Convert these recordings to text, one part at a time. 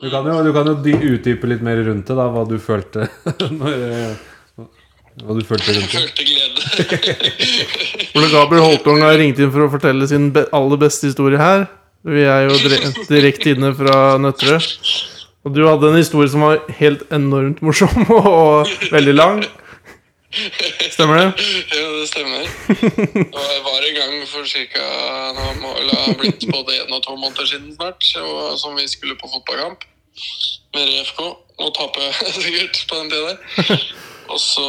Du kan jo, du kan jo dy- utdype litt mer rundt det, da, hva du følte når, eh, Hva du følte rundt det. Følte glede. Ole Gabriel Holtung har ringt inn for å fortelle sin be aller beste historie her. Vi er jo dire direkte inne fra Nøtterøy. Og du hadde en historie som var helt enormt morsom og veldig lang. Stemmer det? Ja, det stemmer. Og jeg var i gang for ca. Nå må vel ha blitt både én og to måneder siden snart, og som vi skulle på fotballkamp med RFK. Nå taper jeg sikkert på den tida der. Og så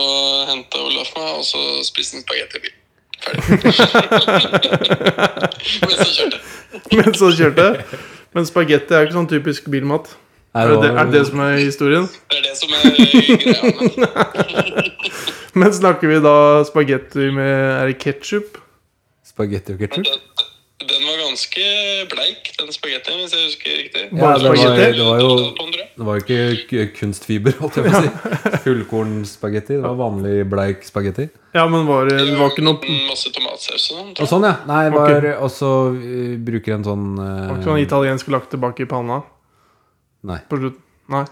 henta Olaf meg, og så spiste han spagetti i bilen. Ferdig. Mens jeg kjørte. Men så kjørte jeg. Men spagetti er jo ikke sånn typisk bilmat. Er det, er det det som er historien? Det er det som er greia med det. Men snakker vi da spagetti med Er det ketsjup? Spagetti og Men ketchup? Den, den var ganske bleik, den spagettien, hvis jeg husker riktig. Ja, det var, det var jo På en drøm. det var jo ikke k- kunstfiber, holdt jeg på å si. Fullkornspagetti. Det var vanlig bleik spagetti. Ja, men var det, det var ikke noe Mm, Masse tomatsaus og sånn. Og tror jeg. sånn, ja. Nei, var også eh, bruker en sånn eh, Var ikke sånn italiensk lagt tilbake i panna? Nei. På slutt? Nei.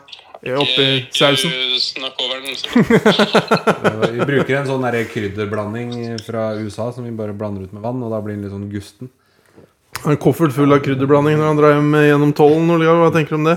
Oppi sausen? Ikke Snakk over den. så- Vi bruker en sånn der krydderblanding fra USA som vi bare blander ut med vann, og da blir den litt sånn gusten. En koffert full av krydderblanding når han drar hjem eh, gjennom tollen. Ole Georg, Hva tenker du om det?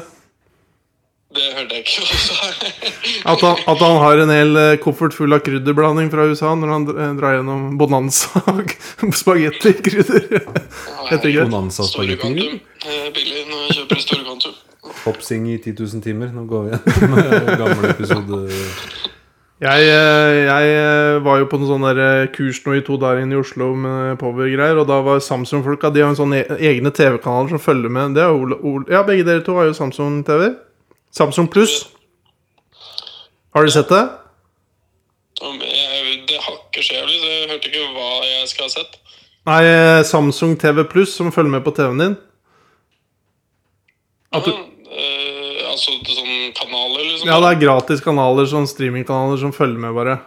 Det hørte jeg ikke. hva du sa. At han, at han har en hel eh, koffert full av krydderblanding fra USA når han dr- eh, drar gjennom Bonanza spagettikrydder. Heter det ikke det? Bonanza Store spagetti. kvantum. Eh, Billig når jeg kjøper i store kvantum. Popsing i 10 000 timer. Nå går vi igjen gamle episode. Jeg, eh, jeg eh, var jo på en sånn der eh, kurs nå i to dager inne i Oslo med Power-greier, og da var Samsung-folka De har jo sånne e- egne TV-kanaler som følger med. Det er Ole, Ole. Ja, begge dere to har jo Samsung-TV. Samsung Pluss. Har du sett det? Om jeg- Det hakker så jævlig, så jeg hørte ikke hva jeg skal ha sett. Nei, eh, Samsung TV Pluss som følger med på TV-en din. At du, Ja, eh, altså sånn kanaler, liksom? ja, det er gratis kanaler, sånn streamingkanaler som følger med, bare.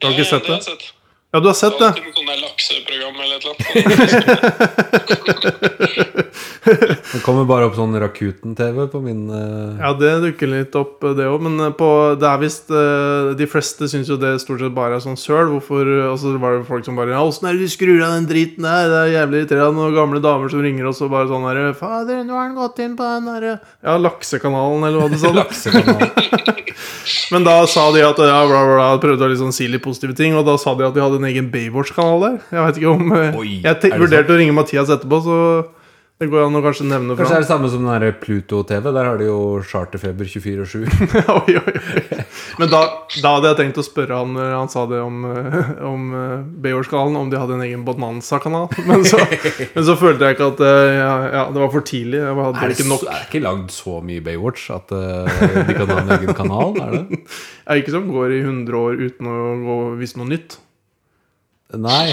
Du har ikke sett det? har jeg sett. Ja, du har sett Det det. er alltid noe sånn der lakseprogram eller et eller annet. Det kommer bare opp sånn Rakuten-TV på min eh, Ja, det dukker litt opp, eh, det òg. Men eh, på, det er visst eh, De fleste syns jo det stort sett bare er sånn søl. Hvorfor eh, Og så var det folk som bare Ja, åssen er det du skrur av den driten der? Det er jævlig irriterende. Noen gamle damer som ringer oss og bare sånn herre Fader, nå har han gått inn på den derre Ja, laksekanalen, eller hva sånn.» du sa. da. laksekanal. Men da sa de at ja, bla, bla, bla, prøvde å liksom si litt positive ting, og da sa de at de hadde en egen Baywatch-kanal der. Jeg vet ikke om eh, Oi, Jeg te- er det vurderte å ringe Mathias etterpå, så det går an å kanskje nevne Kanskje det fra. er det samme som den der Pluto-TV. Der har de jo charterfeber 24-7. oi, oi, oi. Men da, da hadde jeg tenkt å spørre han eh, Han sa det om, eh, om eh, Baywatch-kanalen, om de hadde en egen Bonanza-kanal. Men, så- men så følte jeg ikke at eh, ja, ja, det var for tidlig. Jeg hadde Er det ikke så- nok. er det ikke lagd så mye Baywatch at eh, de kan ha en egen kanal? Er det? Jeg er ikke som går i 100 år uten å gå, vise noe nytt. Nei,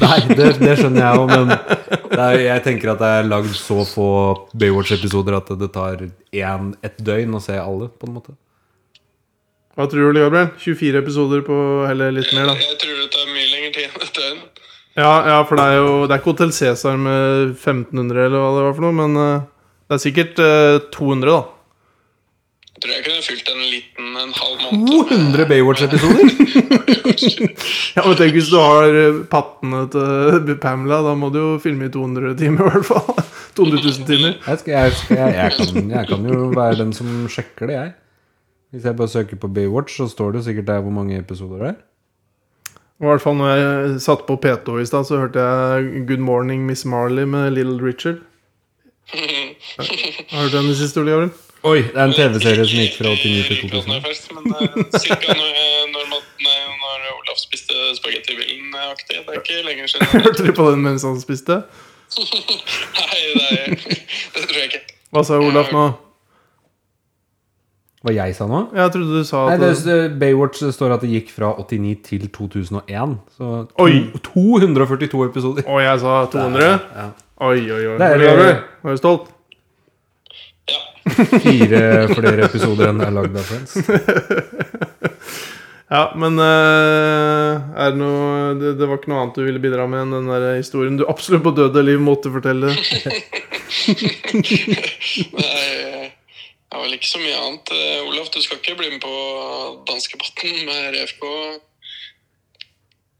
nei det, det skjønner jeg jo, men det er, jeg tenker at det er lagd så få Baywatch-episoder at det tar en, et døgn å se alle, på en måte. Hva tror du, Ole Gabriel? 24 episoder på Eller litt mer, da. Jeg tror det tar mye lengre tid enn et døgn. Ja, ja, for det er jo Det er ikke Hotel Cæsar med 1500 eller hva det var for noe, men eh, det er sikkert eh, 200, da. Jeg tror jeg kunne fylt en liten en halv måned. 200 Baywatch-episoder! Ja, men tenk hvis du har eh, pattene til Pamela, da må du jo filme i 200 timer i hvert fall. 200 000 timer. Jeg, skal, jeg, skal, jeg, jeg, kan, jeg kan jo være den som sjekker det, jeg. Hvis jeg bare søker på Baywatch, så står det jo sikkert der hvor mange episoder det er. Og I hvert fall når jeg satt på P2 i stad, så hørte jeg Good Morning Miss Marley med Little Richard. Har du hørt den i siste, Ole Gabriel? Oi, det er en TV-serie som gikk fra 89 til 2000. Men eh, cirka når, eh, når, mat- nei, når Olaf spiste spagetti i bilen eh, aktig. Det er ikke lenger siden. Hørte du på den mens han spiste? Nei, det, er, det tror jeg ikke. Hva sa Olaf nå? Hva jeg sa nå? Jeg trodde du sa Nei, at det, det- Baywatch det står at det gikk fra 89 til 2001. Så to, Oi. 242 episoder. Og jeg sa 200? Ja. Oi, oi, oi. Det er- Ole Gabriel, var du stolt? Ja. Fire flere episoder enn det er lagd av Friends. Ja, men eh, er det, noe, det, det var ikke noe annet du ville bidra med enn den der historien du absolutt på døde liv måtte fortelle? Nei, eh, Det er vel ikke så mye annet. Eh, Olaf, du skal ikke bli med på danskebåten med RFK.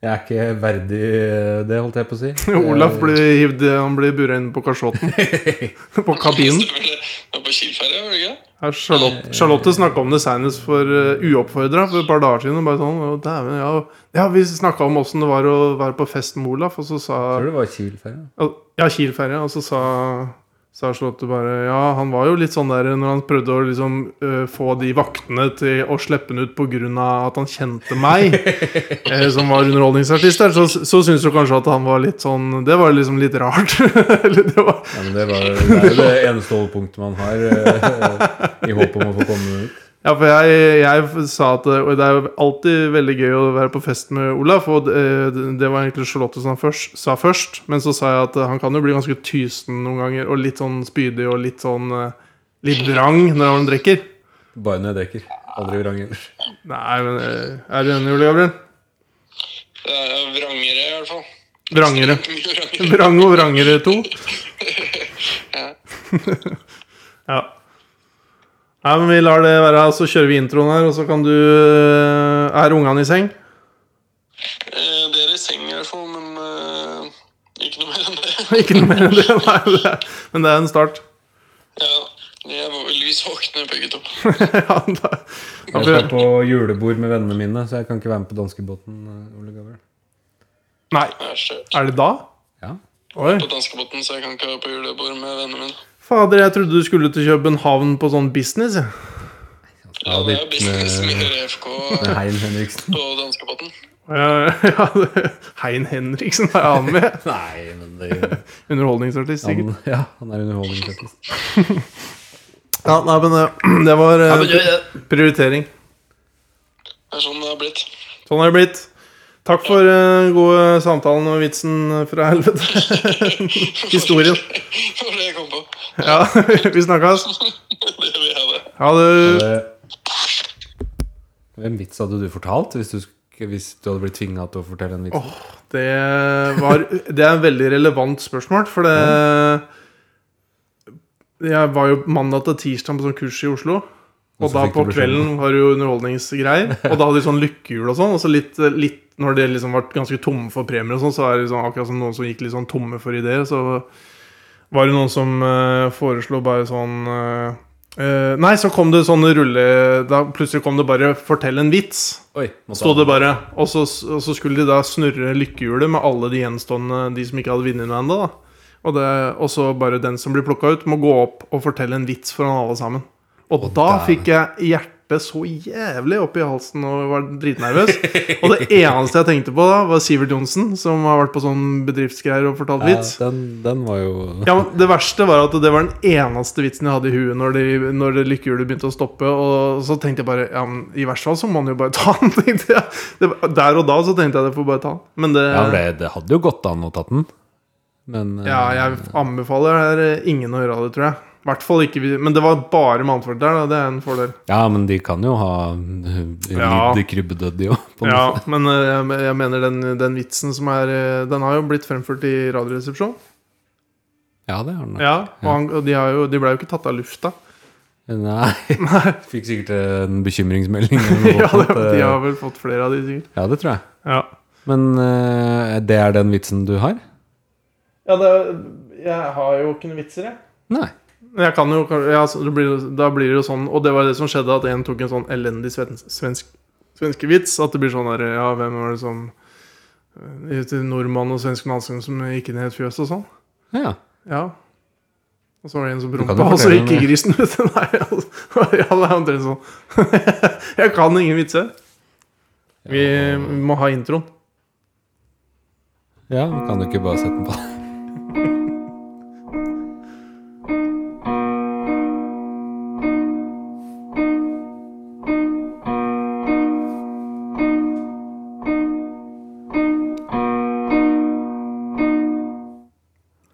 Jeg er ikke verdig eh, det, holdt jeg på å si. Eh, Olaf blir hivd Han blir bura inne på kasjotten. på kabinen. Stemmer det? Du er på Kielferja, var det ikke? Her, Charlotte, Charlotte snakka om det senest for uh, uoppfordra for et par dager siden. og Bare sånn, «Å, dæven, ja, ja, Vi snakka om åssen det var å være på fest med Olaf, og så sa Jeg tror det var Kiel-ferja. Al- Ja, Kiel-ferja. Og så sa, sa Charlotte bare Ja, han var jo litt sånn der når han prøvde å liksom øh, få de vaktene til å slippe han ut pga. at han kjente meg, eh, som var underholdningsartist der, så, så syns du kanskje at han var litt sånn Det var liksom litt rart. Eller det var Ja, men det, var, det er jo det eneste holdepunktet man har, eh, i håp om å få komme ut. Ja, for jeg, jeg sa at eh, det er jo alltid veldig gøy å være på fest med Olaf. Og eh, det- det var egentlig Charlotte som først, sa først. Men så sa jeg at eh, han kan jo bli ganske tysen noen ganger. Og litt sånn spydig og litt sånn eh, Litt vrang når han drikker. Bare når jeg drikker. Aldri vrang ellers. Nei, men eh, er du enig, Ole Gabriel? Det er jo vrangere, i hvert fall. Vrangere. Mye vrangere. Vrang og Vrangere 2. Ja. Ja. Nei, men vi lar det være, så kjører vi introen her, og så kan du eh, Er ungene i seng? Eh, det er i seng, i hvert fall, men eh, ikke noe mer enn det. Ikke noe mer enn det. Nei, det er, men det er en start. Ja, jeg var vel lys våkne, begge to. ja, da, da Jeg får skal jeg- på julebord med vennene mine, så jeg kan ikke være med på danskebåten. eh, Ole Gabriel. Nei, Jeg er skjørt. er det da? Ja. Oi. På danskebåten, så jeg kan ikke være på julebord med vennene mine. Fader, jeg trodde du skulle til København på sånn business. jeg. Ja, det er jo business med- med RFK med Hein Henriksen. på danskebåten. Ja, ja, det- Hein Henriksen er han med. Nei, men det Underholdningsartist, sikkert. han, Ja, han er underholdningsartist. Ja, nei, men eh, det var eh, prioritering. Det er sånn det har blitt. Sånn har det blitt. Takk for uh, gode samtalen og vitsen fra helvete. Historien. Det var det jeg kom på. Ja, vi snakkes. Det vil jeg ha det. Ha det. Eh, Hvem vits hadde du fortalt hvis du, sk- hvis du hadde blitt tvinga til å fortelle en vits? Det var Det er en veldig relevant spørsmål, for det Jeg var jo mandag til tirsdag på sånn kurs i Oslo. Og Og så da fikk du på beskjed om kvelden var det jo underholdningsgreier. Og da hadde de sånn lykkehjul og sånn. Og så litt, litt når de liksom var ganske tomme for premier og sånn, så er det sånn, akkurat som noen som gikk litt sånn tomme for ideer. Så var det noen som eh, foreslo bare sånn eh, eh, Nei, så kom det sånne rulle... Da plutselig kom det bare 'fortell en vits'. Oi, måtte Stod det han- bare og så, og så skulle de da snurre lykkehjulet med alle de gjenstående De som ikke hadde vunnet noe ennå. da. Og, det- og så bare den som blir plukka ut, må gå opp og fortelle en vits foran alle sammen. Og da der. fikk jeg hjertet så jævlig opp i halsen og var dritnervøs. og det eneste jeg tenkte på da, var Sivert Johnsen, som har vært på sånn bedriftsgreier og fortalt ja, vits. den, den var jo Ja, men Det verste var at det var den eneste vitsen jeg hadde i huet når, de, når det lykkehjulet begynte å stoppe. Og så tenkte jeg bare ja, men I verste fall så må han jo bare ta den. tenkte jeg det, var- Der og da så tenkte jeg det får bare ta den. Men det Ja, det, det hadde jo gått an å tatt den, men eh, ja, jeg anbefaler her, eh, ingen å gjøre det, tror jeg. I hvert fall ikke vi. Men det var bare mannfolk der, da. Det er en fordel. ja, men de kan jo ha ja. Ja. lidd krybbedødd, de òg. Ja, Men eh, jeg, jeg mener den, den vitsen som er eh, Den har jo blitt fremført i Radioresepsjonen. ja, det har den. Ja, og, han, og de, har jo, de ble jo ikke tatt av lufta. Nei. Fikk sikkert en bekymringsmelding. Eller Ja, noe sånt, det, De ja. har vel fått eh, flere av de, sikkert. ja, det tror jeg. Ja Men eh, det er den vitsen du har? Ja, det, jeg har jo ikke noen vitser, jeg. Nei. Men Jeg kan jo, ja, så det blir, da blir det jo sånn, og det var det som skjedde, at en tok en sånn elendig svensk, svensk, svenske vits. At det blir sånn der, ja, hvem var det som eh, heter Nordmann og svensk nansken som gikk inn i et fjøs og sånn? Ja. Ja. Og så var det en som kan jo prompa, og så fortelle gikk den, ja. grisen ut. Nei, altså, ja, det er omtrent sånn. jeg kan ingen vitser. Vi, vi må ha introen. ja men kan du ikke bare sette den på?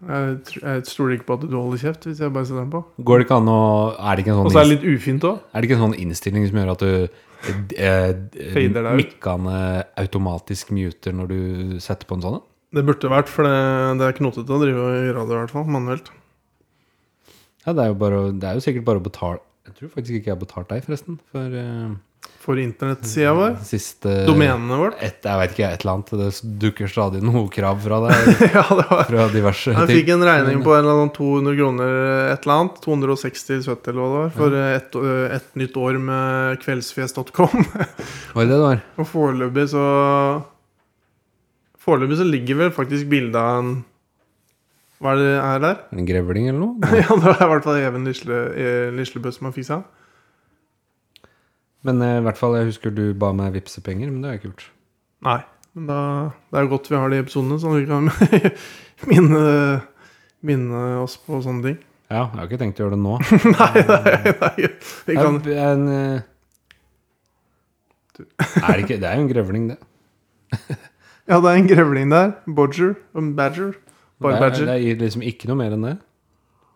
Jeg, tr- jeg stoler ikke på at du holder kjeft hvis jeg bare setter den på. Går det ikke an å Er det ikke en Og sånn, så er inns- det litt ufint òg. er det ikke en sånn innstilling som gjør at du eh, Fader deg ut. mikkene automatisk muter når du setter på en sånn? da? Det burde vært, for det, det er knotete å drive og gjøre det i hvert fall, manuelt. Ja, det er jo, bare, å- det er jo sikkert bare å betale Jeg tror faktisk ikke jeg har betalt deg, forresten. For eh, For internettsida vår. siste Domenene vårt. Et, jeg vet ikke, et eller annet. Det dukker stadig noe krav fra deg. ja, det var Fra diverse Jeg ting. fikk en regning på en eller annen 200 kroner, et eller annet. 260-70 eller hva det var. For eh, et, eh, et nytt år med kveldsfjes.com. Var det det det var? Og foreløpig så Foreløpig så ligger vel faktisk bildet av en Hva er det er der? En grevling eller noe? ja, det var i hvert fall Even Lisle, eh, Lislebø som har fiksa. Men eh, i hvert fall, jeg husker du ba meg vippse penger, men det har jeg ikke gjort. Nei. Men da, det er jo godt vi har de episodene, så vi kan minne, minne oss på sånne ting. Ja, jeg har ikke tenkt å gjøre det nå. nei, nei, nei. Vi kan, Jeg- jeg- en, eh, er det, ikke, det er jo en grevling, det. ja, det er en grevling der. Bodger. En badger. Bare Det er, badger. det er liksom ikke noe mer enn det.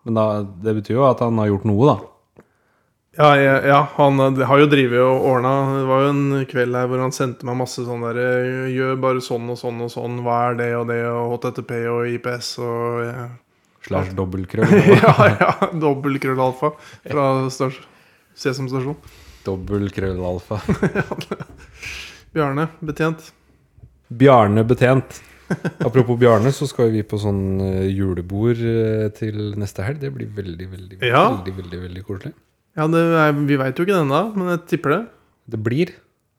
Men da, det betyr jo at han har gjort noe, da. Ja, ja, ja, han eh, har jo drevet og ordna Det var jo en kveld her hvor han sendte meg masse sånn derre Gjør bare sånn og sånn og sånn. Hva er det og det, og HTTP og IPS og ja, Slash dobbeltkrøll. ja. ja Dobbeltkrøllalfa fra stas- Sesam stasjon. Dobbeltkrøllalfa. Bjarne, betjent. Bjarne Betjent. Apropos Bjarne, så skal vi på sånn eh, julebord eh, til neste helg. Det blir veldig, veldig, Ja. veldig, veldig, veldig koselig. Ja, det er, vi veit jo ikke det ennå, men jeg tipper det. Det blir.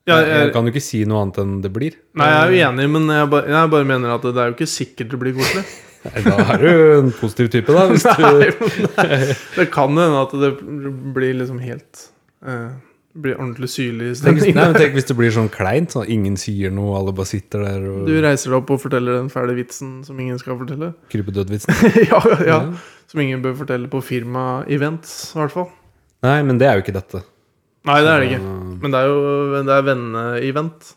Ja, eh, jeg, jeg jeg, kan jo ikke si noe annet enn det blir. nei, jeg er jo enig, men jeg bare, jeg bare mener at det er jo ikke sikkert det blir koselig. Nei, Da er du en positiv type, da. Hvis Nei, du, men det, det kan hende at det blir liksom helt eh, Blir ordentlig syrlig tenk, hvis- stemning. nei, men tenk hvis det blir sånn kleint, sånn at ingen sier noe, alle bare sitter der Du og reiser deg opp og forteller den fæle vitsen som ingen skal fortelle. kryper dødvitsen. ja, ja, ja. Ja. Som ingen bør fortelle på firma-events, i hvert fall. Nei, men det er jo ikke dette. Nei, det er det ikke. Men det er jo det er venne-event.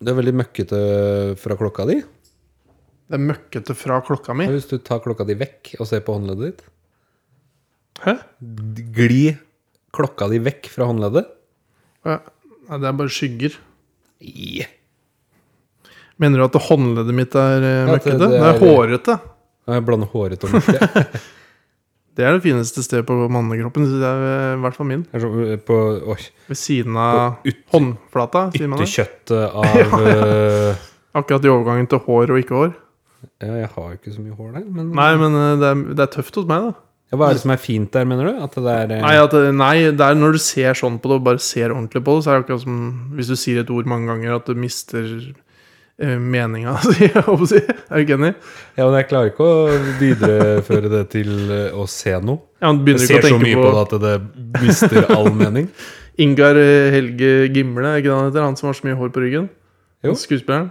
Det er veldig møkkete fra klokka di. Det er møkkete fra klokka mi. Hvis du tar klokka di vekk og ser på håndleddet ditt, Hæ? gli klokka di vekk fra håndleddet. Ja. Nei, det er bare skygger. Yeah. Mener du at håndleddet mitt er eh, Ja, at det- møkkete? Det, det er er- hårete. Jeg blander håret og mørket. Det er det fineste stedet på mannekroppen. så Det er eh, i hvert fall min. Det er så- eh, På oi, Ved siden av håndflata, sier man det. ytterkjøttet av eh, Akkurat i overgangen til hår og ikke hår. ja, Jeg har jo ikke så mye hår der, men Nei, men eh, det er, det er tøft hos meg, da. ja, Hva er det som er fint der, mener du? At det er eh, Nei, at, eh, nei, det er når du ser sånn på det, og bare ser ordentlig på det, så er det akkurat som hvis du sier et ord mange ganger, at du mister eh, meninga si. jeg håper å si. Er du ikke enig? ja, men Jeg klarer ikke å videreføre det til eh, å se noe. Ja, han Jeg begynner ikke ser å så tenke mye på, på det at det mister all mening. Ingar eh, Helge Gimle, er ikke det han heter? Han som har så mye hår på ryggen? Jo. Skuespilleren.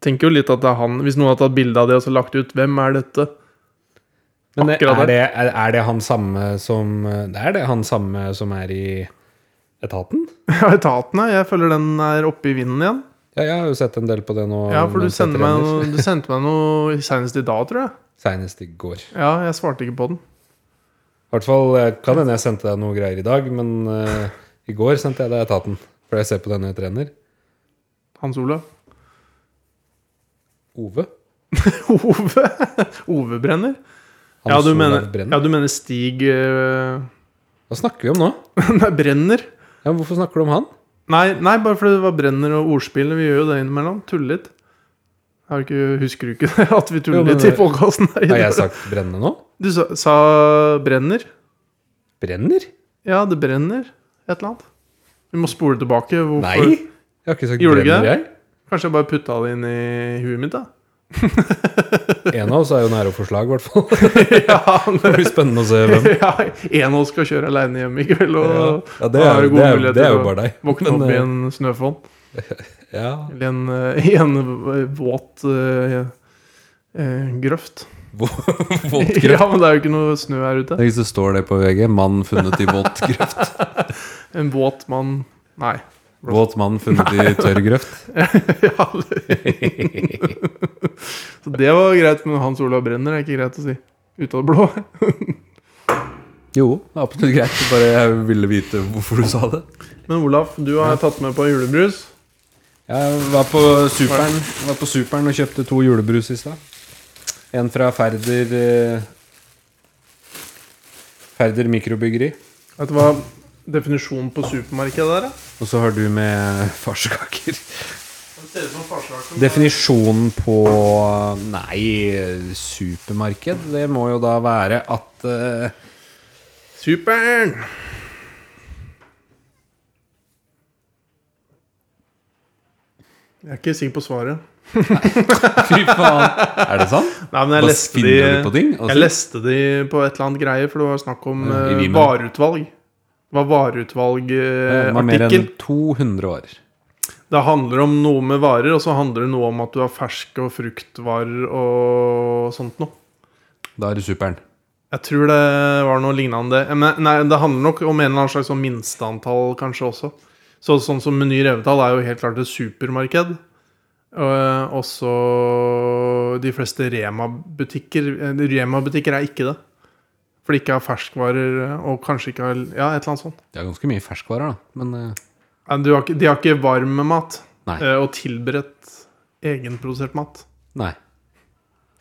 Tenker jo litt at det er han. Hvis noen har tatt bilde av det og så lagt ut 'Hvem er dette?' Men eh, Akkurat er det, er, er det han samme som eh, Det er det han samme som er i etaten? Ja, etaten her. Jeg føler den er oppe i vinden igjen. Ja, jeg har jo sett en del på det nå. Ja, for du, mens jeg sender meg trener. noe, du sendte meg noe senest i dag, tror jeg. Senest i går. Ja, jeg svarte ikke på den. I hvert fall eh, kan hende jeg sendte deg noe greier i dag, men eh, i går sendte jeg deg etaten. For jeg ser på denne jeg trener. Hans Olav. Ove. Ove. Ove Brenner? Hans ja, du Olav mener, Brenner. ja, du mener Stig øh, Hva snakker vi om nå? Nei, Brenner. Ja, men hvorfor snakker du om han? Nei, nei, bare fordi det var Brenner og ordspillet. Vi gjør jo det innimellom. Tuller litt. Har du ikke, husker du ikke det, at vi Jo, tuller men litt i det- podkasten? Har jeg sagt brennende nå? Du sa, sa Brenner? Brenner? Ja, det brenner et eller annet. Vi må spole tilbake. Hvorfor? Nei! Jeg har ikke sagt Gjorde du ikke brenner, jeg. Kanskje jeg bare putta det inn i huet mitt, da. En av oss er jo nære å få slag, i hvert fall. ja, Det blir spennende å se hvem. ja, en av oss skal kjøre aleine hjem i kveld. Og Ja, ja det, er, har jo- gode det, er, muligheter det er til jo å bare deg. Våkne Men, opp i eh, en snøfonn. Ja, Eller en, eh, i en v- våt eh, eh, grøft. våtgrøt. Ja, men det er jo ikke noe snø her ute. Tenk hvis det står det på VG. Mann funnet i våt grøft. En våt mann Nei. Våt mann funnet i tørr grøft. Ja, Så det var greit, men Hans Olav Brenner er ikke greit å si. Ut av det blå. Jo, det er absolutt greit. Bare jeg ville vite hvorfor du sa det. Men Olaf, du har tatt med på julebrus. Jeg var på Superen, var på superen og kjøpte to julebrus i stad. En fra Færder eh, Færder mikrobryggeri. Vet du hva definisjonen på supermarked der er? Og så har du med farsekaker. Det ser ut som farskaker. Definisjonen på Nei, supermarked, det må jo da være at eh, Superen! Jeg er ikke sikker på svaret. Fy faen! Er det sant? Nei, men jeg Hva leste de, finner du på ting? Altså- jeg leste de på et eller annet greie, for det var snakk om Ja, i eh, Vimen. vareutvalg. Det var Det var mer vareutvalgartikkel. enn 200 år. det handler om noe med varer, og så handler det noe om at du har ferske og fruktvarer og sånt noe. Da er det superen. Jeg tror det var noe lignende. Eh, Men, nei, det handler nok om en eller annen slags sånn minsteantall, kanskje også. Så, sånn som Meny Revetall er jo helt klart et supermarked. Og eh, også de fleste Rema-butikker. Eh, Rema-butikker er ikke det. For de ikke har ferskvarer eh, og kanskje ikke har Ja, et eller annet sånt. Det er ganske mye ferskvarer, da. Men eh, Nei, Du har ikke, de har ikke varm mat. Nei. eh, Og tilberedt egenprodusert mat. nei.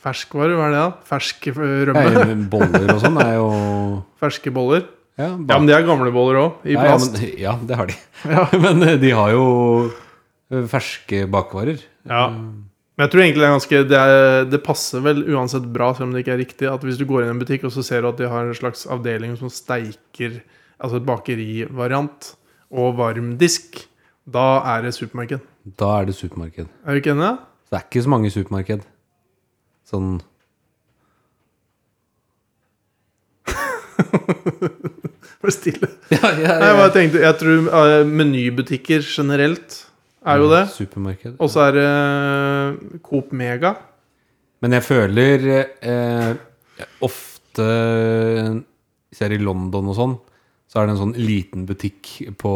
Ferskvarer, hva er det da? Fersk eh, rømme? Eh, Boller og sånn er jo Ferske boller? Ja, Ja, men det er gamle boller òg, i Ja, ja, plast. men, ja, det har de. men eh, de har jo eh, ferske bakvarer. Ja. Mm. Men jeg tror egentlig det er ganske det, er, det passer vel uansett bra, selv om det ikke er riktig, at hvis du går inn i en butikk og så ser du at de har en slags avdeling som steiker Altså et bakerivariant og varmdisk, da er det supermarked. Da er det supermarked. Er du ikke enig? Så det er ikke så mange supermarked. Sånn Vær stille. ja, ja, Nei, jeg, bare tenkte, jeg tror eh, menybutikker generelt er Mm. jo det. Supermarked. Og så er det eh, Coop Mega. Men jeg føler eh, ofte Hvis jeg er i London og sånn, så er det en sånn liten butikk på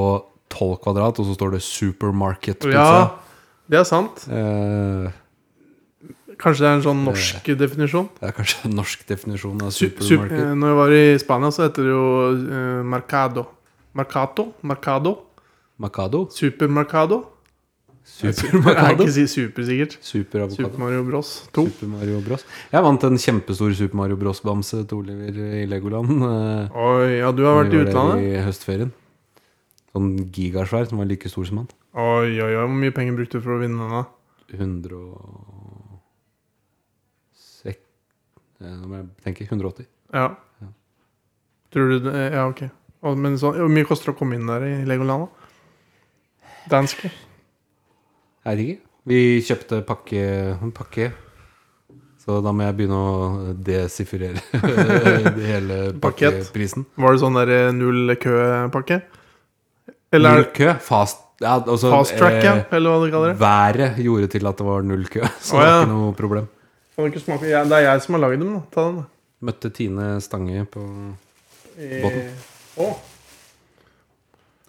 12 kvadrat, og så står det 'Supermarket Pizza'. Ja, det er sant. Eh, Kanskje det er en sånn norsk definisjon. det er kanskje en norsk definisjon av Sup- sup- supermarked. eh, Når jeg var i Spania, så heter det jo eh, Mercado. Mercato? Mercado? Macado? Supermercado? Jeg kan Supermercado? ikke si supersikkert. Super Superavokado? Mario Bros. 2. Super Mario Bros. Jeg vant en kjempestor Super Mario Bros-bamse til Oliver i Legoland. eh, Oi, ja, du har når vært i vi var der utlandet? I høstferien. Sånn gigasvær som var like stor som han. Oi, oi, oi, hvor mye penger brukte du for å vinne denne? 106 eh, Nå må jeg tenke 180. Ja. Ja. Tror du det Ja, ok. Og, men så, hvor mye koster det å komme inn der i Legoland, da? Danske? Jeg vet ikke. Vi kjøpte pakke, en pakke. Så da må jeg begynne å desifrere det hele Pakket. pakkeprisen. Var det sånn der eh, null kø-pakke? Eller Null er det kø. Fast, ja, altså, fast track, ja? eh, Eller hva du kaller det? Været gjorde til at det var null kø, så Å, det ja. var ikke noe problem. Kan du ikke smake? Ja, det er jeg som har lagd dem, da. Ta den, da. Møtte Tine Stange på Båten. Eh, å,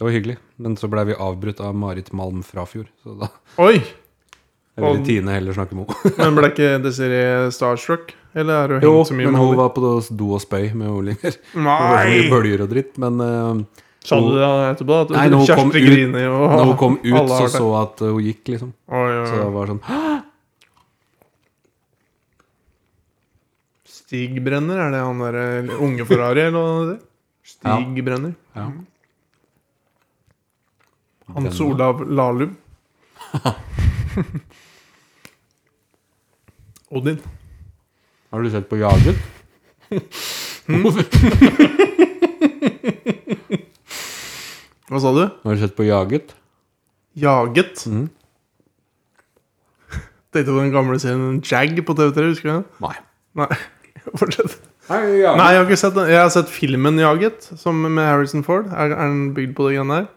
Det var hyggelig, men så blei vi avbrutt av Marit Malm Frafjord. Så da Oi! jeg ville Og- Tine heller snakke med henne. Men ble ikke Desiree starstruck? Eller er hun Jo, hengt så mye men med hun Holly? var på do- do og spøy med Oliver. Det var så mye Nei! bølger og dritt, men eh, Sa du det etterpå? At Nei, når hun kom Kjersti ut- griner jo. når hun kom ut, Alle så har det. så at hun gikk, liksom. Oi, oi, Så det oi. var sånn Stig Brenner, er det han der eh, unge Ferrari, eller hva det er? Ja. Stig Brenner. ja. Hans Olav Lahlum. Odin. Har du sett på Jaget? Hva sa du? Har du sett på Jaget? Jaget. Mhm. Tenkte på den gamle serien Jag på TV3, husker du den? Nei. Nei, fortsett. Nei, Jaget. Nei, jeg har ikke sett den. Jeg har sett filmen 'Jaget', som med Harrison Ford. Er, er den bygd på det greiene der?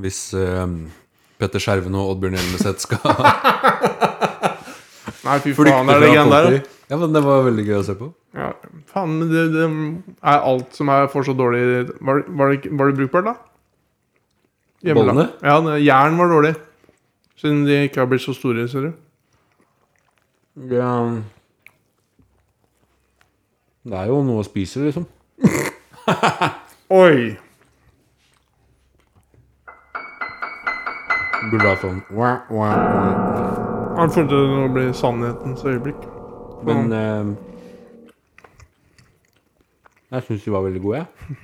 Hvis eh, Petter Skjerven og Oddbjørn Hjelmeset skal Nei, fy flykte faen, det er det greiene der. da. Ja, men det var veldig gøy å se på. Ja, faen, men det, det er alt som er for så dårlig Var, var, det, ikke- var det brukbart, da? Hjemmelag. Bollene? Ja, det- jern var dårlig. Siden de ikke har blitt så store, ser du. Det, um, det er jo noe å spise, liksom. Oi! Burde ha sånn wah, wah, wah. Jeg følte det nå ble sannhetens øyeblikk. Men eh, Jeg syns de var veldig gode, jeg.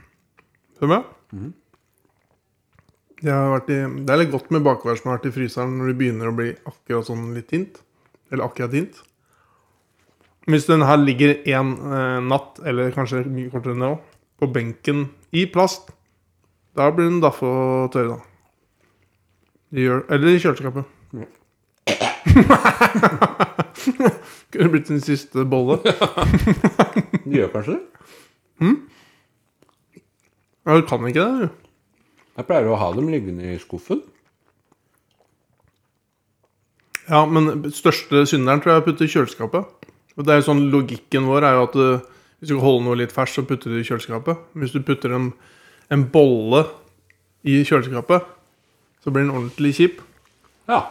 Hører du meg? Det har vært i, det er litt godt med bakvarer som har vært i fryseren når det begynner å bli akkurat sånn litt hint. Eller akkurat hint. Hvis den her ligger en eh, natt, eller kanskje mye kortere enn det òg, på benken i plast, da blir den daffe og tørr, da. De gjør, eller i kjøleskapet. Kunne blitt sin siste bolle. De gjør kanskje det? Ja, du kan ikke det, du. Jeg pleier å ha dem liggende i skuffen. Ja, men største synderen tror jeg er å putte i kjøleskapet. Og det er jo sånn Logikken vår er jo at du, hvis du skal holde noe litt ferskt, så putter du det i kjøleskapet. Hvis du putter en, en bolle i kjøleskapet, så blir den ordentlig kjip. Ja.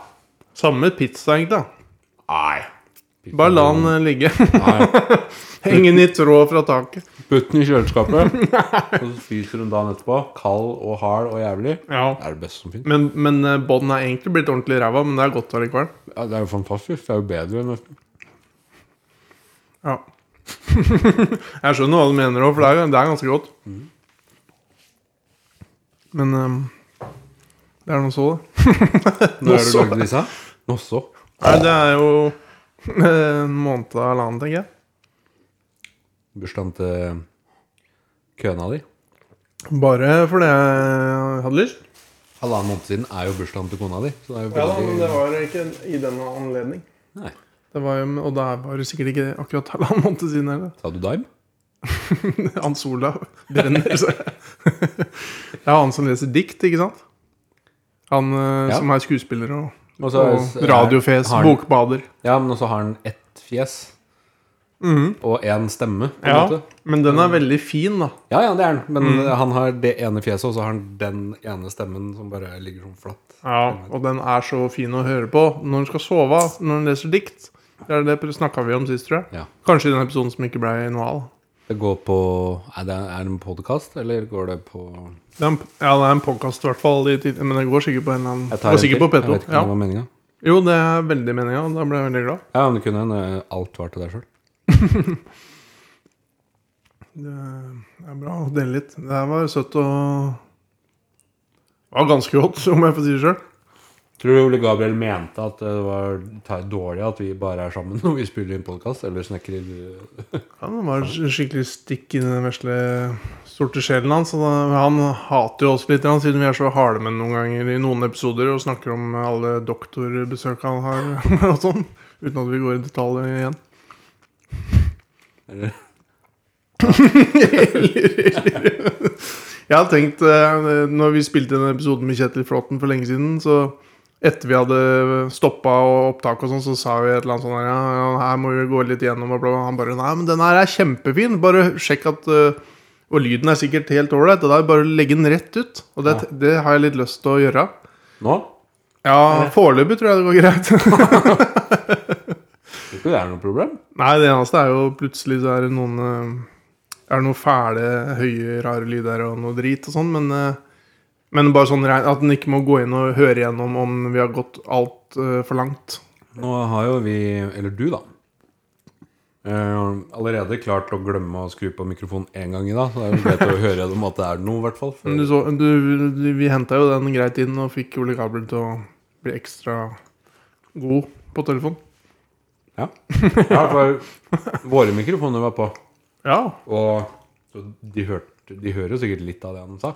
Samme med pizza, egentlig. da. Nei. Bare la den eh, ligge. Nei. Henge den i tråd fra taket. Putt den i kjøleskapet, og så spiser hun dagen etterpå. Kald og hard og jævlig. Ja. Det er det beste som finnes. Men, men eh, bånden er egentlig blitt ordentlig ræva, men det er godt allikevel. Ja, det er jo fantastisk. Det er jo bedre enn nesten. Ja. jeg skjønner hva du mener òg, for det er, det er ganske godt. Men ehm, det er nå så, det. Når har du Også. lagd disse? Også. Nei, det er jo en måned og halvannen, tenker jeg. Bursdagen til køna di. Bare fordi jeg hadde lyst. Halvannen måned siden er jo bursdagen til kona di. Så det er jo Ja da, men veldig det var ikke i denne anledning. Nei. Det var jo, og det var jo sikkert ikke akkurat halvannen måned siden heller. Sa du dime? Han sola brenner seg. Det er han som leser dikt, ikke sant? Han eh, Ja. som er skuespiller og, Og så og er- radiofes, har han- bokbader. Ja, men også har han ett fjes. Og én stemme. På en Ja, måte. men den er veldig fin, da. ja, ja, det er han. Men han har det ene fjeset, og så har han den ene stemmen som bare ligger sånn flatt. Ja, Og den er så fin å høre på når du skal sove av, når du leser dikt. Det er det snakka vi om sist, tror jeg. Ja. Kanskje i den episoden som ikke ble noe av. da. Det går på Er det er det en podkast, eller går det på Det er en, ja, det er en podkast, i hvert fall. i tid- Men det går sikkert på en eller annen Jeg Går sikkert på en til. Jeg vet P2. ikke om det Ja. var meninga. Jo, det er veldig meninga, og da ble jeg veldig glad. Ja, men det kunne hende alt var til deg sjøl. Det er bra å dele litt. Det her var søtt og Det var ganske godt, om jeg får si det sjøl. Tror du Ole Gabriel mente at det var ta- dårlig at vi bare er sammen når vi spiller inn podkast, eller snekrer Ja, det var sk- skikkelig stikk i den vesle sorte sjelen hans. og da- Han hater jo oss litt, han, siden vi er så harde med noen ganger i noen episoder og snakker om alle doktorbesøk han har og sånn. Uten at vi går i detalj igjen. Eller- Jeg har tenkt, eh, når vi spilte den episoden med Kjetil Flåten for lenge siden, så etter vi hadde stoppa opptak og sånn, så sa vi et eller annet sånn her, ja, ja, her må vi gå litt gjennom og bla, bla. Han bare Nei, men den her er kjempefin. Bare sjekk at eh, Og lyden er sikkert helt ålreit. Det er bare å legge den rett ut. Og det, det har jeg litt lyst til å gjøre. Nå? Ja, foreløpig tror jeg det går greit. Tror ikke det er noe problem. Nei, det eneste er jo plutselig så er det noen eh, Er det noen fæle, høye, rare lyder og noe drit og sånn, men eh, men bare sånn rein- at en ikke må gå inn og høre igjennom om vi har gått altfor langt. Nå har jo vi, eller du da eh, Allerede klart å glemme å skru på mikrofonen en gang i dag Så det er jo greit å høre om at det er noe i hvert fall Men for, Du så, du, du, vi henta jo den greit inn og fikk Ole Gabriel til å bli ekstra god på telefon. ja. ja, for våre mikrofoner var på Ja, Og så de, hørte, de hører jo sikkert litt av det han sa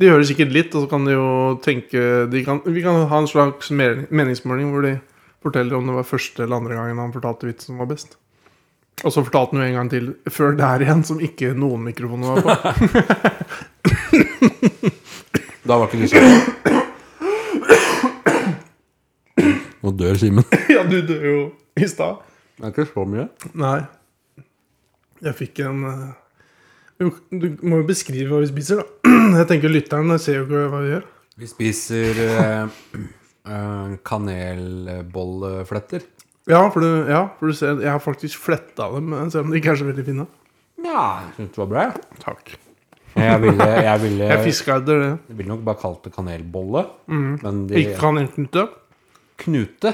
De hører sikkert litt, og så kan de jo tenke de kan, Vi kan ha en slags mer- meningsmåling hvor de forteller om det var første eller andre gangen han fortalte vitsen som var best. Og så fortalte han jo en gang til før der igjen, som ikke noen mikrofoner var på. Da var ikke du sånn Nå dør Simen Det ja, du døde jo i stad. er ikke så mye Nei. Jeg fikk en eh, jo, Du må jo beskrive hva vi spiser, da. Jeg tenker lytteren ser jo ikke hva vi gjør. Vi spiser eh, eh, kanelbollefletter Ja, for du, ja, for du ser Jeg har faktisk fletta dem, eh, selv om de ikke er så veldig fine. Ja, jeg synes det var bra Takk. Jeg ville, jeg ville Jeg fiska etter det. Jeg ville nok bare kalt det kanelbolle. Men de Ikke kan enten det. knute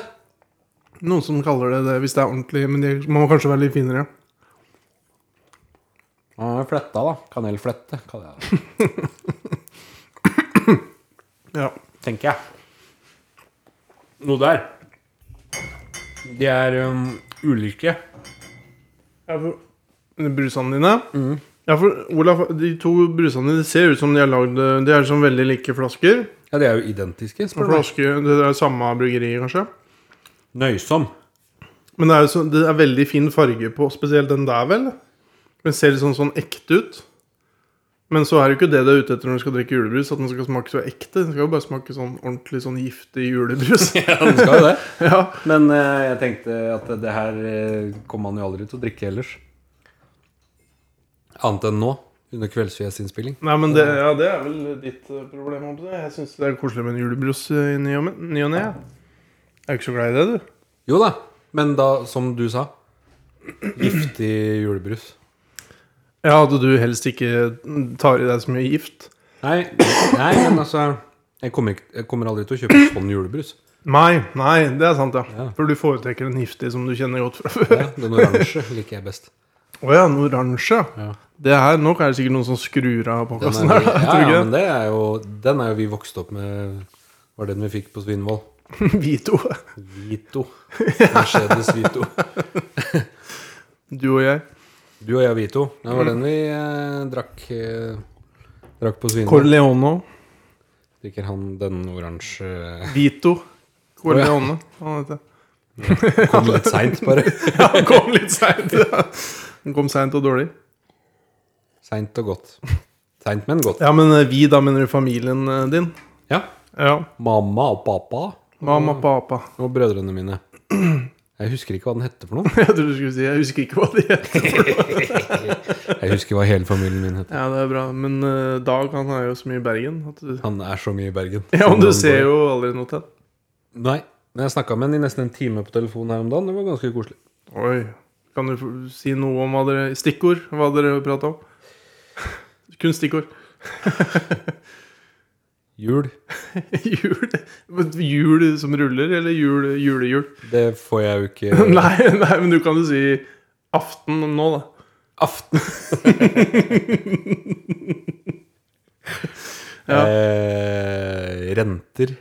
Noen som kaller det det hvis det er ordentlig, men de, man må kanskje være litt finere. Ja, Fletta, da. Kanelflette, kaller jeg det. Ja. Tenker jeg. Noe der. De er um, ulike. Ja, for brusene dine Ja, for Olaf, de to brusene dine ser ut som de er lagd De er som veldig like flasker. Ja, de er jo identiske. Og Spør du meg. Flaske, det er samme bryggeri, kanskje. Nøysom. Men det er jo så, det er veldig fin farge på, spesielt den der, vel? Den ser litt sånn, sånn ekte ut. Men så er det jo ikke det du er ute etter når du skal drikke julebrus, at den skal smake så ekte. Den skal jo bare smake sånn ordentlig sånn giftig julebrus. Ja, den skal jo det. ja. Men eh, jeg tenkte at det her eh, kommer man jo aldri til å drikke ellers. Annet enn nå, under kveldsfjesinnspilling. Nei, men det, ja, det er vel ditt eh, problem. holdt på å si. Jeg syns det er koselig med en julebrus eh, i ny og men- ny og ne. jeg. Jeg er ikke så glad i det, du. Jo da, men da, som du sa Giftig julebrus. Ja, At du helst ikke tar i deg så mye gift. Nei, nei men altså jeg kommer, ikke, jeg kommer aldri til å kjøpe sånn julebrus. Nei, nei, det er sant, ja. Ja. For du foretrekker en giftig som du kjenner godt fra før. Ja, den oransje liker jeg best. Å ja, en oransje. Ja. Det her, Nå er det sikkert noen som skrur av Den podkasten er, her. jo- ja, tror du ja, ikke men det er jo, den er jo vi vokste opp med. Var den vi fikk på Svinvoll. det? Vi to. Vito. Mercedes Vito. Du og jeg. Du og jeg, Vito. Det var den vi eh, drakk, eh, drakk på Svinvoll. Corleone. Drikker han den oransje Vito. Corleone. Han heter det. Kom litt seint, bare. Ja, han kom litt seint. Han kom seint og dårlig. Seint og godt. Seint, men godt. Ja, men eh, vi, da mener du familien eh, din? Ja. Ja. Mamma og pappa Mamma, pappa. og brødrene mine. Jeg husker ikke hva den hette for noe. Jeg trodde du skulle si Jeg husker ikke hva de heter. Jeg husker hva hele familien min het. Ja, det er bra. Men eh, Dag, han er jo så mye i Bergen. At du... Han er så mye i Bergen. Ja, men du ser jo aldri noe til. Nei. Men jeg snakka med han i nesten en time på telefonen her om dagen. Det var ganske koselig. Oi. Kan du få- si noe om hva dere Stikkord? Hva dere prata om? Kun stikkord. Jul. Jul men Jul som ruller, eller jul, julejul? Det får jeg jo ikke Nei, nei, men du kan jo si aften nå, da. Aften. Ja. eh, renter.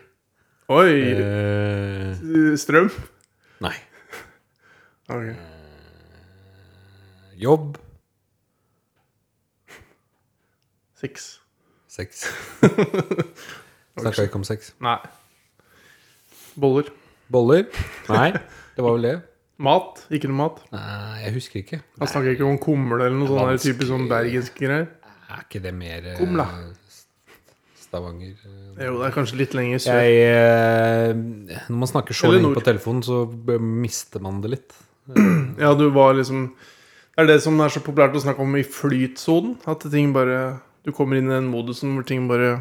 Oi! Eh, Strøm? nei. Ok. Jobb. Seks. Sex. Snakka ikke om sex. Nei. Boller. Boller? Nei, det var vel det. Mat? Ikke noe mat. Nei, jeg husker ikke. Han snakker ikke om kumle eller noe sånn her typisk sånn bergensk greier. Er ikke det mer eh, Kumla. Stavanger eh? Jo, det er kanskje litt lenger sør. Jeg, eh, Når man snakker så Eller lenge nord. på telefonen, så b- mister man det litt. Ja, du var liksom Det er det som er så populært å snakke om i flytsonen. At ting bare Du kommer inn i den modusen hvor ting bare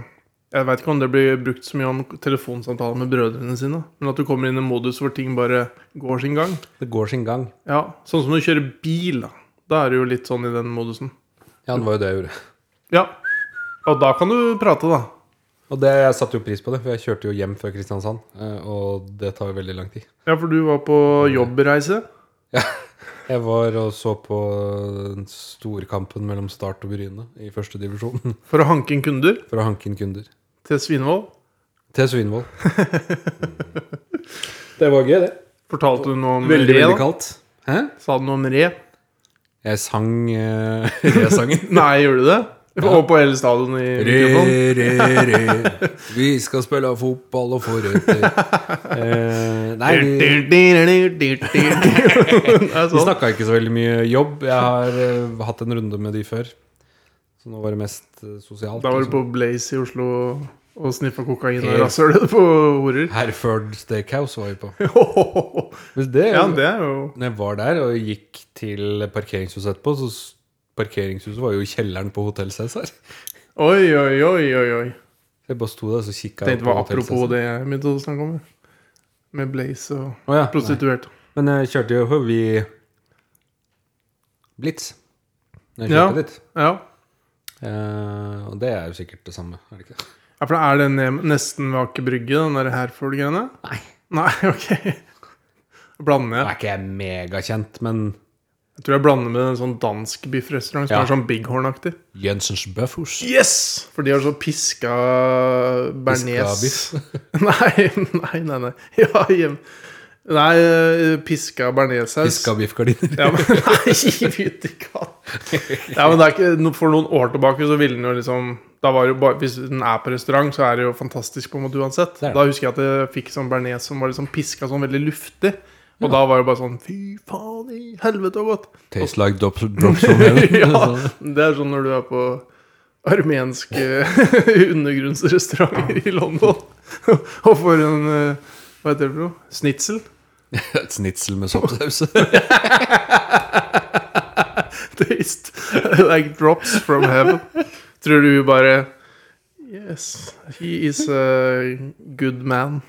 Jeg veit ikke om det blir brukt så mye om telefonsamtaler med brødrene sine, men at du kommer inn i en modus hvor ting bare går sin gang. Det går sin gang. Ja, Sånn som når du kjører bil, da. Da er du jo litt sånn i den modusen. Ja, det var jo det jeg gjorde. Ja. Og da kan du prate, da. Og det, jeg satte jo pris på det, for jeg kjørte jo hjem fra Kristiansand. eh, Og det tar jo veldig lang tid. Ja, for du var på jobbreise. Jeg var og så på den storkampen mellom Start og Bryne i første divisjon For å hanke inn kunder for å hanke inn kunder. til Svinvoll. Til Svinvoll. Det var gøy, det. Fortalte du noe om Veldig, re? veldig da? kaldt. Hæ? Sa du noe om re? Jeg sang uh, re-sangen. Nei, gjorde du det? Og på hele stadion i Re, mikrofonen? re, re. Vi skal spille fotball og forretter. Eh, nei, vi, Det er vi sånn. snakka ikke så veldig mye jobb. Jeg har eh, hatt en runde med de før. Så nå var det mest eh, sosialt. Da var du liksom. på Blaze i Oslo og sniffa kokain og Helt- rasshølet på horer. Herford Steakhouse var vi på. Ja, Men det, det er jo Når jeg var der og gikk til parkeringshuset etterpå, så s- Parkeringshuset var jo i kjelleren på Hotell Cæsar. Oi, oi, oi, oi. oi. Jeg bare sto der og så kikka Tenkte det var apropos det jeg begynte å snakke om. jeg. Med Blaze Å og ja, nei. prostituerte. Men jeg kjørte jo forbi Blitz. Når jeg Ja. kjørte dit. Ja. Eh, og det er jo sikkert det samme, er det ikke? det? ja, for er det ne- nesten ved Aker Brygge, den der Herford-greiene? Nei. Nei, ok. Blander Nå jeg. er ikke jeg megakjent, men Jeg tror jeg blander med en sånn dansk biffrestaurant som Ja. er sånn Bighorn-aktig. Jensens Bøffhus. Yes! For de har så piska bearnés Piska Nei, nei, nei. nei. Ja, hjem. Nei, eh, piska bearnéssaus. Fiska biffgardiner. Ja, men nei, fytti katt. Ja, men det er ikke, no- for noen år tilbake så ville den jo liksom da var det jo bare, Hvis den er på restaurant, så er det jo fantastisk på en måte uansett. Det er det. Da husker jeg at jeg fikk sånn bearnés som var liksom piska sånn veldig luftig. Og da var det bare sånn Fy faen i helvete så godt. Taste like drops, drops from heaven. ja, Sånn. det er sånn når du er på armenske undergrunnsrestauranter i London og får en eh, Hva heter det for noe? Snitsel? Et snitsel med soppsaus. Taste like drops from heaven. Tror du bare Yes, he is a good man.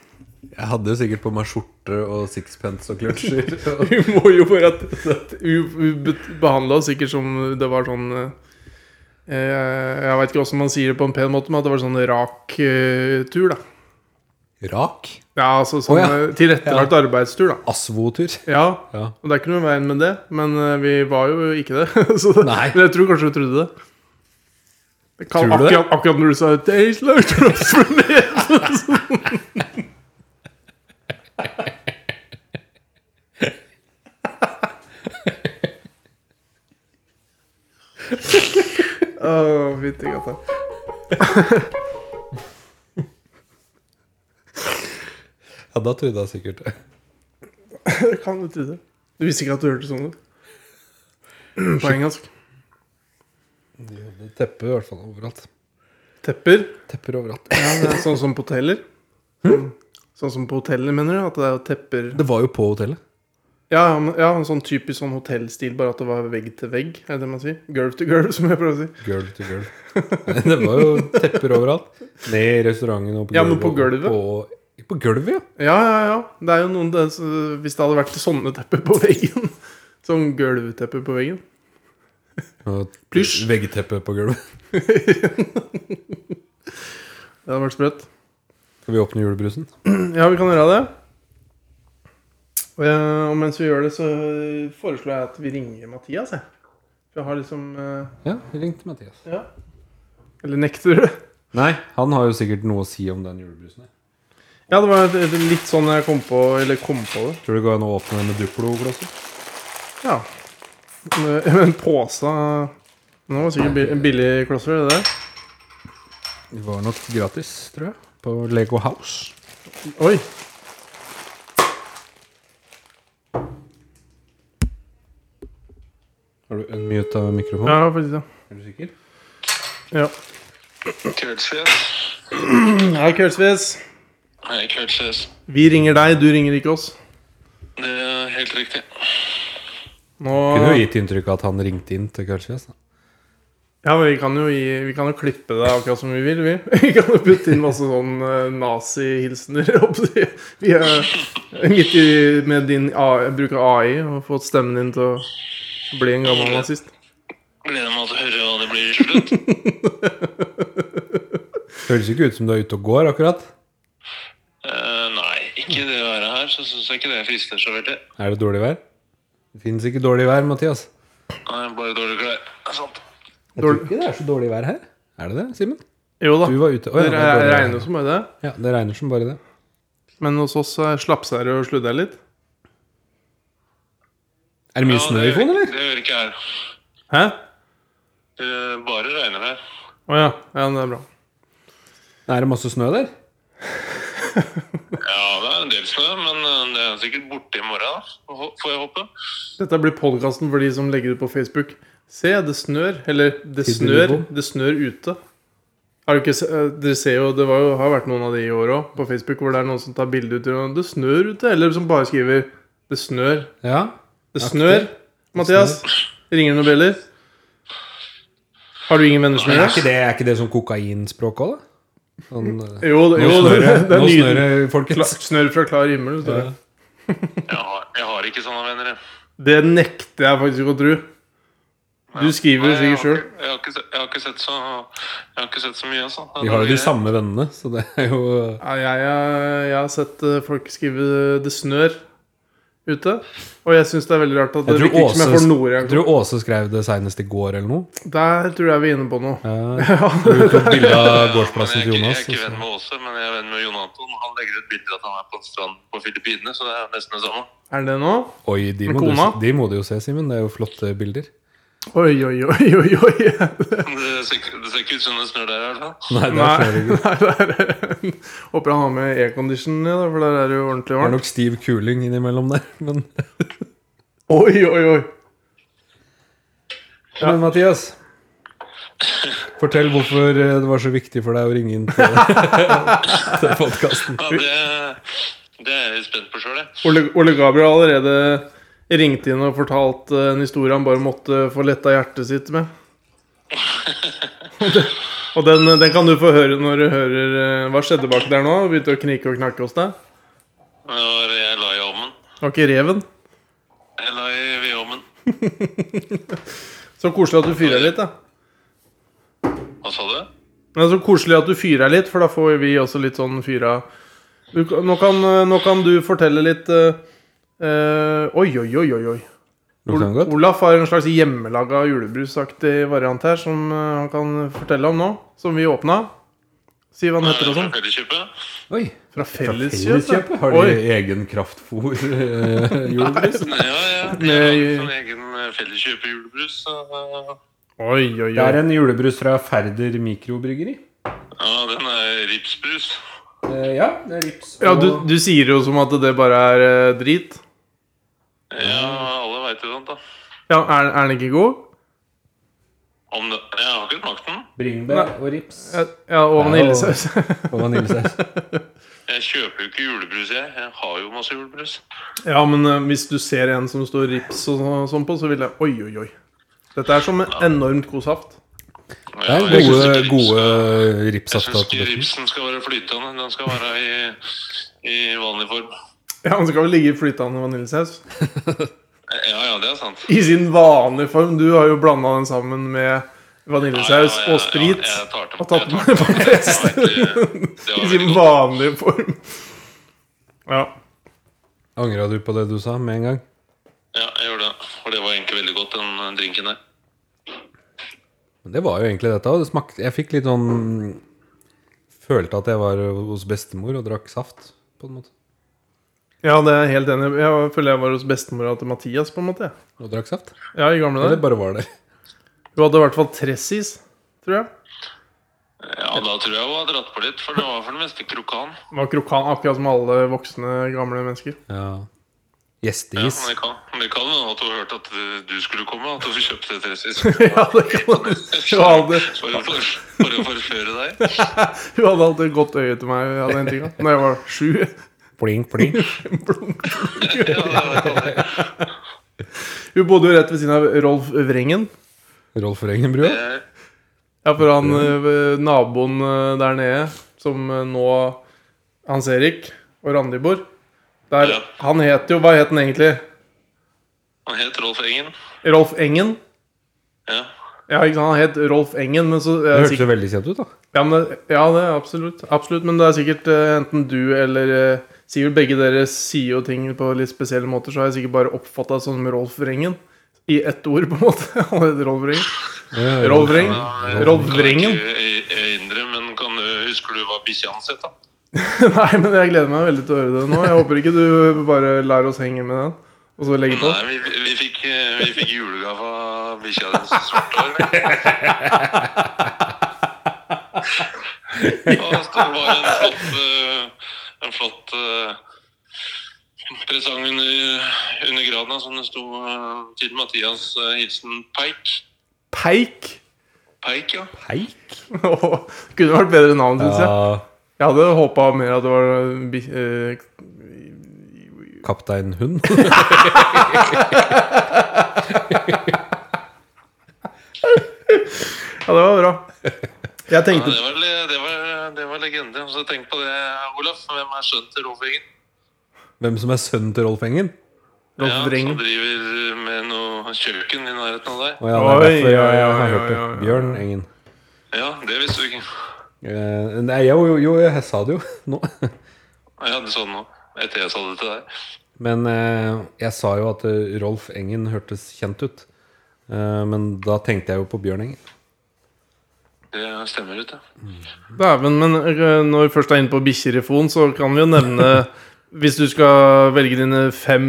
Jeg hadde jo sikkert på meg skjorte og sixpence og kløtsjer. Vi må jo bare at, at Hun behandla oss sikkert som det var sånn eh, Jeg veit ikke hvordan man sier det på en pen måte, men at det var sånn rak eh, tur, da. Rak. Ja, altså sånn Å, ja. eh, tilrettelagt arbeidstur, da. Asvotur. Ja, Ja. og det er ikke noe i veien med det, men eh, vi var jo ikke det. Så det, Nei. Men jeg tror kanskje du trodde det. Jeg kan, Tror du det? akkurat, akkurat når du sa «Days like drops from heaven», så- Åh, fytti katta. Ja, da trodde jeg sikkert det. Det kan du tro det. Du visste ikke at du hørte sånn ut? På engelsk. Teppe i hvert fall overalt. Tepper. Tepper overalt. Ja, det er sånn som på hoteller. Sånn som på hoteller, mener du? At det er tepper Det var jo på hotellet. Ja, ja, men- ja en sånn typisk sånn hotellstil, bare at det var vegg til vegg. Er det det man sier? Gulv til gulv, som jeg prøver å si. Girl to girl. Det var jo tepper overalt. Ned i restauranten og på Ja, men på og På, på gulvet, ja. Ja, ja, ja. Det er jo noen det, så, Hvis det hadde vært sånne tepper på veggen Sånn gulvteppe på veggen. Og Plysj. Veggteppe på gulvet. Det hadde vært sprøtt. Skal vi åpne julebrusen? Ja, vi kan gjøre det. Og, jeg, og mens vi gjør det, så foreslår jeg at vi ringer Mathias, jeg. For jeg har liksom eh, Ja, ringte Mathias. Ja. Eller nekter du? Nei, han har jo sikkert noe å si om den julebrusen. her. Ja, det var litt sånn jeg kom på Eller kom på det. Tror du det går an å åpne den med Duplo-glasset? Ja. Men påsa Nå var det sikkert bi- en billig klosser, det der. Det var nok gratis, tror jeg. På Lego House. Oi. Har du unmuta mikrofonen? Ja, faktisk, ja. Er du sikker? ja. Kveldsfjes. Hei, Kveldsfjes. Nei, kveldsfjes. Vi ringer deg, du ringer ikke oss. Det er helt riktig. Nå Kunne jo gitt inntrykk av at han ringte inn til Kveldsfjes. da. Ja, men vi kan jo, gi, vi kan jo klippe det akkurat som vi vil, vi. Vi kan jo putte inn masse sånn eh, nazihilsener. holdt på å si. Vi er midt i med din AI, bruk av AI og fått stemmen din til å bli en gammel nazist. Gleder meg til å høre hva det blir i slutt. Høres ikke ut som du er ute og går, akkurat. Eh, nei, ikke det å være her, så syns jeg ikke det frister så veldig. Er det dårlig vær? Det fins ikke dårlig vær, Mathias. Nei, bare dårlig klær. Det er sant. Jeg Dårlig- ikke det er så dårlig vær her. Er det det, Simen? Jo da. Du var ute. Å, Det ja, det er dårlig vær. regner som bare det. Ja, det regner som bare det. Men hos oss eh, slapser det og sludder litt. Er det mye snø i det, Fon, gjør- eller? det gjør ikke her. Hæ? Det Eh, bare regner her. Å ja. ja, men det er bra. Er det masse snø der? Ja, det er en del snø, men eh, det er sikkert borte i morgen, da. Hå- får jeg håpe. Dette blir podkasten for de som legger det på Facebook. Se, det snør. Eller, det Tidlig snør, bom. det snør ute. Har du ikke, se- eh, dere ser jo, Det var jo, har vært noen av de i år òg, på Facebook, hvor det er noen som tar bilde ut og 'Det snør ute', eller som bare skriver 'Det snør'. Ja. Det snør, Mathias. Ringer det noen bjeller? Har du ingen venner som Men gjør er det? ikke det, er ikke det sånn kokainspråk òg, da? Sånn, eh, Jo, det, nå jo, snør det, det, det er nå nydelig. snør det, folkens. Kla- Snør fra klar himmel. står det. Ja. Jeg har, jeg har ikke sånne venner, jeg. Det nekter jeg faktisk ikke å tro. Du skriver det Nei, jeg sikkert har sjøl. ikke- Jeg, har ikke se- jeg har ikke sett så Jeg har ikke sett så mye, altså. Det er Vi har jo noe de greier. samme vennene, så det er jo eh, Jeg, jeg, jeg har sett eh, folk skrive 'det snør'. ute. Og jeg syns det er veldig rart at det Jeg tror, virker ikke som jeg får noe Åse, jeg tror reaksjon. Åse skrev det senest i går eller noe. Der tror jeg vi er inne på noe. Ja, Ja, hun tok bilde av gårdsplassen Men til jeg, er Jonas. ikke- jeg er ikke venn og med Åse, men jeg er venn med Jon Anton. Han legger ut bilder av at han er på en strand på Filippinene, så det er nesten det samme. er det nå? så- Oi, de Med må, du, kona? se- de må du jo se, Simen. Det er jo flotte bilder. Oi, oi, oi, oi, oi. Det ser, ikke- det ser ikke ut som det snør der i hvert fall. Nei, det Nei, er flere nei der er, Håper han har med aircondition, i, da, for der er det jo ordentlig Det er varmt. nok stiv kuling innimellom der, men Oi, oi, oi. Men Mathias, fortell hvorfor eh, det var så viktig for deg å ringe inn til, til podkasten. Ja, det, det er jeg litt spent på sjøl, jeg. Ole, Ole Gabriel har allerede ringt inn og fortalt eh, en historie han bare måtte få letta hjertet sitt med. og den, den kan du få høre når du hører eh, Hva skjedde bak der nå? Begynte å knike og knakke hos deg? Det var- Jeg la i ovnen. Var ikke reven? Jeg la i ved ovnen. Så koselig at du fyrer litt, da. Hva sa du? Men så koselig at du fyrer litt, for da får vi også litt sånn fyra du, kan- nå, kan, eh, nå kan du fortelle litt eh, eh, Oi, oi, oi, oi. oi. Lukter den Ol- godt? Olaf har en slags hjemmelaga julebrusaktig variant her som eh, han kan fortelle om nå. Som vi åpna. Si hva den heter og Fra sånn. Felleskjøpet? Oi. Fra Felleskjøpet. Felleskjøpet? Har de Oi, egen kraftfôr? Eh, julebrus? Ja, ja. De har Med- lagd en egen Felleskjøpet julebrus. så, oi, oi. det er oi. en julebrus fra Færder mikrobryggeri. Ja, den er ripsbrus. Eh, ja, det er rips. Ja, du, og- du sier jo som at det bare er eh, drit. Ja, alle veit jo sånt, da. Ja, er, er den ikke god? Om det, jeg har ikke smakt den. Bringebær og rips. Ja, ja og Ja, vaniljesaus. Og vaniljesaus. Jeg kjøper jo ikke julebrus, jeg. Jeg har jo masse julebrus. ja, men eh, hvis du ser en som står rips og så- sånn på, så vil jeg Oi, oi, oi. Dette er som en enormt god saft. Det er jeg synes gode, ikke rips- gode Jeg syns ikke ripsaftatabletter. ripsen skal være flytende. Den skal være i, i vanlig form. Ja, Den skal vel ligge i flytende vaniljesaus? Ja, ja, det er sant. I sin vanlige form. Du har jo blanda den sammen med vaniljesaus og sprit. Ja, jeg tar Og tatt til den med på fest. I sin fest. vanlige form. Ja. Angra du på det du sa med en gang? Ja, jeg gjorde det. For det var egentlig veldig godt, den eh, drinken der. Men Det var jo egentlig dette. Og det smakte, jeg fikk litt sånn Følte at jeg var hos bestemor og drakk saft, på en måte. ja, det er jeg helt enig. i. Jeg føler jeg var hos bestemora til Mathias. på en måte jeg. Og drakk saft? Ja, i gamle Eller dager. bare var der? Hun hadde i hvert fall tressis, tror jeg. Ja, da tror jeg hun har dratt på litt, for det var for det meste krokan. Det var krokan, akkurat som alle voksne, gamle mennesker. Ja. Ja, Gjesteis. men det kan men det kan hende at hun hørte at eh, du skulle komme, at hun kjøpte et ressis. ja, det kan man. Hun hadde, For å for, for å forføre deg. hun hadde alltid et godt øye til meg ja, den tiden, Når jeg var sju. Pling, pling. Ja, det kan det. Hun bodde jo rett ved siden av Rolf Vrengen. Rolf Rengenbrua. Eh, Ja, for han eh, naboen eh, der nede, som eh, nå Hans Erik og Randi bor der, Ja. Han het jo Hva het han egentlig? Han het Rolf Engen. Rolf Engen? Ja. Ja, ikke sant? Han het Rolf Engen, men så Det er det hørtes jo sikkert, veldig kjent ut, da. ja, men det, ja, det er absolutt. Absolutt. Men det er sikkert eh, enten du eller eh, Sivert, begge dere sier jo ting på litt spesielle måter, så har jeg sikkert bare oppfatta sånn med Rolf Vrengen. I ett ord, på en måte. Han het Rolf Vrengen. Ja, Rolf Vreng. Ja, Rolf kan Vrengen. ikke ø- ø- Indre, men kan du, husker du hva bikkja hans het, da? Nei, men jeg gleder meg veldig til å høre det nå. Jeg håper ikke du bare lar oss henge med den, og så legge på. Nei, vi, vi, fikk, ø, vi fikk julegave av bikkja di som svarte hår. Og så var det en flott, ø, en flott ø, presang under, under graden, da, som det sto ø, til Mathias ø, hilsen Peik. Peik! Peik, ja. Peik? Åh, Kunne vært bedre navn, syns jeg. Ja. Jeg hadde håpa mer at det var bi- eh, Kaptein Hund. Ja, det var bra. Jeg Ja, tenkte det, var, le- det, var, det var legende. Og så tenk på det, Olaf. Hvem er sønnen til Rolf Engen? Hvem som er sønnen til Rolf Engen? Rolf Vreng. som driver med noe kjøkken i nærheten av deg. Å ja, det er Oi, derfor jeg, jeg oi, har oi, hørt det. oi, oi. Bjørn Engen. Ja, det visste du ikke. Eh, nei, jo, jo, jo, jeg sa det jo nå. Ja, du sa det nå. Etter jeg sa det til deg. Men eh, jeg sa jo at eh, Rolf Engen hørtes kjent ut. Eh, men da tenkte jeg jo på Bjørn Engen. Det stemmer ut, ja. Dæven, men eh, når vi først er inne på bikkjer i fon, så kan vi jo nevne Hvis du skal velge dine fem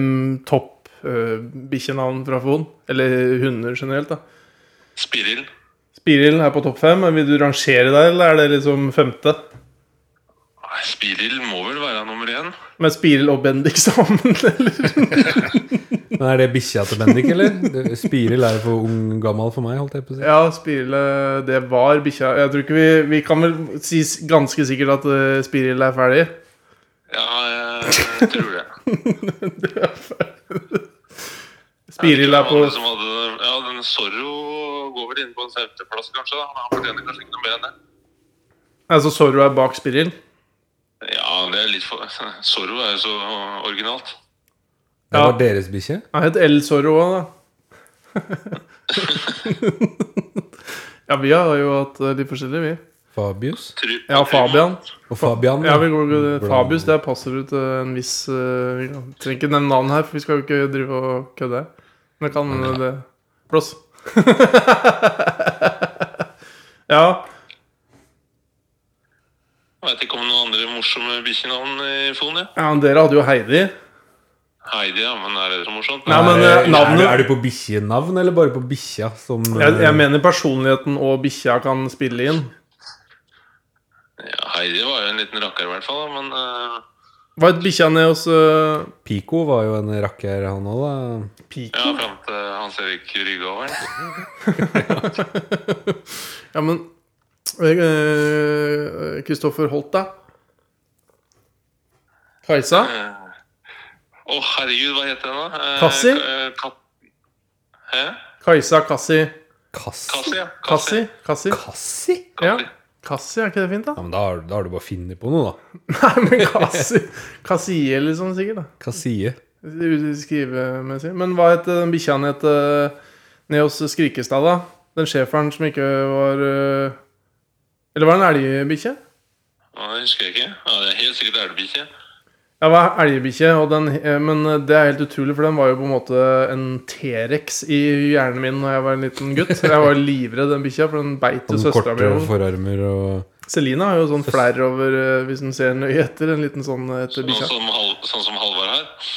topp uh, bikkjenavn fra fon, eller hunder generelt, da. Spiril. Spiril er på topp fem, men vil du rangere der, eller er det liksom femte? Nei, Spiril må vel være nummer én. Med Spiril og Bendik sammen, eller? Men Er det bikkja til Bendik, eller? Det- Spiril er jo for ung gammel for meg. holdt jeg på å si Ja, Spiril eh, Det var bikkja. Jeg tror ikke vi Vi kan vel si s- ganske sikkert at eh, Spiril er ferdig. Ja, jeg tror det. Spiril er på Alle som hadde- Ja, den Zorro går vel inn på en femteplass, kanskje. da. Men han fortjener kanskje ikke noe mer enn det. Altså Zorro er bak Spiril? Ja, det er litt for Zorro er jo så originalt. Det Ja. var deres bikkje? Han het El Zorro òg, da. ja, vi har jo hatt eh, litt forskjellige, vi. Fabius? Try- Ja, Fabian. Og Fabian? Ja, da. vi går, eh, Fabius, der passer ut eh, en viss eh, Vi kan- trenger ikke nevne navn her, for vi skal jo ikke drive og kødde her. Men kan eh, det Blås. ja. Jeg vet ikke om noen andre morsomme bikkjenavn i Fon, jeg. ja, men dere hadde jo Heidi. Heidi, ja, men er det så morsomt? Nei, men, er, eh, navnet- er, du- er du på bikkjenavn, eller bare på bikkja? Som Jeg, eh, jeg mener personligheten og bikkja kan spille inn. Ja, Heidi var jo en liten rakker i hvert fall, da, men eh, Hva het bikkja nede hos eh, Pico var jo en rakker, han òg, da. Pico? ja, fram til Hans Erik rygga over. Ja, men øh, Kristoffer Holt, da? Kajsa? Eh, Å, herregud, hva heter den da? Eh, Kassi? Ka- eh, Ka- Hæ? Kajsa Kassi? Kassi? Kassi, ja. Kassi? Kassi? Kassi? Ja. Kassi. Kassi, er ikke det fint, da? Ja, men da, har- da har du bare funnet på noe, da. Nei, men Kassi Kassie, liksom, sikkert. da Kassie. Skrivemessig. Men hva het den bikkja han het øh, nede hos Skrikestad, da? Den schæferen som ikke var øh, Eller var det en elgbikkje? Ja, det husker jeg ikke. Ja, det er helt sikkert elgbikkje. Ja, det var elgbikkje, og den, eh, men det er helt utrolig, for den var jo på en måte en T-rex i hjernen min da jeg var en liten gutt. Jeg var livredd den bikkja, for den beit jo Sånn søstera mi. korte også. forarmer og Selina har jo sånn flerr over, eh, hvis hun ser nøye etter, en liten sånn eh, etter Sånn bikkja. som, Hal- sånn som Halvard her.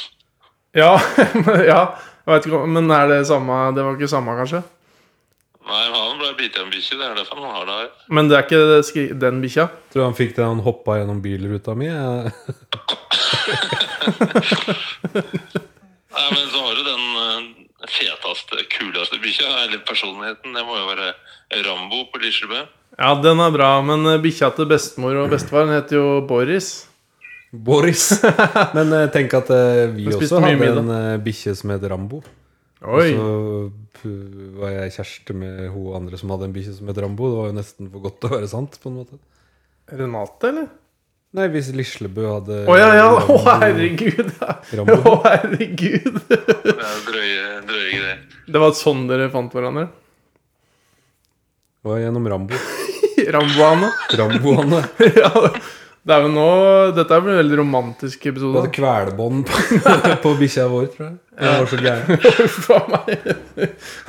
Ja, men- ja, jeg vet ikke, om- men er det samme? Det var ikke samme, kanskje? Nei, men han ble bitt av en bikkje. Det er derfor han har det her. Men det er ikke det skri den bikkja? Tror du han fikk det han hoppa gjennom bilruta mi? eh, Jeg- Nei, men så har du den eh, feteste, kuleste bikkja. Eller personligheten. Det må jo være Rambo på Lislebø. Ja, den er bra, men eh, bikkja til bestemor og bestefar den heter jo Boris. Boris! Men eh, tenk at eh, vi Han spiste også mye hadde middag. en eh, bikkje som het Rambo. Oi. Og så p- var jeg kjæreste med hun andre som hadde en bikkje som het Rambo. Det var jo nesten for godt til å være sant. på en måte Renate, eller? Nei, hvis Lislebø hadde Å ja, ja! Å, Eh, Rambo- herregud! Å, Rambo. herregud! Det er drøye, drøye greier. Det var sånn dere fant hverandre? var gjennom Rambo. Ramboane? Rambo han da. ja. Det er jo nå Dette er vel en veldig romantisk Hun episode. hadde kvelebånd på, på bikkja vår, tror jeg. Det var så gæren. Faen meg.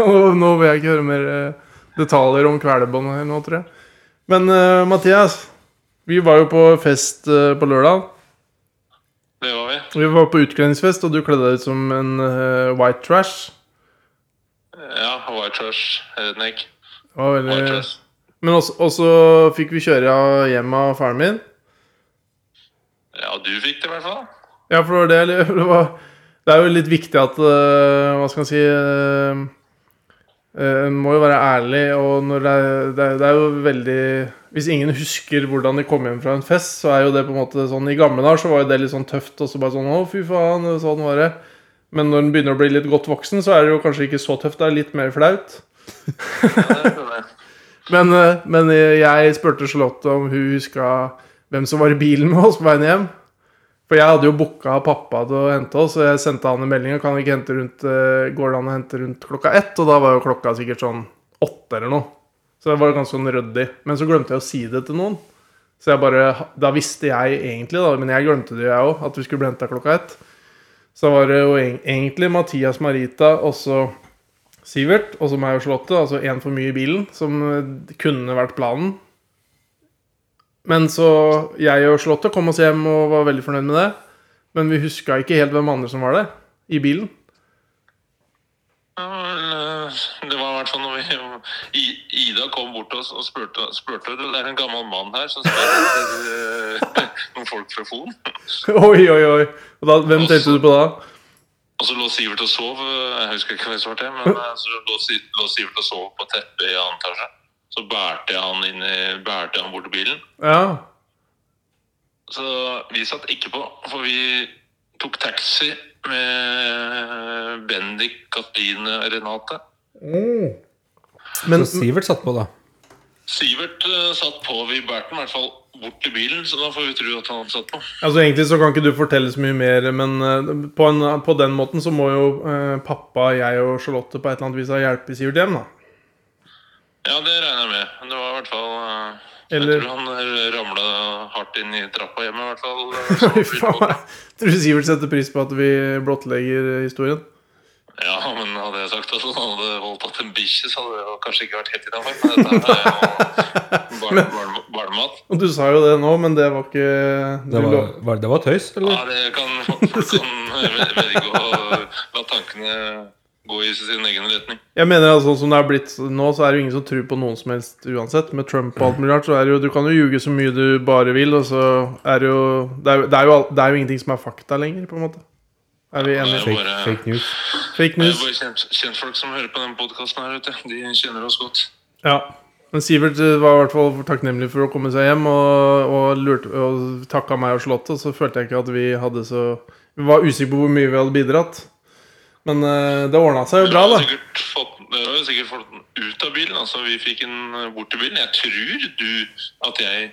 Og nå vil jeg ikke høre mer eh, detaljer om kvelebåndet her nå, tror jeg. Men eh, Mathias, vi var jo på fest eh, på lørdag. Det var vi. Vi var på utkledningsfest, og du kledde deg ut som en eh, white trash. Ja, White Trash, Redneck. Det var White veldig... Trash. Men også, også fikk vi kjøre hjem av faren min. Ja, du fikk det i hvert fall. Ja, for det var det jeg lurer- det var, Det er jo litt viktig at øh, Hva skal man si øh, øh, En må jo være ærlig, og når det er, det, er, det er jo veldig Hvis ingen husker hvordan de kom hjem fra en fest, så er jo det på en måte sånn I gamle dager så var jo det litt sånn tøft, og så bare sånn Å, fy faen, og sånn var det. Men når en begynner å bli litt godt voksen, så er det jo kanskje ikke så tøft. Det er litt mer flaut. Ja, det er det. Men, øh, men jeg spurte Charlotte om hun huska hvem som var i bilen med oss på veien hjem. For jeg hadde jo booka pappa til å hente oss, og jeg sendte han en melding. og Kan vi ikke hente rundt, eh, går det an å hente rundt klokka ett? Og da var jo klokka sikkert sånn åtte eller noe. Så det var ganske sånn ryddig. Men så glemte jeg å si det til noen. Så jeg bare, Da visste jeg egentlig, da, men jeg glemte det, jeg òg, at vi skulle bli henta klokka ett. Så var det jo eng- egentlig Mathias Marita og så Sivert, og så meg og Charlotte. Altså én for mye i bilen, som eh, kunne vært planen. Men så jeg og Charlotte kom oss hjem og var veldig fornøyd med det. Men vi huska ikke helt hvem andre som var det i bilen. Ja, vel, eh, Det var i hvert fall når vi I- Ida kom bort til oss og spurte, spurte Det er en gammel mann her som spør etter eh, noen folk fra Fon. oi, oi, oi. Og da, hvem tenkte du på da? Og så lå Sivert og sov. eh, Jeg husker ikke hvem som var det, men eh, så lå, Si- lå Sivert og sov på teppet i annen etasje. Så bærte jeg han inn i, bærte jeg han bort til bilen. Ja. Så vi satt ikke på, for vi tok taxi med Bendik, Katrine og Renate. Men Så Sivert satt på, da. Sivert eh, satt på, vi bærte han i hvert fall bort til bilen, så da får vi tro at han hadde satt på. Altså Egentlig så kan ikke du fortelle så mye mer, men eh, på, en, på den måten så må jo eh, pappa, jeg og Charlotte på et eller annet vis ha hjulpet Sivert hjem, da. Ja, det regner jeg med. Men Det var i hvert fall eh, Eller- Jeg tror han ramla hardt inn i trappa hjemme, i hvert fall. eh, Fy så- faen. Tror du Sivert setter pris på at vi blottlegger historien? Ja, men hadde jeg sagt at han hadde holdt at en bikkje, så hadde det jo kanskje ikke vært helt innafor. Men dette er jo barn- barn- barnemat. Og du sa jo det nå, men det var ikke du Det var, lo- var, det var tøys, eller? Ja, det kan folk kan vel- velge å la tankene gå i sin egen retning. Jeg mener altså, Sånn som det er blitt nå, så er det jo ingen som tror på noen som helst uansett. Med Trump og alt mulig rart, så er det jo Du kan jo ljuge så mye du bare vil, og så er det jo Det er, jo- det er, jo, al- det er jo ingenting som er fakta lenger, på en måte. Er vi enige? Det er Fake, bare- fake news. Fake Det er news. bare kjent, kjentfolk som hører på den podkasten her ute. De kjenner oss godt. Ja. Men Sivert eh, var i hvert fall takknemlig for å komme seg hjem og, og, lurte, og takka meg og Charlotte. Så følte jeg ikke at vi hadde så Vi var usikre på hvor mye vi hadde bidratt. Men eh, det ordna seg jo bra, Dere da. har sikkert fått, dere har jo sikkert fått den ut av bilen. altså Vi fikk den eh, bort til bilen. Jeg tror du at jeg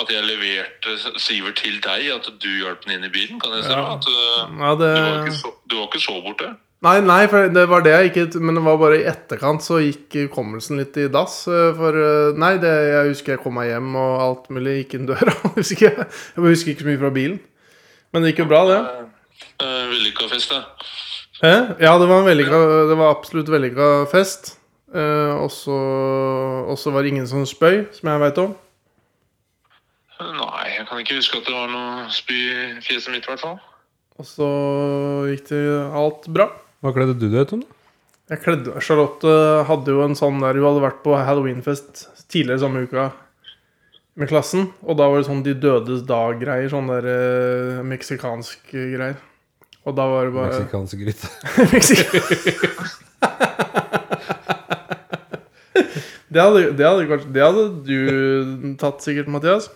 at jeg leverte Sivert til deg, at du hjalp den inn i bilen. Kan jeg stemme? Ja. At, eh, Ja, det, du, var ikke så, du var ikke så borte? nei, nei, for det var det jeg ikke Men det var bare i etterkant så gikk hukommelsen litt i dass. eh, For eh, nei, det, jeg husker jeg kom meg hjem og alt mulig gikk inn døra. Jeg husker, jeg, bare husker ikke så mye fra bilen. Men det gikk jo bra, det. Uh, Vellykka fest, da. Hæ? Ja, det var, en vellykka, det var absolutt vellykka fest. Eh, og så og så var det ingen som spøy, som jeg veit om. Nei, jeg kan ikke huske at det var noe spy i fjeset mitt, i hvert fall. Og så gikk det alt bra. Hva kledde du deg ut som? da? Jeg kledde, Charlotte hadde jo en sånn der hun hadde vært på halloweenfest tidligere samme uka med klassen. Og da var det sånn De dødes dag-greier. Sånn der eh, meksikansk eh, greier. Og da var det bare Meksikansk gryte. det, hadde, det, hadde kanskje, det hadde du tatt sikkert, Mathias.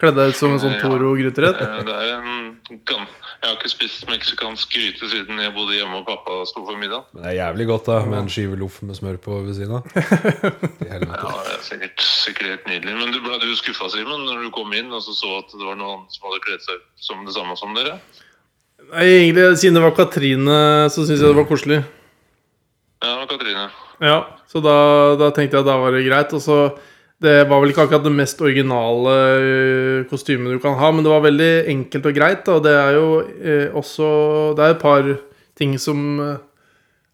Kledd deg ut som en sånn Ja. Toro-gryterett. Eh, Det er en gan... Jeg har ikke spist meksikansk gryte siden jeg bodde hjemme og pappa sto for middag. Men Det er jævlig godt da, med en skive loff med smør på ved siden av. I helvete. Ja, det er sikkert, sikkert helt nydelig. Men du ble du skuffa, Simen, når du kom inn og så, så at det var noen som hadde kledd seg ut som det samme som dere? Nei, Egentlig, Siden det var Katrine, så syns jeg det var koselig. Ja, Katrine. Ja, Så da, da tenkte jeg at da var det greit. Og så Det var vel ikke akkurat det mest originale ø, kostymet du kan ha, men det var veldig enkelt og greit. da, Og det er jo eh, også Det er et par ting som eh,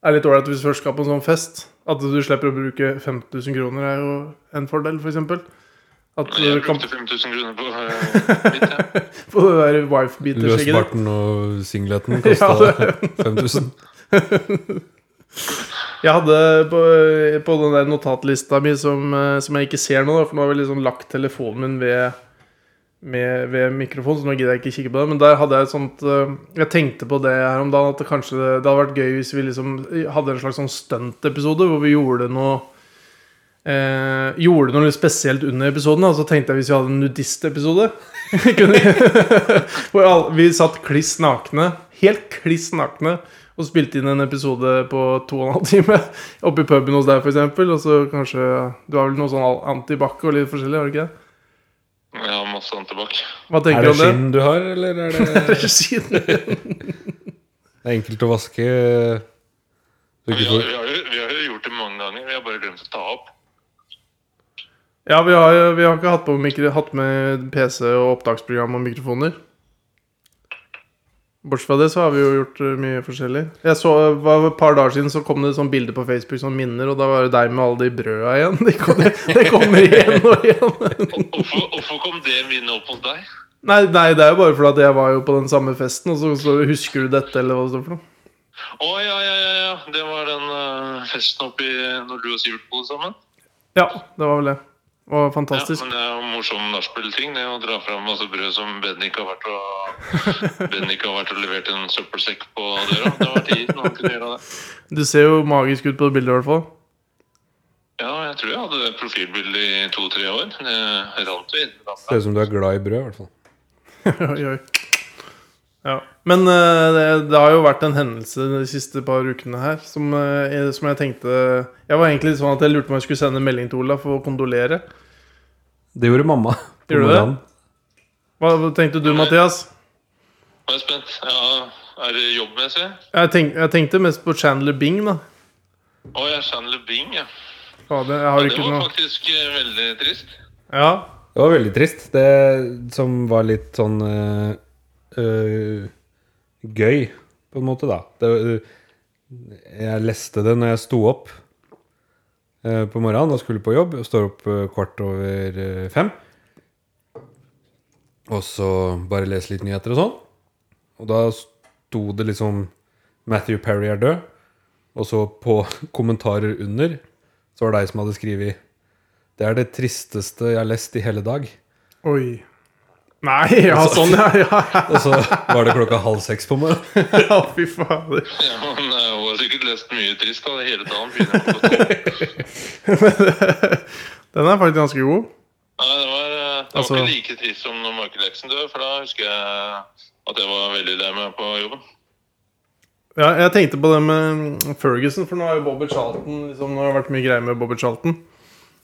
er litt ålreit hvis du først skal på en sånn fest. At du slipper å bruke 5000 kroner, er jo en fordel, f.eks. At Men du Jeg kan brukte 5000 kroner på eh, mitt, jeg. på det der wife-beater-skjegget ditt. Løsbarten og singleten kosta 5000. Jeg hadde på, på den der notatlista mi som, eh, som jeg ikke ser nå, da, for nå har jeg liksom lagt telefonen min ved, med, ved mikrofonen, så nå gidder jeg ikke kikke på det. Men der hadde jeg et sånt eh, Jeg tenkte på det her om dagen, at det kanskje det, hadde vært gøy hvis vi liksom hadde en slags sånn stuntepisode hvor vi gjorde noe Eh, gjorde noe litt spesielt under episoden. da, Så tenkte jeg hvis vi hadde en nudistepisode kunne- Hvor alle, vi satt kliss nakne, helt kliss nakne, og spilte inn en episode på to og en halv time. Oppe i puben hos deg, f.eks. Og så kanskje Du har vel noe sånn antibac og litt forskjellig, har du ikke det? Jeg har masse antibac. Hva Er tenker du det om det? skinn du har, eller er det Er det skinn? Det er enkelt å vaske. Du Vi ikke får har, vi, har jo, vi har jo gjort det mange ganger, vi har bare glemt å ta opp. Ja, vi har, jo- vi har ikke hatt, på mikro, hatt med PC og opptaksprogram og mikrofoner. Bortsett fra det så har vi jo gjort eh, mye forskjellig. Jeg så, var, Et par dager siden så kom det et sånt bilde på Facebook som minner, og da var det deg med alle de brøda igjen. Det kommer, det kommer igjen og igjen. Hvorfor, hvorfor kom det minnet opp hos deg? Nei, nei, det er jo bare fordi at jeg var jo på den samme festen, og så, så husker du dette, eller hva det står for noe. Å ja, ja, ja, ja. Det var den eh, festen oppi når du og Sivert bodde sammen. Ja, det var vel det. Det var Ja, fantastisk. men det er jo morsom nachspiel-ting, det å dra fram masse brød som Bennik har vært og Bennik har vært og levert en søppelsekk på døra. Det var tid når han kunne gjøre det. Du ser jo magisk ut på det bildet, i hvert fall. Ja, jeg tror jeg hadde profilbilde i to-tre år. Det rant jo inn. Ser ut som du er glad i brød, i hvert fall. Oi, oi. Ja. Men eh, det, det har jo vært en hendelse de siste par ukene her som, eh, jeg- som jeg tenkte Jeg var egentlig litt sånn at jeg lurte på om jeg skulle sende en melding til Olaf for å kondolere. Det gjorde mamma. på Gjorde du det? morgenen. Hva hva tenkte du, Mathias? Nå er jeg spent. Ja, er det jobbmessig? Jeg, tenk, jeg tenkte mest på Chandler Bing, da. Å, jeg er Chandler Bing, ja. Fader, jeg har Det ikke var noe faktisk eh, veldig trist. Ja, Det var veldig trist. Det som var litt sånn eh, eh, gøy, på en måte, da. Det, eh, jeg leste det når jeg sto opp eh, på morgenen og skulle på jobb. Jeg står opp eh, kvart over eh, fem. Og så bare lese litt nyheter og sånn. Og da sto det liksom Matthew Perry er død. Og så på kommentarer under så var det ei som hadde skrevet det er det tristeste jeg har lest i hele dag. Oi. Nei, ja, sånn, ja. Ja, Og så var det klokka halv seks på morgenen. ja fy fader. Ja, men eh, hun har sikkert lest mye trist da, hele dagen. begynner jeg på topp. Den er faktisk ganske god. Nei, det var, eh, det var Altså- ikke like trist som når Michael Jackson døde, for da husker jeg at jeg var veldig lei meg på jobben. Ja, jeg tenkte på det med mm, Ferguson, for nå har jo Bobby Charlton liksom, Nå har det vært mye greier med Bobby Charlton.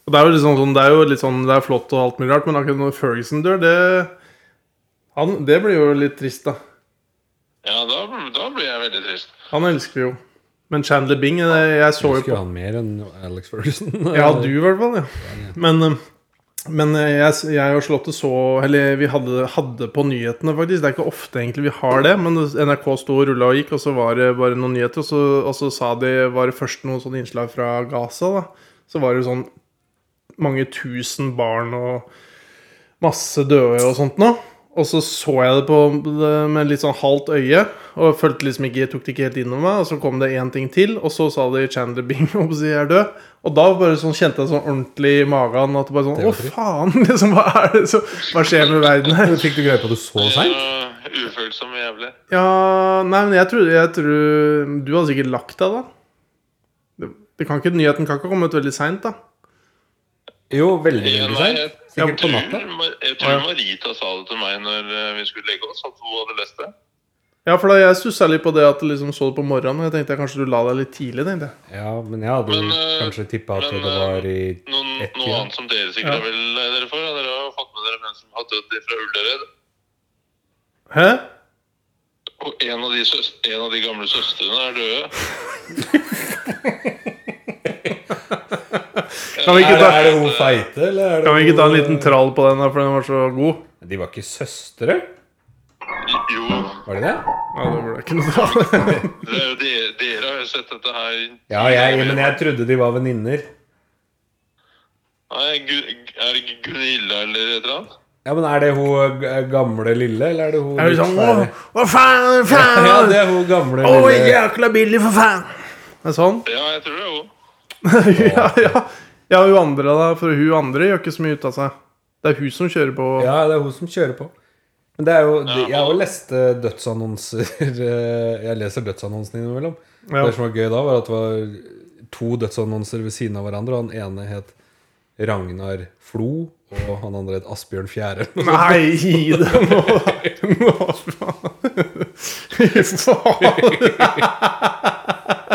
Og det er jo liksom sånn, det er jo litt sånn Det er flott og alt mulig rart, men akkurat når Ferguson dør, det han, Det blir jo litt trist, da. Ja, da, da blir jeg veldig trist. Han elsker vi jo. Men Chandler Bing det, Jeg så jo Husker på han mer enn Alex Ferguson? Ja, du i hvert fall, ja. Men, eh, men eh, jeg, jeg og Slottet så Eller vi hadde, hadde på nyhetene, faktisk. Det er ikke ofte egentlig vi har det, men NRK sto og rulla og gikk, og så var det bare noen nyheter. Og så, og så sa de Var det først noen sånne innslag fra Gaza, da? Så var det jo sånn mange tusen barn og masse døde og sånt nå. Og så så jeg det på det med litt sånn halvt øye, og følte liksom ikke, tok det ikke helt innover meg. Og så kom det én ting til, og så sa de Chandler Bing om å si jeg er død. Og da bare sånn kjente jeg sånn ordentlig i magen at det bare sånn Å, faen! liksom, Hva er det som Hva skjer med verden her? Fikk du greie på det så seint? Uh, ufølsomme jævlig. Ja Nei, men jeg tror, jeg tror Du hadde sikkert lagt deg, da. Det, det kan ikke, nyheten kan ikke ha kommet veldig seint, da. Jo, veldig veldig nei, jeg, seint. Sikkert på jeg, natta. tror, Mar- jeg tror Marita sa det til meg når eh, vi skulle legge oss, at hun hadde lest det. Ja, for da jeg stussa litt på det at du liksom så det på morgenen. Og jeg tenkte kanskje du la deg litt tidlig. tenkte jeg Ja, men jeg hadde Men, jo eh, kanskje tippa at men, det var i Noen, Ett, noe ja. annet som dere sikkert Ja. er vel lei dere for? Ja, dere har jo fått med dere hvem som har dødd fra Ullared. Hæ? Og en av, de søs en av de gamle søstrene er døde. Kan vi ikke er, det- ta, er det hun feite, eller er det kan vi ikke ta en hun- liten trall på den, da, for den var så god? De var ikke søstre? Jo, Var de det? Ja, det ble ikke noe trall. det er jo dere, dere har jo sett dette her. Ja, jeg, men jeg trodde de var venninner. Nei, Gu- er det Gunilla eller et eller annet? Ja, men er det hun eh, gamle lille, eller er det hun Jeg blir litt sånn, svære? «Åh, Hva faen? faen Ja, det er hun gamle Å, lille. jækla billig, for faen! Det er sånn. Ja, jeg tror det jo. ja, ja. ja, hun andre, da. For hun andre gjør ikke så mye ut av seg. Det er hun som kjører på. Ja, det er hun som kjører på. Men det er jo, de- jeg har jo lest eh, dødsannonser eh, Jeg leser dødsannonsene innimellom. Ja. Det som var gøy da, var at det var to dødsannonser ved siden av hverandre. Og han ene het Ragnar Flo, og han andre het Asbjørn Fjære. Nei, gi det nå! Nå, faen. Fy faen!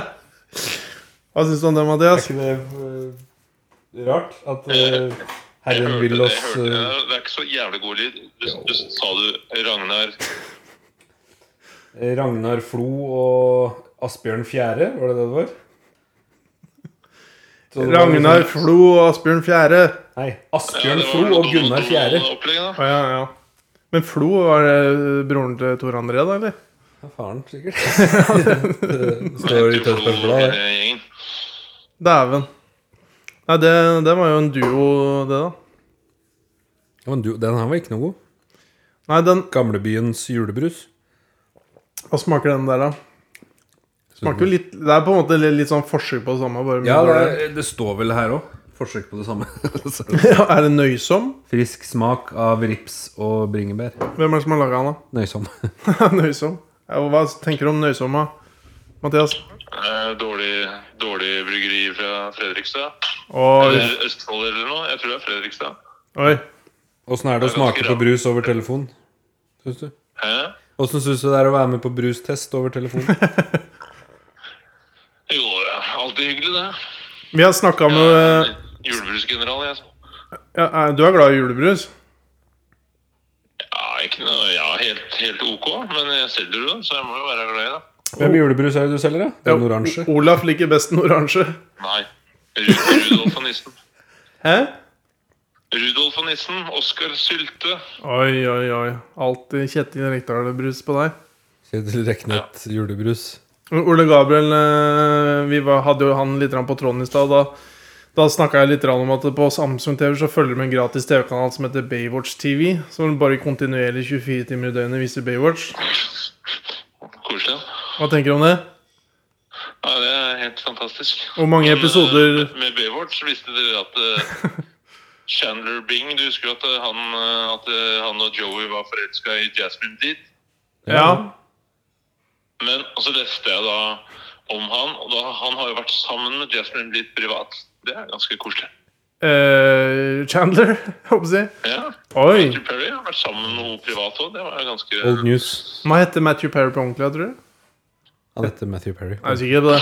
Hva syns du om det, Er Mathias? ikke det eh, rart at eh, Jeg Herren hørte det, vil oss jeg hørte det. eh, Det er ikke så jævlig god lyd. Du, du, sa du Ragnar eh, Ragnar Flo og Asbjørn Fjære? Var det det det var? Så det var liksom- Ragnar Flo og Asbjørn Fjære. Nei. Ja, Asbjørn det var Flo og noe Gunnar Fjære. Donald-opplegg, da. Å, ja, ja. Men Flo var det broren til Tor André, da, eller? Ja, faren, sikkert. det står i Tønsbergs Blad, det. gjengen. Dæven. Nei, det, det var jo en duo, det, da. Ja, men du, den her var ikke noe god. Nei, den Gamlebyens julebrus. Hva smaker den der, da? Smaker jo litt Det er på en måte litt, litt sånn forsøk på det samme. Bare mye Ja, det, dårligere. er- det står vel her òg. Forsøk på det samme. Så. Ja, er det nøysom? Frisk smak av rips og bringebær. Hvem er det som har laga den, Nøysom. da? nøysom? Ja, og hva tenker du om nøysom, da? Mathias? Eh, Dårlig, dårlig bryggeri fra Fredrikstad. Oi. Eller Østfold eller noe. Jeg tror det er Fredrikstad. Oi. Åssen er det å smake på brus over telefon? Syns du? Hæ? Åssen syns du det er å være med på brustest over telefon? Jo, det er alltid hyggelig, det. Vi har snakka med eh, Jeg er Julebrusgeneral, jeg. ja, eh, Du er glad i julebrus? Ja, ikke noe, ja helt, helt ok, men jeg selger jo det, så jeg må jo være glad i det. Hvem julebrus er det du selger, da? Det er Den oransje? O- Olaf liker best den oransje. Nei. Ru- Rudolf og nissen. Hæ? Rudolf og nissen, Oskar Sylte. Oi, oi, oi. Alltid Kjetil Rekdal-brus på deg. Kjetil Reknet julebrus. Ole Gabriel, eh, vi var, hadde jo han litt grann på tråden i stad. Da, da snakka jeg litt grann om at på Samsung TV så følger det med en gratis TV-kanal som heter Baywatch TV. Som bare kontinuerlig 24 timer i døgnet viser Baywatch. Koselig. Hva tenker du om det? Ja, det er helt fantastisk. Hvor mange Men, eh, episoder Med Baywatch visste dere at eh, Chandler Bing Du husker at eh, han, eh, at eh, han og Joey var forelska i Jasmine Deed? Ja. Men og så leste jeg da om han, og da, han har jo vært sammen med Jasmine Deed privat. Det er ganske koselig. eh, Chandler, håper jeg å si. Ja. Oi! Matthew Perry har vært sammen med noe privat òg. Det var jo ganske Old news. Hva heter Matthew Perry på ordentlig, tror du? Han heter Matthew Perry. Jeg er sikker på det.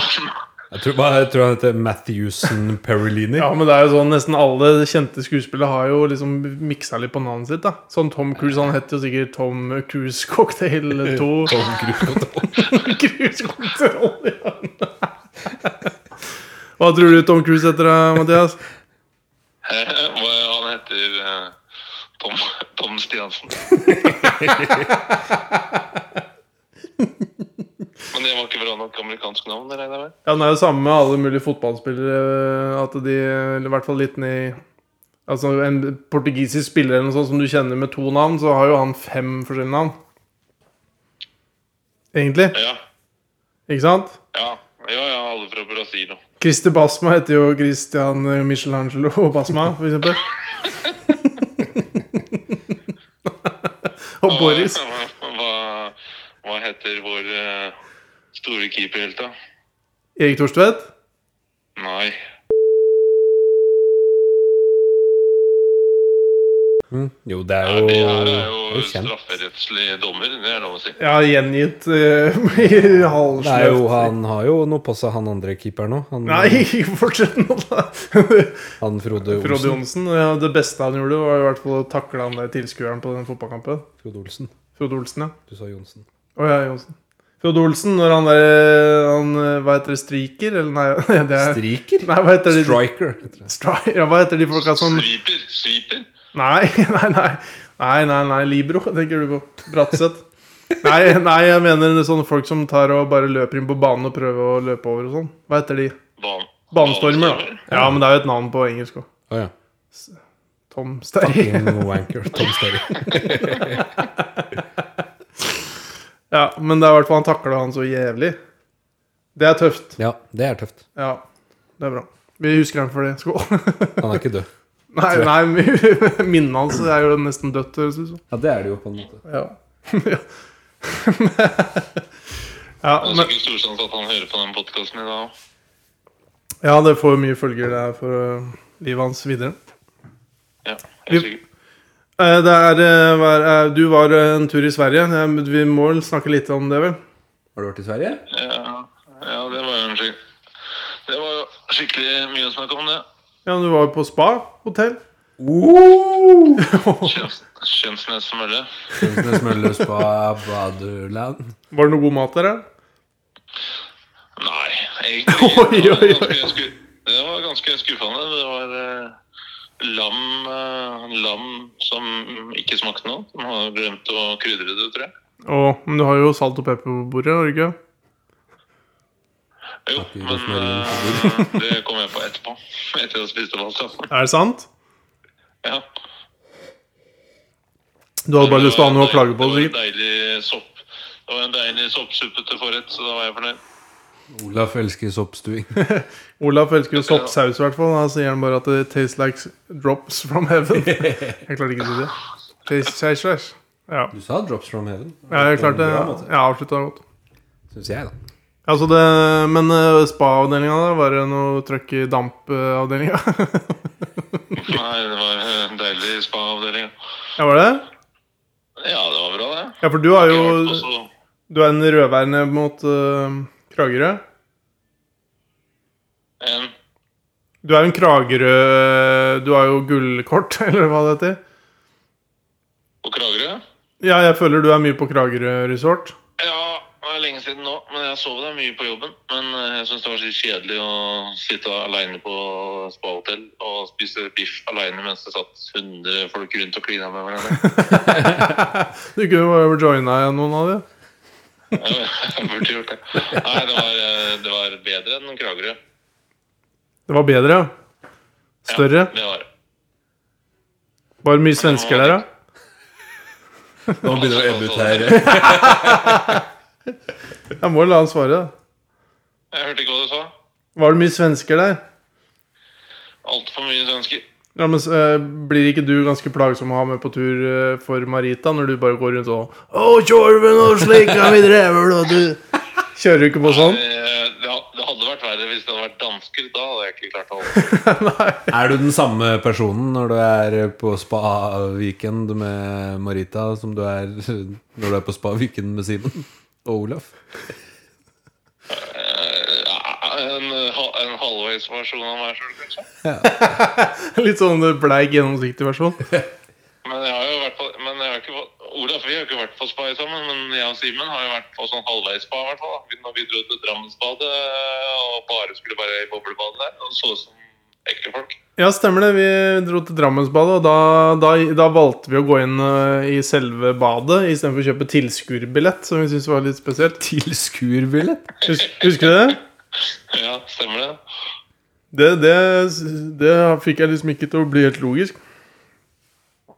Jeg tror, hva- jeg tror han heter Matthewson Perrellini. Ja, men det er jo sånn Nesten alle kjente skuespillere har jo liksom miksa litt på navnet sitt. da Sånn Tom Cruise, han het jo sikkert Tom Cruise Cocktail 2. Tom Cruise. Cruisekontroll i hånda. Hva tror du Tom Cruise heter, da, Mathias? Eh, Hva han heter eh, Tom, Tom Stiansen. Men det var ikke bra nok amerikansk navn, det regner jeg med? Ja, Det er jo samme med alle mulige fotballspillere. At de, eller i hvert fall litt ned i Altså En portugisisk spiller eller noe sånt som du kjenner med to navn, så har jo han fem forskjellige navn. Egentlig. Ja. Ikke sant? Ja, ja, ja alle fra Brasil og Christer Basma heter jo Christian eh, Michelangelo og Basma, for eksempel. og Boris. Hva, hva, hva heter vår eh, store keeperhelt, da? Erik Thorstvedt. Nei. Mm. Jo, det er Ja, jo, det her er det jo er jo kjent. strafferettslig dommer, det er lov å si. Ja, gjengitt eh, i Det er jo, halvsløvt. han har jo noe på seg, han andre keeperen òg. Han, Nei, ikke fortsett nå, da. han Frode Frode Olsen. Johnsen. Ja, det beste han gjorde, var i hvert fall å takle han der tilskueren på den fotballkampen. Frode Olsen. Frode Olsen, ja. Du sa Johnsen. Å ja, Johnsen. Frode Olsen, når han der han, eh, Hva heter det? Striker? Eller nei, det Eh, er Striker? Nei, hva heter de Striker. heter det. Stri- Ja, hva heter de folka som Sweeper. Sweeper? Nei, nei, nei. Nei, nei, nei, Libro tenker du på. Bratseth. Nei, nei, jeg mener det er sånne folk som tar og bare løper inn på banen og prøver å løpe over og sånn. Hva heter de? Ban Banestormer, da. Ja, men det er jo et navn på engelsk òg. Å ja. Tom Sterry. Fucking wanker. Tom Sterry. Ja, men det er i hvert fall han takla han så jævlig. Det er tøft. Ja, det er tøft. Ja, det er bra. Vi husker han for det. Skål. Han er ikke død. Nei, nei, vi- minnet hans er jo nesten dødt, høres det ut som. Ja, det er det jo, på en måte. Ja. Ja, Det er men sikkert stor sjanse at han hører på den podkasten i dag. Ja, det får mye følger det her for øh, livet hans videre. Ja, Vi- helt sikkert. Eh, Det er, eh, var, eh, du var eh, en tur i Sverige. Eh, men Vi må vel snakke litt om det, vel? Har du vært i Sverige? Ja, ja det var jo en skik Det var jo skikkelig mye å snakke om det. Ja, Du var jo på spa hotell. Kjøns, Kjønsnes og Mølle. Kjønnsnes Mølles på Badeland. Var det noe god mat der, da? Nei, egentlig ikke. Oi, oi, Det var oi. ganske sku- Det var ganske skuffende. Det var eh, lam, eh, lam som ikke smakte noe. Som har glemt å krydre det, tror jeg. Og, men du har jo salt og pepper på bordet, har du ikke? Jo, Takk, men rosmarin eh, det kom jeg på etterpå. Etter jeg spiste valgsaft. Er det sant? Ja. Du hadde bare lyst til å ha noe å klage på, Det sikkert. var en deilig sopp. Det var en deilig soppsuppe til forrett, så da var jeg fornøyd. Olaf elsker soppstuing. Olaf elsker jo soppsaus, i hvert fall. Da sier han bare at det tastes like drops from heaven. Jeg klarte ikke å si det. Tastes like slash. Ja. Du sa 'drops from heaven'. ja, jeg klarte det. Jeg avslutta godt. Syns jeg, da. Altså det, men eh, spa-avdelinga, da? Var det noe trøkk i damp-avdelinga? Nei, det var en deilig spa-avdeling. ja, var det? Ja, det var bra, det. Ja, for du er jo Jeg har også- Du er en rødvær ned mot eh, Kragerø? en Du er jo en Kragerø Du har jo gullkort, eller hva det heter? på Kragerø. Ja, jeg føler du er mye på Kragerø resort. Ja, det er lenge siden nå, men jeg sov da mye på jobben. Men eh, jeg syns det var så kjedelig å sitte aleine på spahotell og spise biff aleine mens det satt 100 folk rundt og klina med hverandre. Du kunne jo bare joina noen av de. Jeg burde gjort det. Nei, det var, eh, det var bedre enn Kragerø. Det var bedre, ja. Større. Ja, det var det. Var det mye svensker der, da? Nå begynner det å ebbe ut her. Jeg må jo la han svare, da. Jeg hørte ikke hva du sa. Var det mye svensker der? Altfor mye svensker. Ja, men eh, Blir ikke du ganske plagsom å ha med på tur eh, for Marita, når du bare går rundt og Å, tjorven og slikka mitt rævhull, og du Kjører du ikke på sånn? Eh, Det ha- det hadde vært verre hvis det hadde vært dansker. Da hadde jeg ikke klart å holde Er du den samme personen når du er på spa-weekend med Marita, som du er når du er på spa-weekend med Simen og Olaf? Eh, ja, en, eh, ha- en halvveis versjon av meg sjøl, kanskje. Litt sånn bleik, gjennomsiktig versjon. Men jeg har jo vært på men jeg har ikke, fått- Olaf, vi har ikke vært på spa sammen, men jeg og Simen har jo vært på sånn halvveis spa. i hvert fall. da. Vi- Når vi dro til Drammensbadet eh, og bare skulle være i boblebadet der, og så ut som ekle folk. Ja, stemmer det. Vi dro til Drammensbadet, og da, da, da valgte vi å gå inn eh, i selve badet istedenfor å kjøpe tilskuerbillett, som vi syntes var litt spesielt. Tilskuerbillett? Hus, husker du det? Ja, stemmer det? Det, det? det fikk jeg liksom ikke til å bli helt logisk.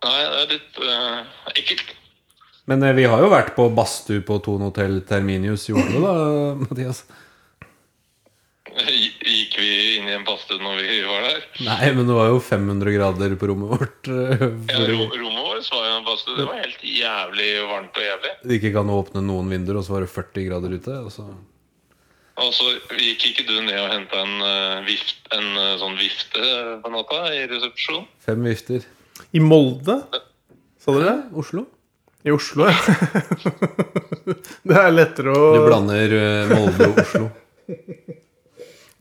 Nei, det er litt eh, ekkelt. Men eh, vi har jo vært på badstue på Thon Hotel Terminius i Oslo, da, Mathias. Gikk vi inn i en badstue når vi var der? Nei, men det var jo 500 grader på rommet vårt. eh, Ja, Hvor ro- rommet vårt var jo en badstue. Det var helt jævlig varmt og jævlig. det ikke kan åpne noen vinduer, og så var det 40 grader ute. Og så Og så gikk ikke du ned og henta en, eh, vift, en eh, sånn vifte på natta i resepsjonen? fem vifter. I Molde? Sa dere det? Oslo? I Oslo, ja. det er lettere å Du blander eh, Molde og Oslo.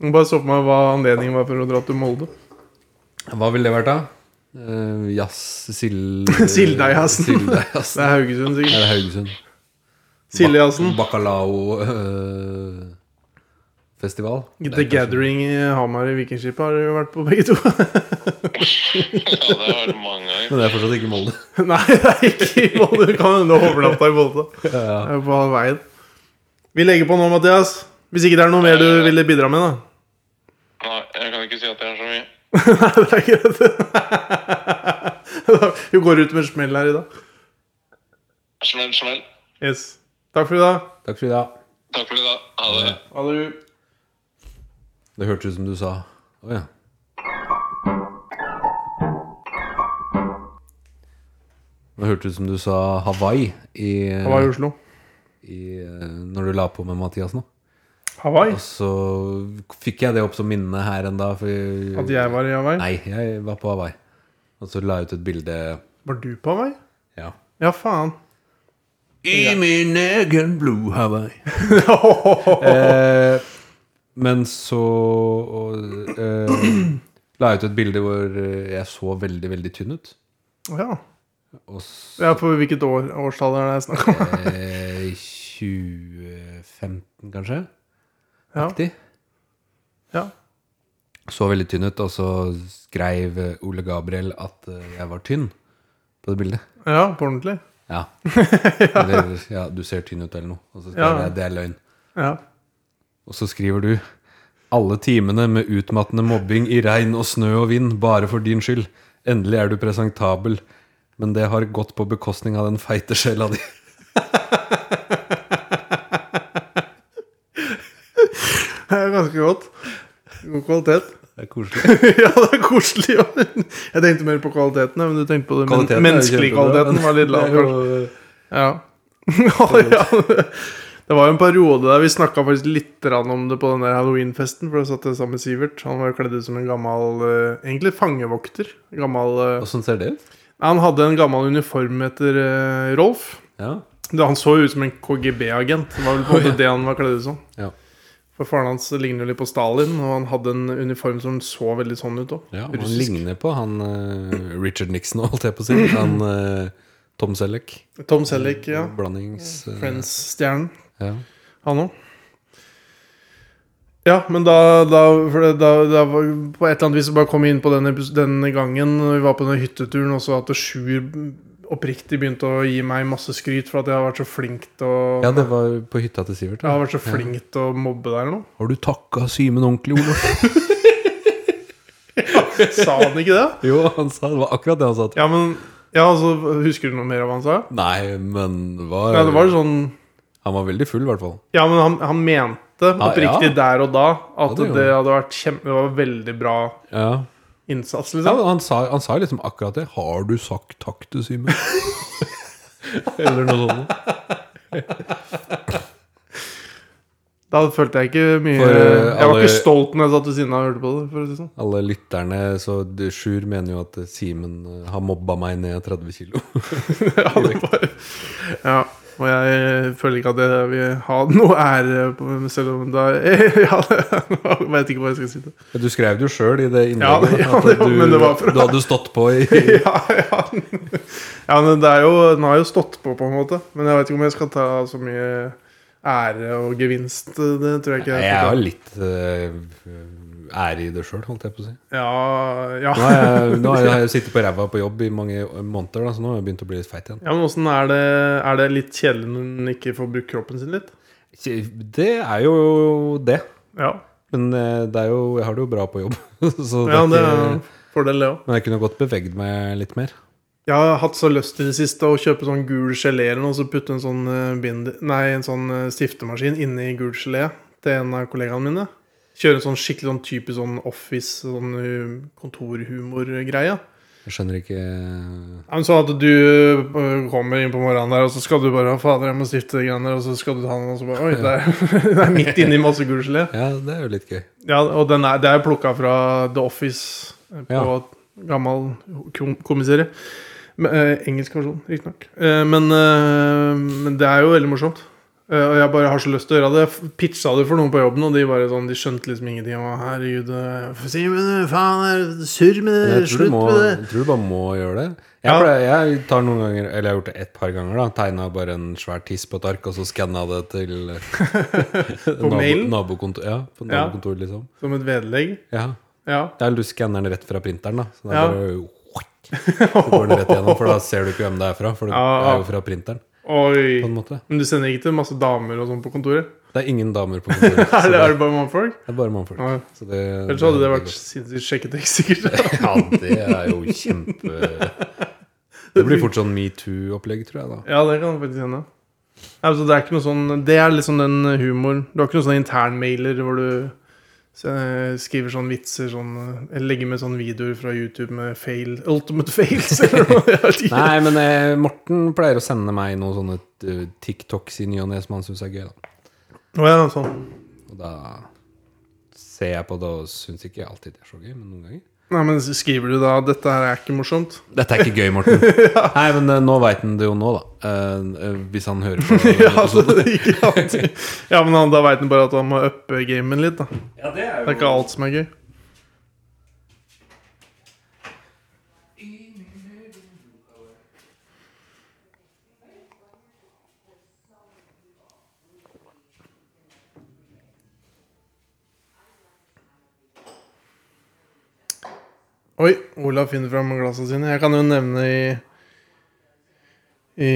Jeg Bare så på meg hva anledningen var for å dra til Molde. Hva ville det vært, da? Uh, jazz Sild... Sildajazzen. Det Sildajazzen. er Haugesund, sikkert. Eller Haugesund. Siljazzen. Bacalao-festival. The Gathering i Hamar i Vikingskipet har dere jo vært på, begge to. Ja, det har vært mange ganger. Men det er fortsatt ikke Molde. Nei, det er ikke i Molde. Du kan hende overnatta i Molde. Det er jo på halv veien. Vi legger på nå, Mathias. Hvis ikke det er noe mer du ville bidra med, da. Nei, jeg kan ikke si at jeg har så mye. Nei, det er greit. Vi går ut med en smell her i dag. Smell, smell. Yes. Takk for i dag. Takk for i dag. Takk for i dag. Ha det. Ha det. Det hørtes ut som du sa Å ja. Det hørtes ut som du sa Hawaii, i, Hawaii, Oslo. i, eh, når du la på med Mathias nå. Hawaii? Og så fikk jeg det opp som minne her en dag. For, At jeg var i Hawaii? Nei, jeg var på Hawaii. Og så la jeg ut et bilde Var du på Hawaii? Ja. Ja, faen. I min egen blue Hawaii. eh, men så og, eh, la jeg ut et bilde hvor eh, jeg så veldig, veldig tynn ut. Ja. Og så ja for hvilket år, årstall er det snakk om? eh, 2015, kanskje? Ja. Aktig. Ja. Så veldig tynn ut, og så skrev eh, Ole Gabriel at eh, jeg var tynn på det bildet. ja, på ordentlig. Ja. Eller ja, du ser tynn ut eller noe. Og så skriver Ja. jeg det er løgn. Ja. Og så skriver du alle timene med utmattende mobbing i regn og snø og vind, bare for din skyld. Endelig er du presentabel, men det har gått på bekostning av den feite sjela di. Det er ganske godt. God kvalitet. Det er koselig. ja, det er koselig. ja. Jeg tenkte mer på kvaliteten, ja, men du tenkte på det. Men, Kvaliteten er menneskelig kjempebra, kvaliteten men var litt lav, det er kanskje. jo- Ja. Å, ja. Det var jo en periode der vi snakka faktisk litt grann om det på den der halloweenfesten. For da satt jeg sammen med Sivert. Han var jo kledd ut som en gammel eh, Egentlig fangevokter. Gammel eh, Åssen ser det ut? Han hadde en gammel uniform etter eh, Rolf. Ja. Det, han så jo ut som en KGB-agent. Det var vel på en måte det han var kledd ut som. Ja. For faren hans ligner jo litt på Stalin, og han hadde en uniform som så veldig sånn ut òg. Ja, og han ligner på han eh, Richard Nixon, holdt jeg på å si. Han eh, Tom Selleck. Tom Selleck, ja. Blandings... eh, Friends-stjernen. ja. Han òg. Ja, men da, da, for det, da, da var, På et eller annet vis så bare kom vi inn på den, epis- den gangen når vi var på den hytteturen, og så at Sjur oppriktig begynte å gi meg masse skryt for at jeg har vært så flink til å ja, det var på hytta til Sivert. Jeg da. har vært så flink til å mobbe deg eller noe. Har du takka Simen ordentlig, Olof? Sa han ikke det? jo, han sa det var akkurat det han sa. Ja, men ja, altså, Husker du noe mer av hva han sa? Nei, men det var, Ja, det var sånn han var veldig full, i hvert fall. Ja, men han, han mente ja. oppriktig der og da at Ja, det gjorde det hadde vært kjempe, det var veldig bra Ja. innsats, Ja, liksom. men han, sa, han sa liksom akkurat det. 'Har du sagt takk til Simen?' Eller noe sånt. Da følte jeg ikke mye For, eh, Jeg var alle- ikke stolt når jeg satt ved siden av og hørte på det. For å si det sånn. Alle lytterne så det- Sjur mener jo at eh, Simen eh, har mobba meg ned 30 kilo. ja, det var, ja, og jeg føler ikke at jeg vil ha noe ære, på- selv om da Ja, jeg vet ikke hva jeg skal si til det. Du skrev det jo sjøl i det Ja, innlegget. ja, at det var- du, men det var for- du hadde stått på i Ja, ja. ja, men det er jo Den har jo stått på, på en måte. Men jeg vet ikke om jeg skal ta så mye ære og gevinst. eh, Det tror jeg ikke Nei, jeg Jeg får har til. litt eh, ære i det sjøl, holdt jeg på å si. Ja, ja. Nå har jeg, nå har jeg sittet på ræva på jobb i mange måneder, da, så nå har jeg begynt å bli litt feit igjen. Ja, men åssen er det Er det litt kjedelig når en ikke får brukt kroppen sin litt? Det er jo det. Ja, Men eh, det er jo, jeg har det jo bra på jobb. Så det ja det er er en ikke, fordel, det òg. men jeg kunne godt bevegd meg litt mer. Jeg har hatt så lyst til det siste å kjøpe sånn gul gelé eller noe, og så putte en sånn eh, bind... Nei, en sånn eh, stiftemaskin inni gul gelé til en av kollegaene mine. Kjøre en sånn skikkelig sånn typisk sånn office, sånn eh, kontorhumor-greie. Jeg skjønner ikke Ja, men Sånn at du eh, kommer inn på morgenen der, og så skal du bare Fader, jeg må stifte de greiene der, og så skal du ta den, og så bare Oi, det er, det er midt inni masse gul gelé. Ja, det er jo litt gøy. Ja, og den er, det er plukka fra The Office eh, på Ja. gammel kom- komiserie. Men, eh, engelsk versjon, riktignok. Eh, men, eh, men det er jo veldig morsomt. Eh, og jeg bare har så lyst til å gjøre det. Jeg f- pitcha det for noen på jobben, og de bare sånn, de skjønte liksom ingenting. Og herregud, eh, Simen, faen, er det surr Men med det? jeg tror, Eh, du Slutt må, med det. jeg tror du bare må gjøre det. Jeg, Ja. pleier, jeg tar noen ganger, eller jeg har gjort det et par ganger, da tegna bare en svær tiss på et ark, og så skanna det til nabo, mailen? nabokontor, ja, på Ja. nabokontoret, liksom. Som et vedlegg. Ja. Ja. Eller du skanner den rett fra printeren, da. Så det Ja. er bare, så går den rett gjennom, for da ser du ikke hvem det er fra. For det Ja. er jo fra printeren, på Oi. en måte. Men du sender ikke til masse damer og sånn på kontoret? Det er ingen damer på kontoret. så Eller det- er det bare mannfolk? Det er bare mannfolk. Ja. Så Sånn, det, Ellers hadde det vært sinnssykt sjekketekst, sikkert. Ja, det er jo kjempe Det blir fort sånn metoo-opplegg, tror jeg. da Ja, det kan det faktisk hende. Nei, Altså, det er ikke noe sånn Det er liksom den humoren. Du har ikke noen sånn internmailer hvor du eh, skriver sånne vitser sånn eh, Eller legger med sånne videoer fra YouTube med fail Ultimate fails eller noe. Jeg vet ikke. Nei, men eh, Morten pleier å sende meg noen sånne eh, TikToks i ny og ne som han syns er gøy. da Å ja, sånn. Og da ser jeg på det og syns ikke alltid det er så gøy, men noen ganger. Nei, men skriver du da 'dette her er ikke morsomt'? Dette er ikke gøy, Morten. Nei, men eh, nå veit han det jo nå, da. Eh, eh, hvis han hører på. sånn. Ja, altså, det er ikke alltid. ja men han, da veit han bare at han må uppe gamen litt, da. det, er ikke alt som er gøy. Oi, Olav finner fram glassene sine. Jeg kan jo nevne i i,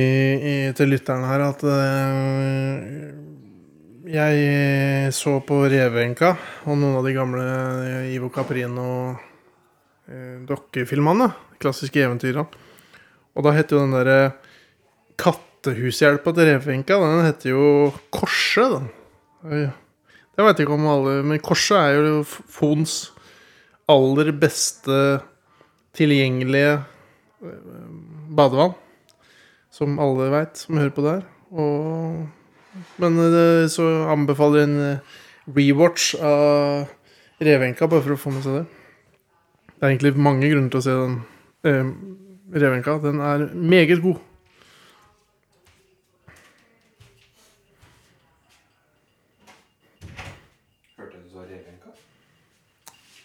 i, til lytteren her at eh, jeg så på Revenka og noen av de gamle Ivo Caprino eh, dokkefilmene. Klassiske eventyrene. Og da heter jo den derre kattehushjelpa til Revenka, den heter jo Korset, den. Oi. Det veit ikke om alle, men Korset er jo F- Fons aller beste tilgjengelige eh, badevann. Som alle veit, som hører på det her. Og, men eh, så anbefaler jeg en eh, rewatch av Revenka, bare for å få med seg det. Det er egentlig mange grunner til å se den eh, Revenka. Den er meget god.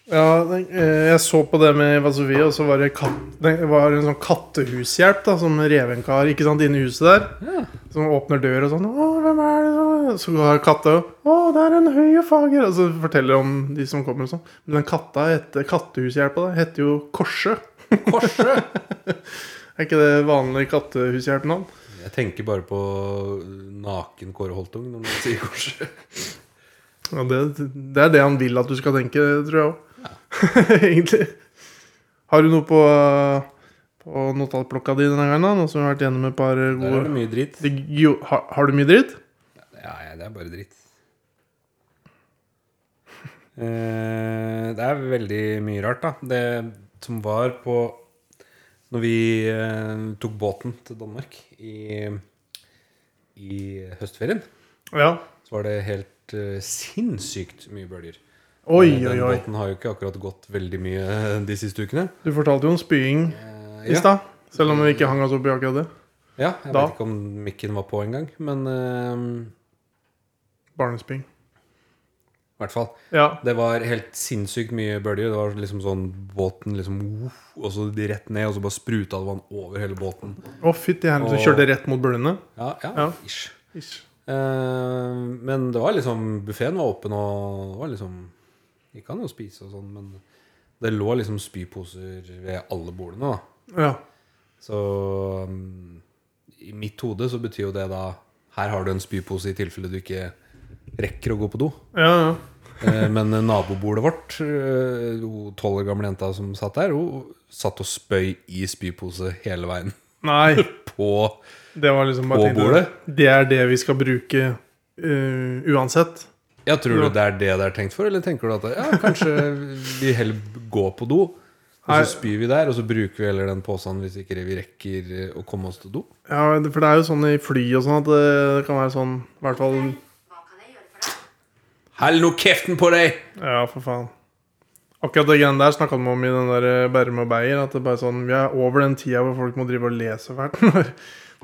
Ja, den, eh, jeg så på det med Vasovia, og så var det, katt, det var en sånn kattehushjelp da, som Revenka har ikke sant, inne i huset der. Som åpner dør og sånn 'Å, hvem er det?' Så har katta 'Å, det er en høy og fager'. Og så forteller de om de som kommer og sånn. Men den katta heter, kattehushjelpa da, heter jo Korse. Korse? er ikke det vanlig kattehushjelpnavn? Jeg tenker bare på eh, naken Kåre Holtung når man sier korset. Ja, det, det er det han vil at du skal tenke, tror jeg òg. Egentlig. Har du noe på, på notatblokka di denne gangen? da? Nå som vi har vært gjennom et par Der er det gode mye dritt. det, jo, har, har du mye dritt? Ja, ja, det er bare dritt. Eh, det er veldig mye rart, da. Det som var på Når vi eh, tok båten til Danmark i, i høstferien, Ja. så var det helt eh, sinnssykt mye bølger. Oi, Eh, oi, Den oi. båten har jo ikke akkurat gått veldig mye eh, de siste ukene. Du fortalte jo om spying Eh, i stad. Selv om vi ikke hang oss opp i akkurat det. Ja, jeg Da. vet ikke om mikken var på engang, men eh, Barnespying. i hvert fall. Ja. Det var helt sinnssykt mye bølger. Det var liksom sånn båten liksom uff, Og så de rett ned, og så bare spruta det vann over hele båten. Å, fytti helvete. Og- Kjørte rett mot bølgene? Ja, ja, Ja. ish. Ish. Eh, men det var liksom Buffeen var åpen, og det var liksom Gikk an å spise og sånn, men det lå liksom spyposer ved alle bordene, da. Ja. Så um, i mitt hode så betyr jo det da Her har du en spypose i tilfelle du ikke rekker å gå på do. Ja, ja. Eh, Men nabobordet vårt, eh, hun tolv år gamle jenta som satt der, hun satt og spøy i spypose hele veien Nei. på Det var liksom bare På jeg tenkte, bordet? Det er det vi skal bruke eh, uansett. Ja, tror du det er det det er tenkt for, eller tenker du at ja, kanskje vi heller går på do? Og Nei. så spyr vi der, og så bruker vi heller den posen hvis ikke vi rekker eh, å komme oss til do. Ja, det- for det er jo sånn i fly og sånn at det kan være sånn I hvert fall Hva kan jeg gjøre for deg? Hell nå kjeften på deg! Ja, for faen. Akkurat det greiene der snakka de om i den der eh, Bærum og Beyer. At det bare er sånn, Vi er over den tida hvor folk må drive og lese fælt når,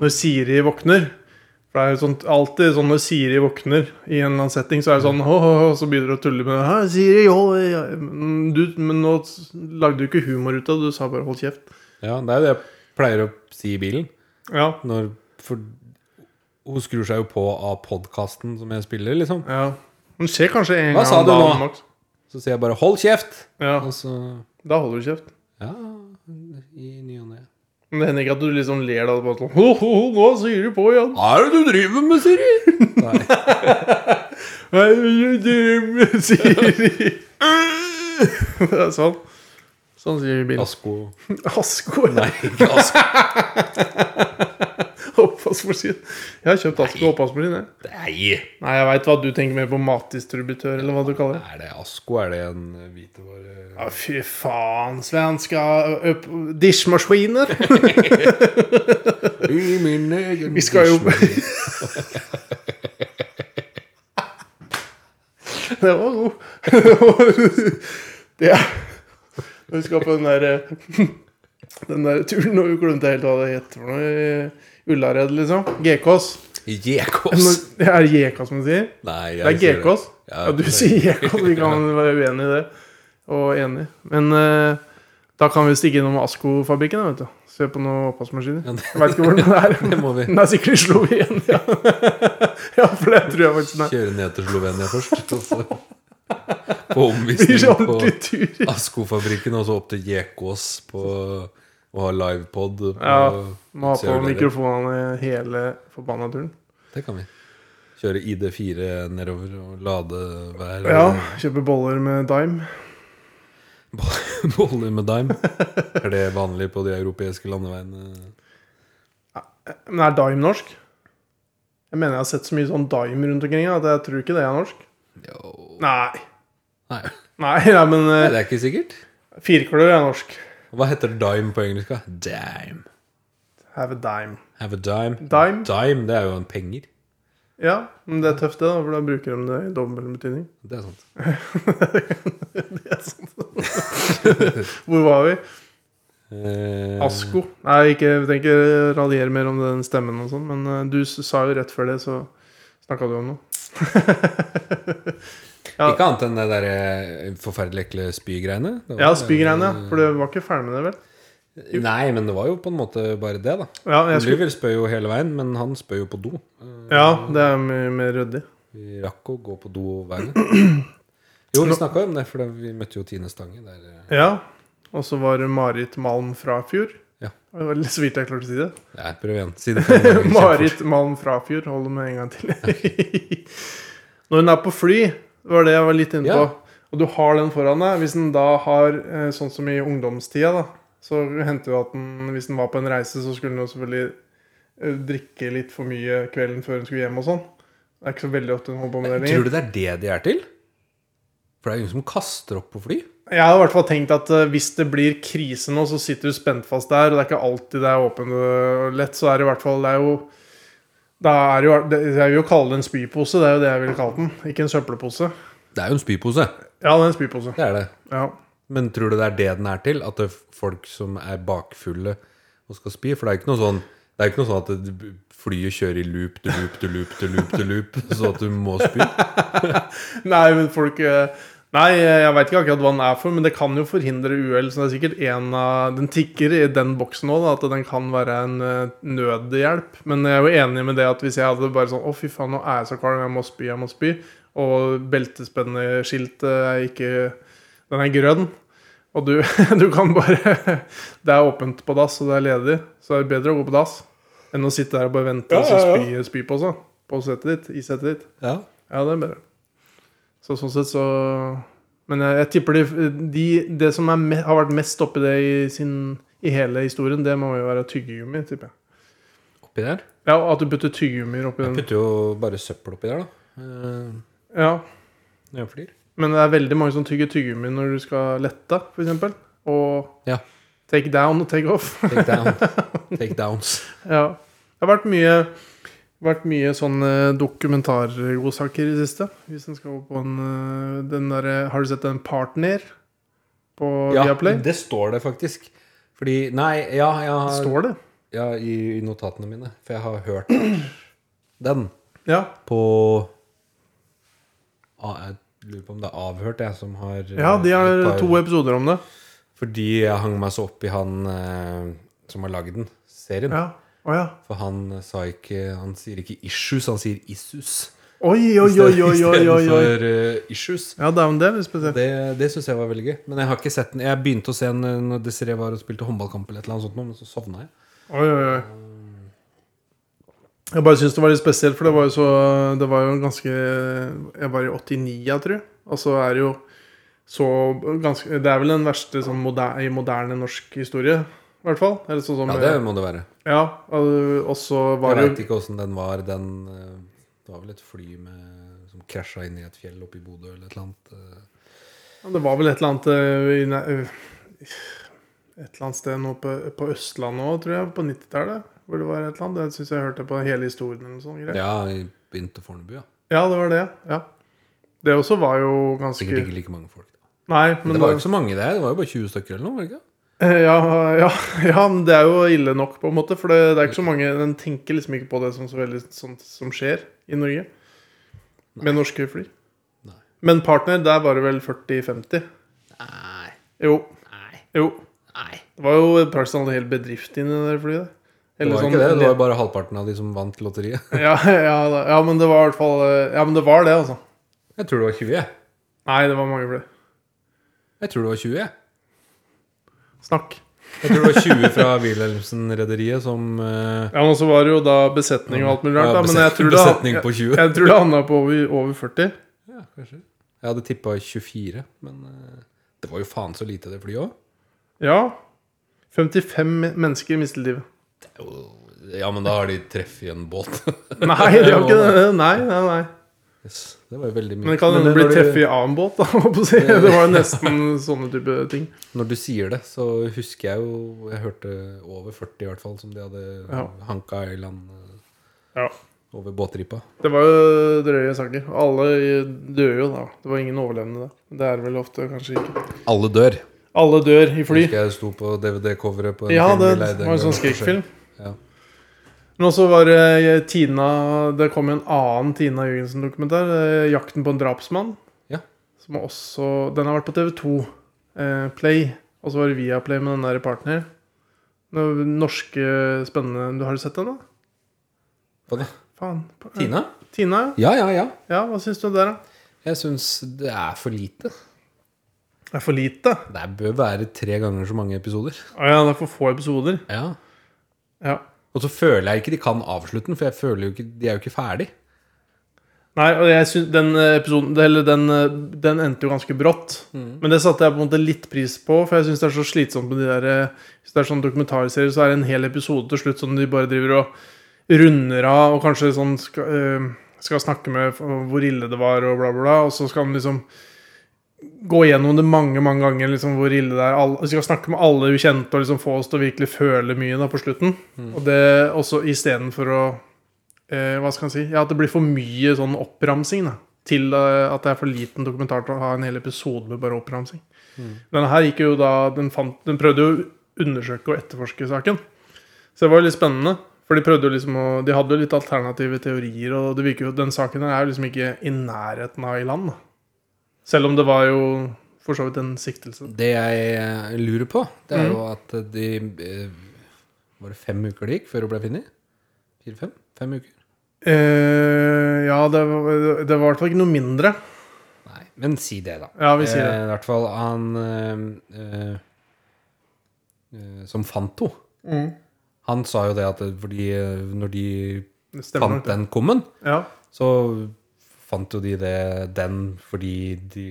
når Siri våkner. For det er jo sånt, alltid sånn når Siri våkner i en eller annen setting, så er det sånn hå, hå, hå, Så begynner du å tulle med Hæ, Siri, hå, ja. Men du, Men nå s- lagde du ikke humor ut av det, du sa bare hold kjeft. Ja, det er jo det jeg pleier å si i bilen. Ja, Når, for hun skrur seg jo på av podkasten som jeg spiller, liksom. ja. Men skjer kanskje en Hva gang sa om du dagen, nå? Max. Så sier jeg bare 'hold kjeft'! Ja, Og så da holder du kjeft. Ja, i ny og ne. Men det hender ikke at du liksom ler da og bare sånn Hå, hå, hå, nå sier du på igjen. Hva er det du driver med, Siri? Nei. Nei, du drømmer, Siri. Det er sånn. Sånn sier vi i bilen. Asko Asko? Nei, ikke Asko. Oppvaskmaskin. Jeg har kjøpt Asko oppvaskmaskin. jeg. Nei! Nei, jeg veit hva du tenker mer på matdistributør, eller hva du kaller det. Er det Asko? Er det en eh, hvitevare Ja, fy faen, svenska øp- Dishmaskiner. I min egen Vi skal jo- dishwasher. Det var god. Det var- Det er Jeg husker på den der eh, Den der turen og glemte helt hva det het for noe. i Ullared, liksom. GKs. Jekås! Det er GK som du sier? Nei, Det er sier GKs? Ja, Ja, du det- sier GK, vi kan være uenig i det. Og enig. Men eh, da kan vi stikke innom Asko-fabrikken, da, vet du. Se på noen oppvaskmaskiner. Jeg veit ikke hvordan det er. Det må vi Den er sikkert i Slovenia. Ja, for det tror jeg faktisk den er. kjøre ned til Slovenia først. Og så på Det blir omvisning ordentlig på tur. Asko-fabrikken, og så opp til Jekås på Og ha livepod. på- Ja, Må ha ser på du det? mikrofonene hele forbanna turen. Det kan vi. Kjøre ID4 nedover og lade hver Ja, kjøpe boller med dime. bolle med dime. Er det vanlig på de europeiske landeveiene? Men er dime norsk? Jeg mener jeg har sett så mye sånn dime rundt omkring at jeg tror ikke det er norsk. Jo. Nei. Nei. Nei, nei men Oh. Nei, eh, det er ikke sikkert. firkløver er norsk. Hva heter dime på engelsk? da? Dime. Have a dime. Have a dime. Dime? Dime, det er jo en penger. Ja, men det er tøft, det, da, for da bruker de det i dobbel betydning. Det er sant. Det er sant. Hvor var vi? Eh, Asko. Nei, ikke, jeg tenker ikke raljere mer om den stemmen og sånn, men eh, du s- sa jo rett før det, så snakka du om noe. ja. Ikke annet enn det der eh, forferdelig ekle spygreiene. Det var- Ja, spygreiene. eh. ja, For du var ikke ferdig med det, vel? Nei, men det var jo på en måte bare det, da. Ja, jeg skulle, Oliver spør jo hele veien, men han spør jo på do. ja det er mye mer ryddig. Vi rakk å gå på do hver gang. Jo, vi snakka om det, for da vi møtte jo Tine Stange der. eh, Ja. Og så var det Marit Malm Frafjord. Ja. Det var litt så vidt jeg klarte å si det. Nei, prøv igjen. Si det fem ganger. Marit Malm Frafjord. Hold det med en gang til. Når hun er på fly, var det jeg var litt inne Ja. på, og du har den foran deg Hvis den da har, eh, sånn som i ungdomstida, da så hendte det at den, hvis den var på en reise, så skulle den jo selvfølgelig eh, drikke litt for mye kvelden før hun skulle hjem og sånn. Det er ikke så veldig ofte hun holder på med det lenger. Tror du det er det de er til? For det er jo ingen som kaster opp på fly. Jeg har i hvert fall tenkt at eh, hvis det blir krise nå, så sitter du spent fast der, og det er ikke alltid det er åpent og lett, så er det i hvert fall Det er jo da er det jo, det, Jeg vil jo kalle det en spypose, det er jo det jeg ville kalt den. Ikke en søppelpose. Det er jo en spypose. Ja, det er en spypose. Det er det. Ja. Men tror du det er det den er til? At det er folk som er bakfulle og skal spy? For det er jo ikke noe sånn Det er jo ikke noe sånn at det- flyet kjører i loop to loop to loop to loop, to loop så at du må spy. Nei, men folk eh, Nei, eh, jeg veit ikke akkurat hva den er for, men det kan jo forhindre uhell. Så det er sikkert en av Den tikker i den boksen òg, at den kan være en eh, nødhjelp. Men jeg er jo enig med det at hvis jeg hadde bare sånn Å, fy faen, nå er jeg så kvalm, jeg må spy, jeg må spy. Og beltespenneskiltet er ikke Den er grønn. Og du, du kan bare Det er åpent på dass, og det er ledig. Så er det bedre å gå på dass enn å sitte der og bare vente og så spy, spy på seg. På setet ditt. I setet ditt. Ja. Ja, det er bedre. Så sånn sett så Men jeg, jeg tipper de, de Det som er me, har vært mest oppi det i, sin, i hele historien, det må jo være tyggegummi, tipper jeg. Oppi der. Ja, og at du putter tyggegummier oppi Jeg den. putter jo bare søppel oppi der, da. eh, Ja, Når jeg flyr. Men det er veldig mange som tygger tyggegummi når du skal lette, f.eks. Og Ja. take down og take off. Take down. Take downs. ja. Det har vært mye vært mye sånne dokumentargodsaker i det siste. Hvis en skal gå på en eh, den der, Har du sett den Partner på Viaplay? det står det faktisk. Fordi Nei, ja, jeg har, Står det? ja i, i notatene mine. For jeg har hørt den Ja. på ah, Jeg lurer på om det er Avhørt, jeg, som har eh, Ja, de et har par- to episoder om det. Fordi jeg hang meg så opp i han eh, som har lagd den, serien. Ja. Å ja. For han eh, sa ikke Han sier ikke 'issues', han sier 'issues'. Oi, oi, oi, oi, oi, oi, oi. Istedenfor eh, 'issues'. Ja, det er jo det er spesielt. Det, det syns jeg var veldig gøy. Men jeg har ikke sett den. Jeg begynte å se den eh, når Desiree var og spilte håndballkamp, eller et eller annet sånt, nå, men så sovna jeg. Oi, oi, oi. Jeg bare syns det var litt spesielt, for det var jo så Det var jo ganske Jeg var i 89, jeg tror. Og så er det jo så ganske Det er vel den verste sånn moder, i moderne norsk historie, i hvert fall. Eller sånn som Ja, det må det være. ja, og og så var Jeg det veit ikke åssen den var. Den eh, Det var vel et fly med som krasja inn i et fjell oppe i Bodø eller et eller annet. eh. Ja, Det var vel et eller annet eh, i nær- eh, Et eller annet sted nå på, på Østlandet òg, tror jeg. På 90-tallet. Hvor det var et eller annet. Jeg syns jeg hørte på hele historien eller noe sånt. greier. Ja, i- inn til Fornebu, ja. Ja, det var det. Ja. Det også var jo ganske Sikkert ikke like mange folk. Da. Nei, Men men det var jo ikke så mange der. Det var jo bare 20 stykker eller noe. var det ikke? Eh, ja, ja, ja, men det er jo ille nok, på en måte. For det, det er ikke så mange Den tenker liksom ikke på det som så veldig sånt som skjer i Norge. Med norske fly. Nei. Men partner, der var det vel 40-50. Nei, Jo. nei, Jo. nei. Det var jo i praksis en hel bedrift inni det der flyet. Det Eller var sånn- ikke det. Det var jo bare halvparten av de som vant lotteriet. ja, ja, da- ja, men det var i hvert fall eh, Ja, men det var det, altså. Jeg tror det var 20. jeg. Nei, det var mange flere. Jeg tror det var 20. jeg. Snakk. Jeg tror det var 20 fra Wilhelmsen-rederiet som eh, Ja, men så var det jo da besetning og alt mulig rart, Ja, da. Men jeg beset- tror det, besetning på jeg, 20. jeg tror det handla på over, over 40. Jeg hadde tippa 24, men eh, det var jo faen så lite, det flyet òg. Ja. 55 men- mennesker mistet livet. Ja, men da har de treff i en båt. Nei, det var ikke det. Nei, nei, nei. Yes, det var jo veldig mye. Men det kan jo når bli du- treff i annen båt, da. holdt på å si. Det var jo nesten sånne type ting. Når du sier det, så husker jeg jo Jeg hørte over 40 i hvert fall, som de hadde Ja. hanka i land eh, Ja. over båtripa. Det var jo drøye saker. Alle dør jo da. Det var ingen overlevende da. Det er vel ofte kanskje ikke. Alle dør. Alle dør i fly. Husker jeg sto på DVD-coveret på en Ja, film vi det leide en var en gang. sånn skrekkfilm. Ja. Men også var det eh, Tina Det kom jo en annen Tina Jørgensen-dokumentar. eh, 'Jakten på en drapsmann'. Ja. Som også Den har vært på TV2 eh, Play. Og så var det Viaplay med den der partner. Den norske spennende Har du sett den, da? Hva da? Faen. Tina? Tina, Ja, ja. ja, ja. ja. Hva syns du om det der, da? Jeg syns det er for lite. Det er for lite. Det bør være tre ganger så mange episoder. Å ja, det er for få episoder. Ja. Ja. Og så føler jeg ikke de kan avslutte den, for jeg føler jo ikke, de er jo ikke ferdig. Nei, og jeg synes den eh, episoden det- Eller den, eh, den endte jo ganske brått. Men det satte jeg på en måte litt pris på, for jeg syns det er så slitsomt med de der eh, Hvis det er sånn dokumentarserier, så er det en hel episode til slutt som de bare driver og runder av, og kanskje sånn skal, eh, skal snakke med f- hvor ille det var, og bla, bla, bla. Og så skal de liksom gå gjennom det mange mange ganger, liksom hvor ille det er. Alle, vi skal snakke med alle ukjente og liksom få oss til å virkelig føle mye da på slutten. Og det også istedenfor å eh, hva skal man si, ja, at det blir for mye sånn oppramsing da, til eh, at det er for liten dokumentar til å ha en hel episode med bare oppramsing. Mm. Denne her gikk jo da, den, fant, den prøvde jo å undersøke og etterforske saken. Så det var jo litt spennende. For de prøvde jo liksom å, de hadde jo litt alternative teorier, og det virker jo at den saken her er jo liksom ikke i nærheten av i land. da. Selv om det var jo for så vidt en siktelse. Det jeg eh, lurer på, det er jo Mm. at de eh, Var det fem uker det gikk før hun ble funnet? Fire-fem? Fem uker? Eh, ja, det var, det var i hvert fall ikke noe mindre. Nei, men si det, da. Ja, vi sier det. Eh, I hvert fall han eh, eh, eh, som fant henne. Han sa jo det at det- fordi eh, når de Det stemmer fant nok. det. den kummen, Ja. så fant jo de det, den fordi de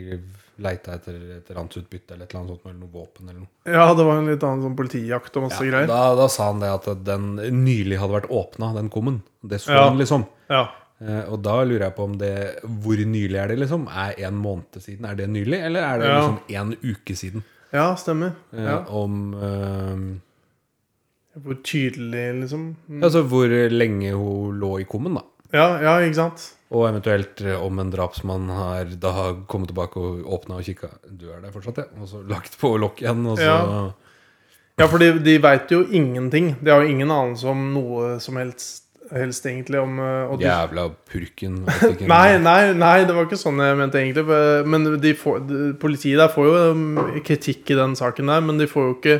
leita etter et eller annet utbytte eller et eller annet sånt, eller noe våpen eller noe. ja, det var en litt annen sånn politijakt og masse greier. Da, da sa han det at den nylig hadde vært åpna, den kummen. Det så Ja. han, liksom. Ja. Eh, og da lurer jeg på om det Hvor nylig er det, liksom? Er en måned siden? Er det nylig, eller er det Ja. liksom en uke siden? Ja, stemmer. Eh, Ja. Om eh, Hvor tydelig, liksom. Mm. Altså hvor lenge hun lå i kummen, da. Ja, ja, ikke sant? Og eventuelt eh, om en drapsmann har da har kommet tilbake og åpna og kikka. Du er der fortsatt, ja. Og så lagt på lokk igjen, og så Ja. Ja, for de, de veit jo ingenting. De har jo ingen anelse om noe som helst, helst egentlig om eh, og de, Jævla purken. vet ikke. Nei, nei, nei, det var ikke sånn jeg mente egentlig. for- Men de får, de, politiet der får jo mm, kritikk i den saken der, men de får jo ikke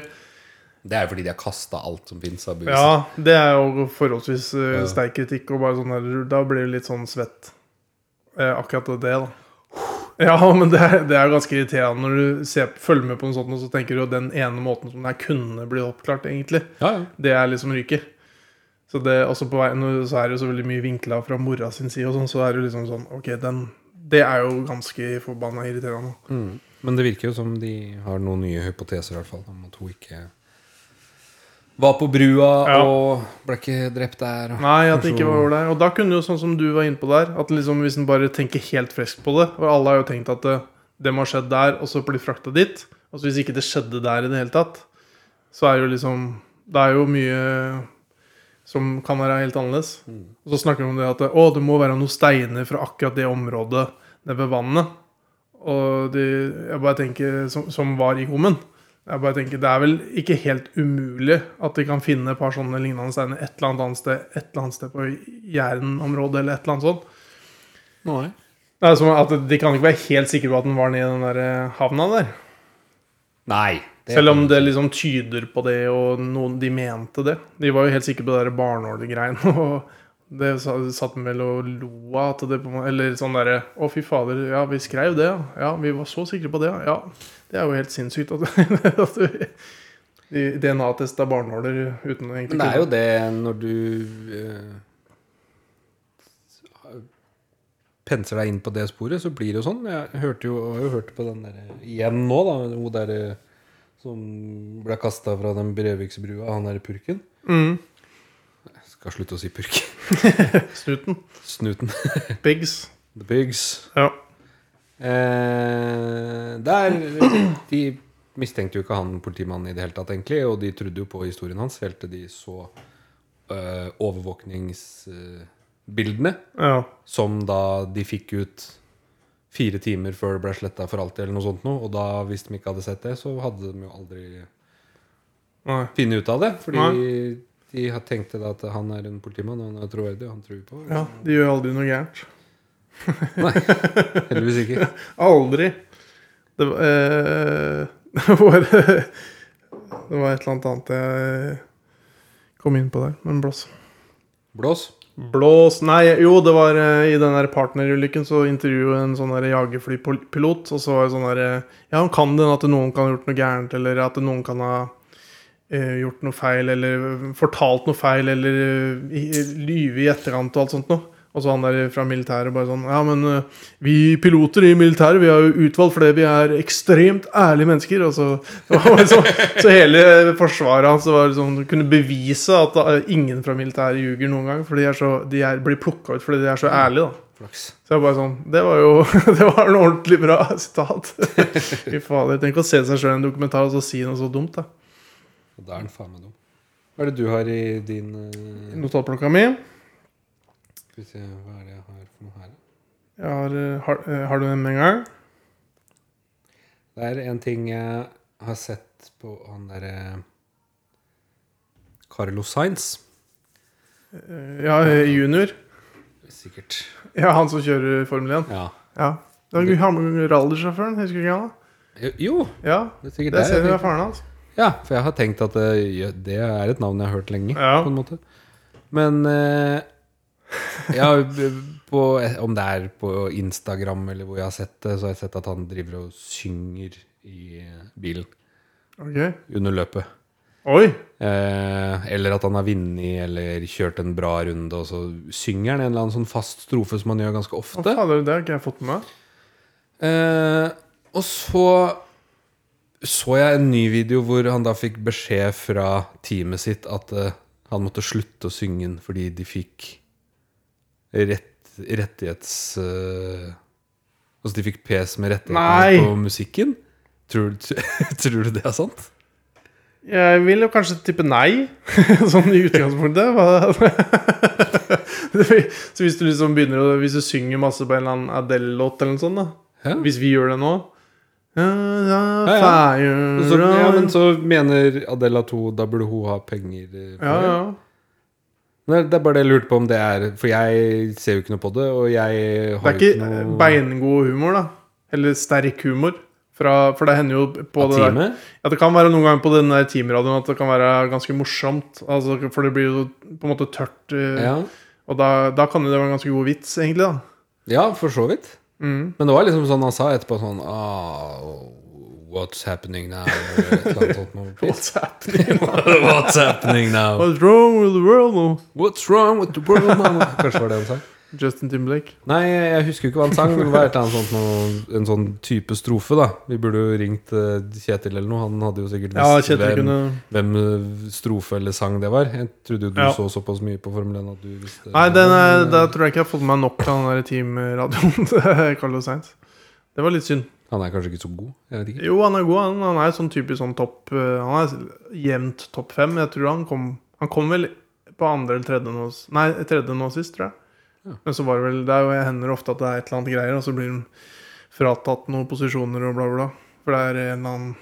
Det er jo fordi de har kasta alt som fins av bevis. Ja, det er jo forholdsvis eh, sterk kritikk, og bare sånn her, da blir det litt sånn svett. Eh, akkurat det, da. Ja, men det er, det er ganske irriterende når du ser, følger med på noe sånt, og så tenker du at den ene måten som det her kunne blitt oppklart, egentlig, Ja, ja. det er liksom ryker. Så det, også på veien, nå så er det jo så veldig mye vinkla fra mora sin side, og sånn, så er det jo liksom sånn Ok, den Det er jo ganske forbanna irriterende. Mm. Men det virker jo som de har noen nye hypoteser i hvert fall om at hun ikke var på brua Ja. og ble ikke drept der. Og Nei, at det ikke var Kanskje- ålreit. Og da kunne jo sånn som du var inne på der, at liksom hvis en bare tenker helt friskt på det Og alle har jo tenkt at det, det må ha skjedd der, og så blir frakta dit. Og så hvis ikke det skjedde der i det hele tatt, så er jo liksom Det er jo mye som kan være helt annerledes. Og så snakker vi om det at å, det må være noen steiner fra akkurat det området nede ved vannet. Og de, jeg bare tenker, som, som var i kummen. Jeg bare tenker, Det er vel ikke helt umulig at de kan finne et par sånne lignende steiner et eller annet annet sted, et eller annet sted på Jæren-området eller et eller annet sånt. Det er som at De kan ikke være helt sikre på at den var nede i den der eh, havna der. Nei. det- Selv om det liksom tyder på det, og noen, de mente det. De var jo helt sikre på det der barnehålegreiene. Og det sa- satt de vel og lo av. at det på en måte- Eller sånn derre Å, fy fader, ja, vi skrev det, ja. ja. Vi var så sikre på det, ja. ja. Det er jo helt sinnssykt at, at vi I- DNA-test av barnåler uten å egentlig Men det er kunne. jo det når du eh, penser deg inn på det sporet, så blir det jo sånn. Jeg hørte jo, har jo hørt på den der eh, igjen nå, da. Hun der eh, som ble kasta fra den Breviksbrua, han der purken. Mm. Jeg skal slutte å si purken. Snuten. Snuten. Pigs. The pigs. Ja. Eh, der De mistenkte jo ikke han politimannen i det hele tatt, egentlig. Og de trodde jo på historien hans helt til de så eh, overvåkningsbildene. ja. Som da de fikk ut fire timer før det ble sletta for alltid, eller noe sånt noe. Og da, hvis de ikke hadde sett det, så hadde de jo aldri Nei. funnet ut av det. Fordi de had- tenkte da at han er en politimann, og han er troverdig, og han tror på. ja. De gjør aldri noe gærent. Heldigvis ikke. Aldri. Det var, eh, det var Det var et eller annet annet jeg kom inn på der, men blås. Blås. Blås Nei, jo, det var eh, i den der partnerulykken så intervjuet en sånn der jagerflypilot, og så var det sånn der eh, Ja, han kan det, at noen kan ha gjort noe gærent, eller at noen kan ha eh, gjort noe feil, eller eh, fortalt noe feil, eller eh, i- lyve i etterkant og alt sånt noe. Og så han der fra militæret bare sånn Ja, men eh, vi piloter i militæret, vi er jo utvalgt fordi vi er ekstremt ærlige mennesker. Og så, det var bare sånn- så hele forsvaret hans var sånn, kunne bevise at eh, ingen fra militæret ljuger noen gang. For de, er så, de er, blir plukka ut fordi de er så ærlige, da. Flaks. Så jeg bare sånn Det var jo Det var en ordentlig bra sitat. Fy fader. Tenk å se seg sjøl i en dokumentar og så si noe så dumt, da. Og da er han faen meg dum. Hva er det du har i din eh, Notatblokka mi. Skal vi se, hva er det jeg har for noe her? Jeg har, eh, har, eh, har du den med en gang? Det er en ting jeg har sett på han derre Carlo Sainz. Ja, eh, junior. Sikkert. Ja, han som kjører Formel 1. Ja. Ja. Det var han rallersjåføren, husker du ikke han? da? Jo, Jo, Ja, det er sikkert det det. ser jeg vi tenker. av faren hans. Ja, for jeg har tenkt at det, ja, det er et navn jeg har hørt lenge, Ja. på en måte. Men eh, ja, på, om det er på Instagram eller hvor jeg har sett det, så har jeg sett at han driver og synger i eh, bilen Ok. under løpet. Oi! Eh, eller at han har vunnet eller kjørt en bra runde, og så synger han en eller annen sånn fast strofe som han gjør ganske Å, ofte. fader, det har ikke jeg fått med meg. Eh, og så så jeg en ny video hvor han da fikk beskjed fra teamet sitt at eh, han måtte slutte å synge den fordi de fikk rett, rettighets... Eh, altså de fikk pes med Nei. rettighetene på musikken. Tror, tror du det er sant? Jeg vil jo kanskje tippe nei, sånn i utgangspunktet. Hva- Så hvis du liksom begynner å Hvis du synger masse på en eller annen Adele-låt eller noe sånt, da. Ja. Hvis vi gjør det nå ja, ja, Ja, ja. fire- Men Så, ja, men så mener Adela 2 da burde hun ha penger. eh, for ja, det. ja. Nei, det er bare det jeg lurte på om det er For jeg ser jo ikke noe på det, og jeg Det har er jo ikke noe beingod humor, da. Eller sterk humor. Fra, for det hender jo på av det der. teamet. Ja, det kan være noen ganger på den der teamradioen at det kan være ganske morsomt. Altså, for det blir jo på en måte tørt. eh, Ja. Og da, da kan jo det være en ganske god vits, egentlig. da ja, for så vidt. mm. Men det var liksom sånn han sa etterpå sånn ah, What's happening now? Eller et eller annet sånt noe. What's happening? What's happening now? What's wrong with the world? now? What's wrong with the world now? Kanskje var det han sa. Justin Timberlake. Nei, jeg husker jo ikke hva han sang. Men det var et eller annet sånt noe, en sånn type strofe, da. Vi burde jo ringt eh, Kjetil eller noe. Han hadde jo sikkert Ja, visst Kjetil kunne hvem eh, strofe eller sang det var. Jeg trodde jo du Ja. så såpass mye på Formel 1 at du visste eh, Nei, den er, der tror jeg ikke jeg har fått med meg nok av den der teamradioen til Carlos Sainz. Det var litt synd. Han er kanskje ikke så god? Jeg vet ikke. Jo, han er god. Han, han er sånn typisk sånn topp eh, Han er jevnt topp fem. Jeg tror han kom Han kom vel på andre eller tredje nå s- Nei, tredje nå sist, tror jeg. Ja. Men så var det vel Det er jo hender ofte at det er et eller annet greier, og så blir de fratatt noen posisjoner og bla, bla. For det er en eller annen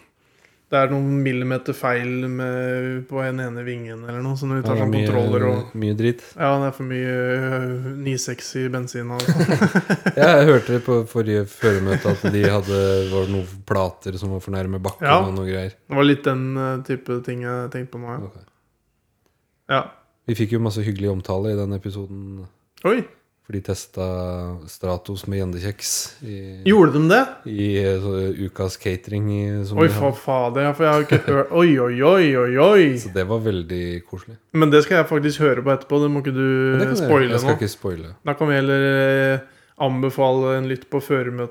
Det er noen millimeter feil med, på den ene vingen eller noe, så når de Han tar er sånn kontroller og mye, mye drit. ja, det er for mye øh, 9,6 i bensin. og sånn. Jeg hørte på forrige føremøte at de hadde var det noen plater som var for nærme bakken Ja. og noe greier. Det var litt den øh, type ting jeg tenkte på nå. Ja. Ok. ja. Vi fikk jo masse hyggelig omtale i den episoden Oi! For de testa Stratos med gjendekjeks i, Gjorde de det? i eh, så, ukas catering. I, som Oi, de for hadde. fader, ja, for jeg har ikke hørt Oi, oi, oi, oi, oi. Så det var veldig koselig. Men det skal jeg faktisk høre på etterpå. Det må ikke Men det kan jeg du gjøre. Eh, spoile Jeg nå. skal ikke spoile. Da kan vi heller eh, anbefale en lytt på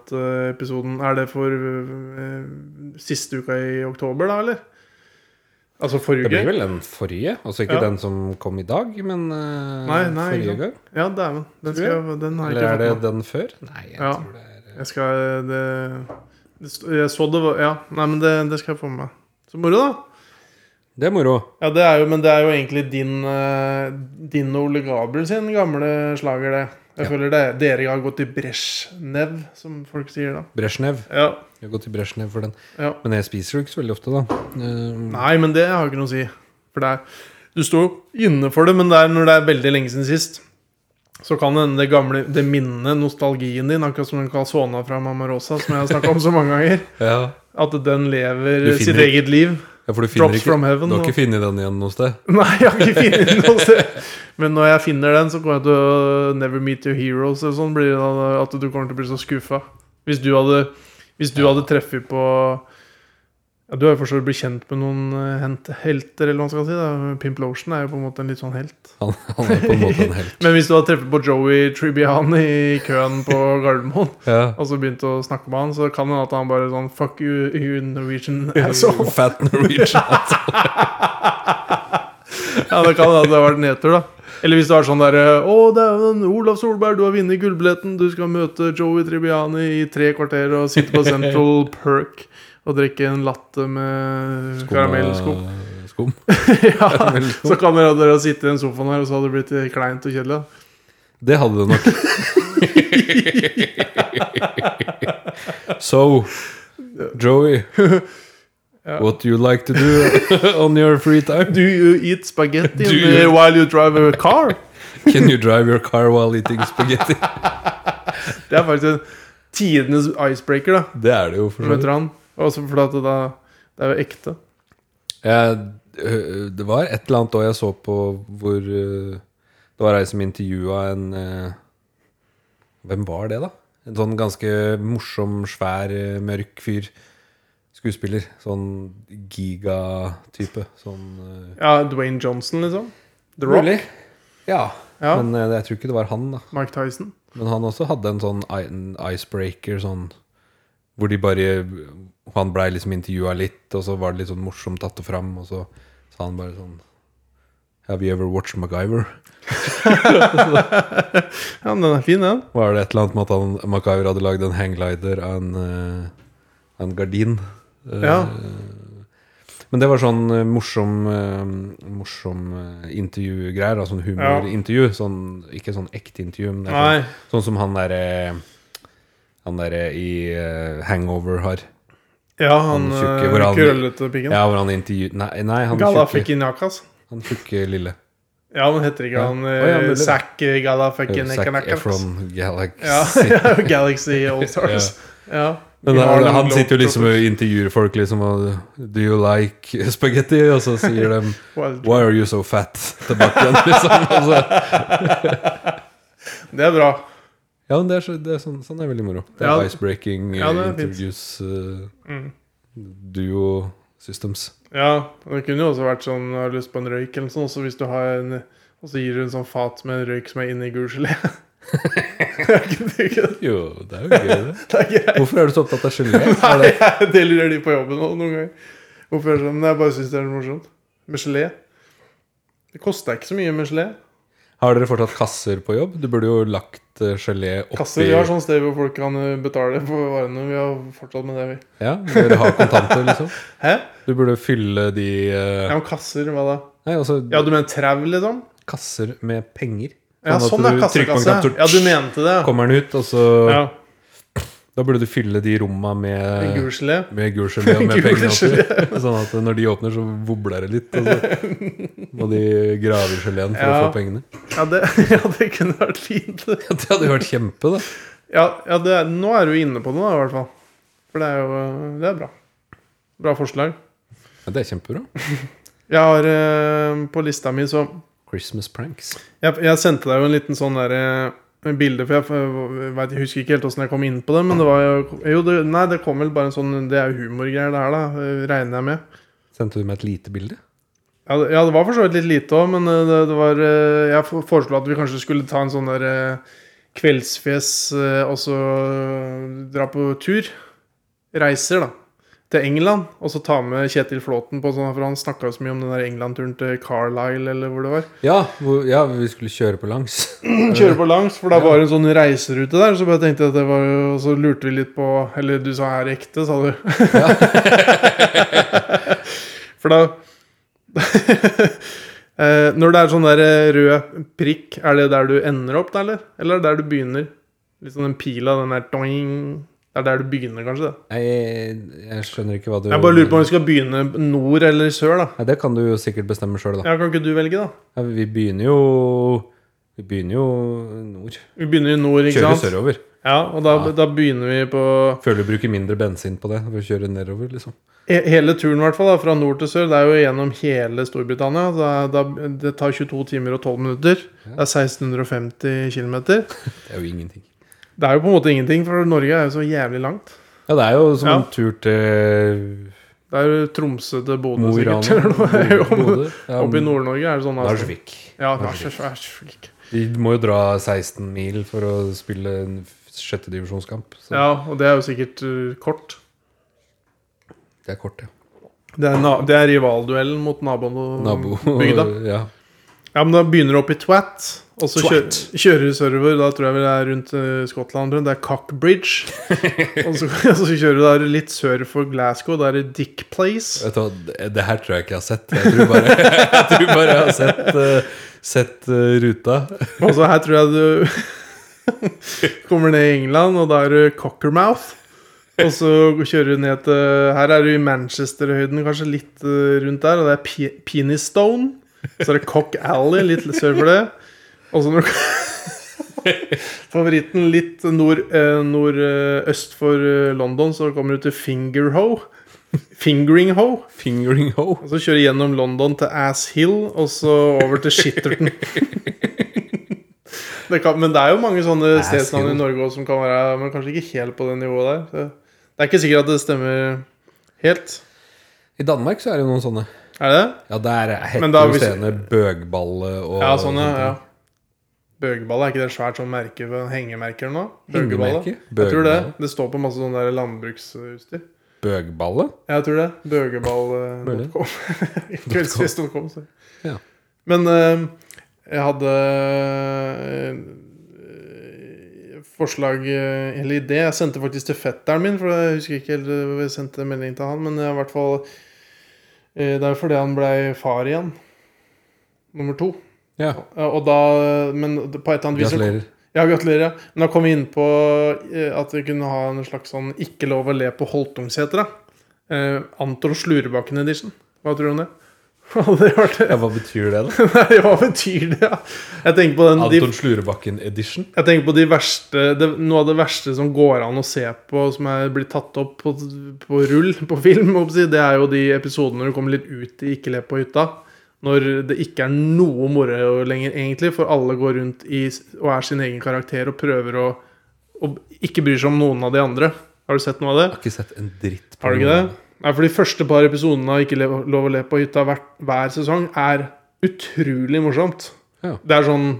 føremøteepisoden. Er det for eh, siste uka i oktober, da, eller? Altså forrige Det uke? blir vel den forrige? Altså ikke Ja. den som kom i dag, men eh, Nei, nei, forrige ikke sant. gang? Ja, dæven. Den, Tror skal jeg- den har jeg Eller ikke er det fått med. den før? Nei, jeg Ja. tror det er eh, Jeg skal eh, det, det, sto- Jeg så det var Ja, nei, men det, det skal jeg få med meg. Så moro, da. Det er moro. Ja, det er jo, Men det er jo egentlig din, eh, din og Ole Gabriel sin gamle slager, det. Jeg føler det dere har gått i bresjnev, som folk sier da. Brezjnev. Ja, Jeg har gått i Brezjnev for den. ja. Men jeg spiser jo ikke så veldig ofte, da. Eh, Nei, men det har jo ikke noe å si. For det er, du står jo inne for det, men det er når det er veldig lenge siden sist, så kan det hende det gamle det minnet, nostalgien din, akkurat som den calzona fra Mamma Rosa, som jeg har snakka om så mange ganger, ja. at den lever Du finner- sitt eget liv. ja, for du finner Drops ikke from heaven, Du har og- ikke funnet den igjen noe sted? Nei, jeg har ikke funnet den noe sted. Men når jeg finner den, så kommer jeg til å Never Meet Your Heroes eller sånn. Blir det da at du kommer til å bli så skuffa. Hvis du hadde, hvis du hadde treffet på ja, Du har jo for så vidt blitt kjent med noen eh, hent- helter, eller hva man skal si. da Pimplotion er jo på en måte en litt sånn helt. Han, han er på en måte en helt. Men hvis du hadde treffet på Joey Tribbiani i køen på Gardermoen, og så begynt å snakke med han, så kan det hende at han bare sånn Fuck you, you Norwegian asshole. Fat Norwegian. Ja, det kan hende at det har vært nedtur, da. Eller hvis det var sånn derre Å, dæven, Olav Solberg, du har vunnet gullbilletten. Du skal møte Joey Tribbiani i tre kvarter og sitte på Central Perk og drikke en latte med karamellskum. Skum. ja, karamellskum. så kan dere, dere sitte i den sofaen her, og så hadde det blitt kleint og kjedelig. da. Det hadde det nok. so, Joey, what do you like to do on your free time? Do you eat spaghetti Do in- you- while you drive a car? Can you drive your car while eating spaghetti? Det er faktisk en tidenes icebreaker, da. Det er det jo, for så vidt. Møter han. Også fordi at det, da, det er jo ekte. Jeg, øh, det var et eller annet da jeg så på hvor øh, Det var ei som intervjua en øh, Hvem var det, da? En sånn ganske morsom, svær, øh, mørk fyr. Skuespiller. Sånn gigatype. Sånn øh, Ja, Dwayne Johnson, liksom. The Rock. Mulig. Ja. Ja. Men eh, jeg tror ikke det var han, da. Mike Tyson. Men han også hadde en sånn i- en icebreaker sånn hvor de bare Han blei liksom intervjua litt, og så var det litt sånn morsomt tatt det fram, og så sa han bare sånn Have you ever watched MacGyver? Ja, men den er fin, den. Var det et eller annet med at han, MacGyver hadde lagd en hanglider av en, eh, av en gardin? Eh, Ja. Men det var sånn eh, morsom, eh, morsom eh, intervjugreier. da, Sånn humorintervju. Sånn, ikke sånn ekte intervju, men det er sånn Nei. Sånn som han derre Han derre i eh, Hangover har. Ja, han, Han tjukke, hvor han han- krøllete piggen. Ja, hvor han intervjuet Nei, nei han tjukke Galafikinakas. Han tjukke lille. Ja, men heter ikke Ja. han Å, ja, eh, mulig. Eh, Zack Zack Galafikinakas? Efron Galaxy. Ja, Galaxy Allstars. Ja. Men eh, Vi har han, dem han lovt sitter jo liksom at- og intervjuer folk liksom og Do you like spaghetti? Og så sier de Well, Why are you so fat? tilbake igjen, liksom. Og så- Det er bra. ja, men det er, så, det er sånn, sånn er veldig moro. Det er Ja. icebreaking Ja, eh, det er fint. Mm. interviews eh, duo systems. Ja, og Det kunne jo også vært sånn har du lyst på en røyk eller sånn, også hvis du har en Og så gir du en sånn fat med en røyk som er inni gulgelé. det Jo, det er jo gøy, det. er greit. Hvorfor er du så opptatt av gelé? Er det- Nei, jeg deler de på jobben også noen ganger. Hvorfor gjør jeg sånn? Men Jeg bare syns det er morsomt. Med gelé. Det kosta ikke så mye med gelé. Har dere fortsatt kasser på jobb? Du burde jo lagt eh, gelé oppi Kasser, vi har sånn sted hvor folk kan eh, betale for varene. Vi har fortsatt med det, vi. Ja, Dere har kontanter, liksom? Hæ? Du burde fylle de eh, Ja, men kasser, hva da? Nei, altså Ja, du mener trau, liksom? kasser med penger. Ja, at sånn er du trykker på en kassekasse. knapp, så Ja, du mente det. ja. kommer den ut, og så Ja, Da burde du fylle de romma med Gulgelé. med gulgelé og med Gul penger oppi. Sånn at når de åpner, så vobler det litt. Og så må de grave i geleen for å Ja. få pengene. Ja, det, ja, det kunne vært fint. Ja, det hadde jo vært kjempe, da. Ja, ja det, er- nå er du inne på det, da, i hvert fall. For det er jo eh, Det er bra. Bra forslag. Ja, det er kjempebra. Jeg har eh, på lista mi så Christmas pranks. Jeg, jeg sendte deg jo en liten sånn der eh, bilde, for jeg, jeg, vet, jeg husker ikke helt åssen jeg kom inn på det. Men det var jo, jo det, Nei, det kom vel bare en sånn Det er jo humorgreier, det her, da. eh, Regner jeg med. Sendte du meg et lite bilde? Ja, det, ja, det var for så vidt litt lite òg, men eh, det, det var eh, Jeg for- foreslo at vi kanskje skulle ta en sånn der eh, kveldsfjes eh, og så eh, dra på tur. Reiser, da. Til England. Og så ta med Kjetil Flåten på sånn, for han snakka jo så mye om den der England-turen til Carlisle eller hvor det var. Ja, hvor, ja, vi skulle kjøre på langs. Kjøre på langs, for da var det en sånn reiserute der. Så bare tenkte jeg at det var jo, og så lurte vi litt på Eller du sa 'er det ekte', sa du. for da Eh, Når det er sånn der eh, rød prikk, er det der du ender opp, da, eller? Eller er det der du begynner? Litt sånn den pila, den der doing. Det er der du begynner, kanskje? det Nei, Jeg, jeg skjønner ikke hva du Jeg bare lurer på om vi skal begynne nord eller sør, da. Nei, Det kan du jo sikkert bestemme sjøl, da. Ja, Kan ikke du velge, da? Ja, vi begynner jo Vi begynner jo nord. Vi begynner i nord, ikke Kjører sant? sørover. Ja, og da, da begynner vi på Føler du bruker mindre bensin på det for å kjøre nedover, liksom. He- Hele turen, i hvert fall, da, fra nord til sør, det er jo gjennom hele Storbritannia. Da, da, det tar 22 timer og 12 minutter. Det er 1650 km. Det er jo ingenting. Det er jo på en måte ingenting, for Norge er jo så jævlig langt. Ja, det er jo som Ja. en tur til Det er jo Tromsø til Bodø, Mo i sikkert. Rana. Eller noe. Jo, men Bodø. Ja, Oppe i Nord-Norge er det sånn. altså. Narvik. Ja, Narvik. De må jo dra 16 mil for å spille en sjettedivisjonskamp. Så Ja, og det er jo sikkert uh, kort. det er kort, ja. Det er, na det er rivalduellen mot nabobygda. Nabobygda. Ja. Ja, men da begynner du opp i Twat, og så kjø Twat. kjører du sørover. Da tror jeg vi er rundt eh, Skottland. tror jeg. Det er Cockbridge. og, så, og så kjører du der litt sør for Glasgow. Da er det Dick Place. Vet du, hva, det- det her tror jeg ikke jeg har sett. Jeg tror bare jeg, tror bare jeg har sett, eh, sett eh, ruta. Og så her tror jeg du kommer ned i England, og da er du Cockermouth. Og så kjører du ned til Her er du i Manchester-høyden, kanskje litt eh, rundt der. Og det er Pe Penistone. Så er det Cock Alley litt sør for det. Og så når du Favoritten litt nord, eh, nordøst for eh, London, så kommer du til Fingerhoe. Fingering Hoe. Fingering ho. Og så kjører du gjennom London til Ass Hill, og så over til Shitterton. det kan, men det er jo mange sånne Ass stedsnavn i Hill. Norge også som kan være Men kanskje ikke helt på det nivået der. Så det er ikke sikkert at det stemmer helt. I Danmark så er det jo noen sånne. Er det? Ja, der er- Men heter da jo hvis- scene Bøgballe og Ja, sånn, ja. sånne ja. ting. Bøgeballe, er ikke det svært sånn merke? Hengemerke eller noe? Bøgeballe? Hengemerke? Jeg tror det. Bøgeballe. Det står på masse sånn der landbruksutstyr. Bøgballe? Jeg tror det. eh, Bøgeball.com. Kveldsfest.com. så. Ja. Men eh, jeg hadde eh, forslag eh, eller idé. Jeg sendte faktisk til fetteren min, for jeg husker ikke helt eh, hvor jeg sendte melding til han. Men jeg, i hvert fall eh, Det er jo fordi han blei far igjen. Nummer to. Ja. Ja, Og da, men på et eller annet vis så- Gratulerer. ja, gratulerer. ja. Men da kom vi inn på eh, at vi kunne ha en slags sånn ikke lov å le på Holtungseter. da. Eh, Anton Slurebakken edition. Hva tror du om det? Hadde det vært Ja, det? hva betyr det, da? Nei, hva betyr det? Ja? Jeg tenker på den, de Anton Slurebakken edition. jeg tenker på de verste det, Noe av det verste som går an å se på, som er blitt tatt opp på, på rull på film, må jeg si, det er jo de episodene når du kommer litt ut i Ikke le på hytta. Når det ikke er noe moro lenger, egentlig, for alle går rundt i, og er sin egen karakter og prøver å og ikke bryr seg om noen av de andre. Har du sett noe av det? Jeg har ikke sett en dritt på Har du ikke det? Nei, for de første par episodene av Ikke le- lov å le på hytta hver, hver sesong er utrolig morsomt. Ja. Det er sånn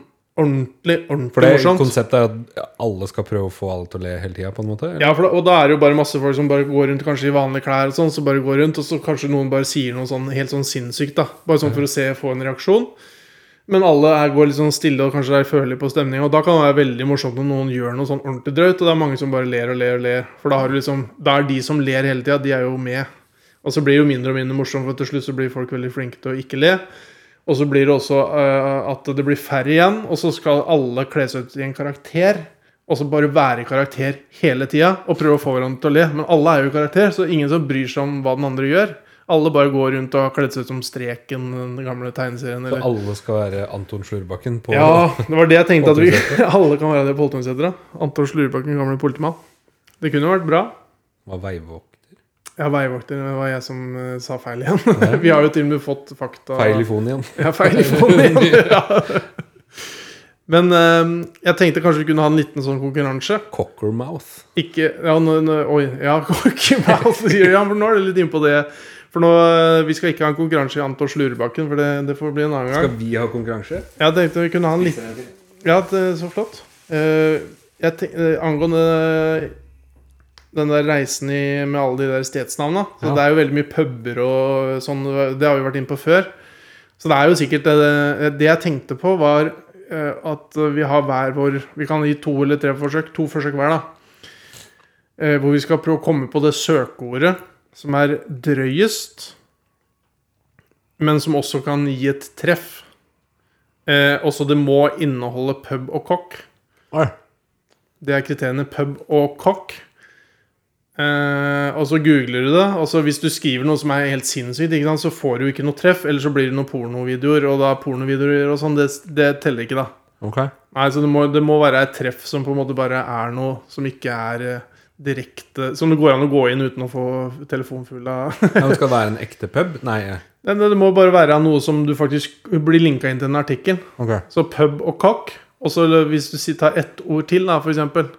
ordentlig, ordentlig For det morsomt. konseptet er at alle skal prøve å få alle til å le hele tida, på en måte? eller? Ja, for da, og da er det jo bare masse folk som bare går rundt kanskje i vanlige klær og sånn, så bare går rundt, og så kanskje noen bare sier noe sånn helt sånn sinnssykt, da. Bare sånn for å se, få en reaksjon. Men alle er, går litt sånn stille og kanskje er følelige på stemninga. Og da kan det være veldig morsomt når noen gjør noe sånn ordentlig drøyt, og det er mange som bare ler og ler og ler. For da, har du liksom, da er de som ler hele tida, de er jo med. Og så blir det jo mindre og mindre morsomt, for til slutt så blir folk veldig flinke til å ikke le. Og så blir det også eh, at det blir færre igjen, og så skal alle kle seg ut i en karakter. Og så bare være i karakter hele tida og prøve å få hverandre til å le. Men alle er jo i karakter, så ingen som bryr seg om hva den andre gjør. Alle bare går rundt og har kledd seg ut som Streken, den gamle tegneserien. Så Eller. alle skal være Anton Slurebakken på Ja, det var det jeg tenkte at vi Poltungsæter. alle kan være det på Holtungseter. da. Anton Slurebakken, gamle politimann. Det kunne vært bra. var veivåkter? Ja, veivakter. Det var jeg som eh, sa feil igjen. vi har jo til og med fått fakta Feil i fonen igjen. Ja, feil i fonen igjen. ja. Men eh, jeg tenkte kanskje vi kunne ha en liten sånn konkurranse. Cockermouth. Ikke ja, nå, nå, Oi, ja, ikke hva han sier ja, for nå er det litt inne på det. For nå, eh, Vi skal ikke ha en konkurranse i Anton Slurbakken, for det, det får bli en annen gang. vi ha konkurranse? Jeg tenkte vi kunne ha en liten Ja, det, så flott. Eh, jeg tenk, eh, angående den der reisen i, med alle de der stedsnavna så Ja. Det er jo veldig mye puber og sånn. Det har vi vært inne på før. Så det er jo sikkert eh, Det jeg tenkte på, var eh, at vi har hver vår Vi kan gi to eller tre forsøk. To forsøk hver, da. Eh, Hvor vi skal prøve å komme på det søkeordet som er drøyest, men som også kan gi et treff. Eh, også det må inneholde pub og kokk. Det er kriteriene pub og kokk. Eh, og så googler du det. Og så hvis du skriver noe som er helt sinnssykt, ikke sant, så får du ikke noe treff. Eller så blir det noen pornovideoer, og da pornovideoer og sånn, det, det teller ikke, da. Ok. Nei, så det må, det må være et treff som på en måte bare er noe som ikke er eh, direkte Som det går an å gå inn uten å få telefonen full av Ja, men skal det være en ekte pub? Nei. eh, Nei, Det det må bare være noe som du faktisk blir linka inn til en artikkel. Ok. Så pub og kokk. Og så hvis du si- tar ett ord til, da, for eksempel.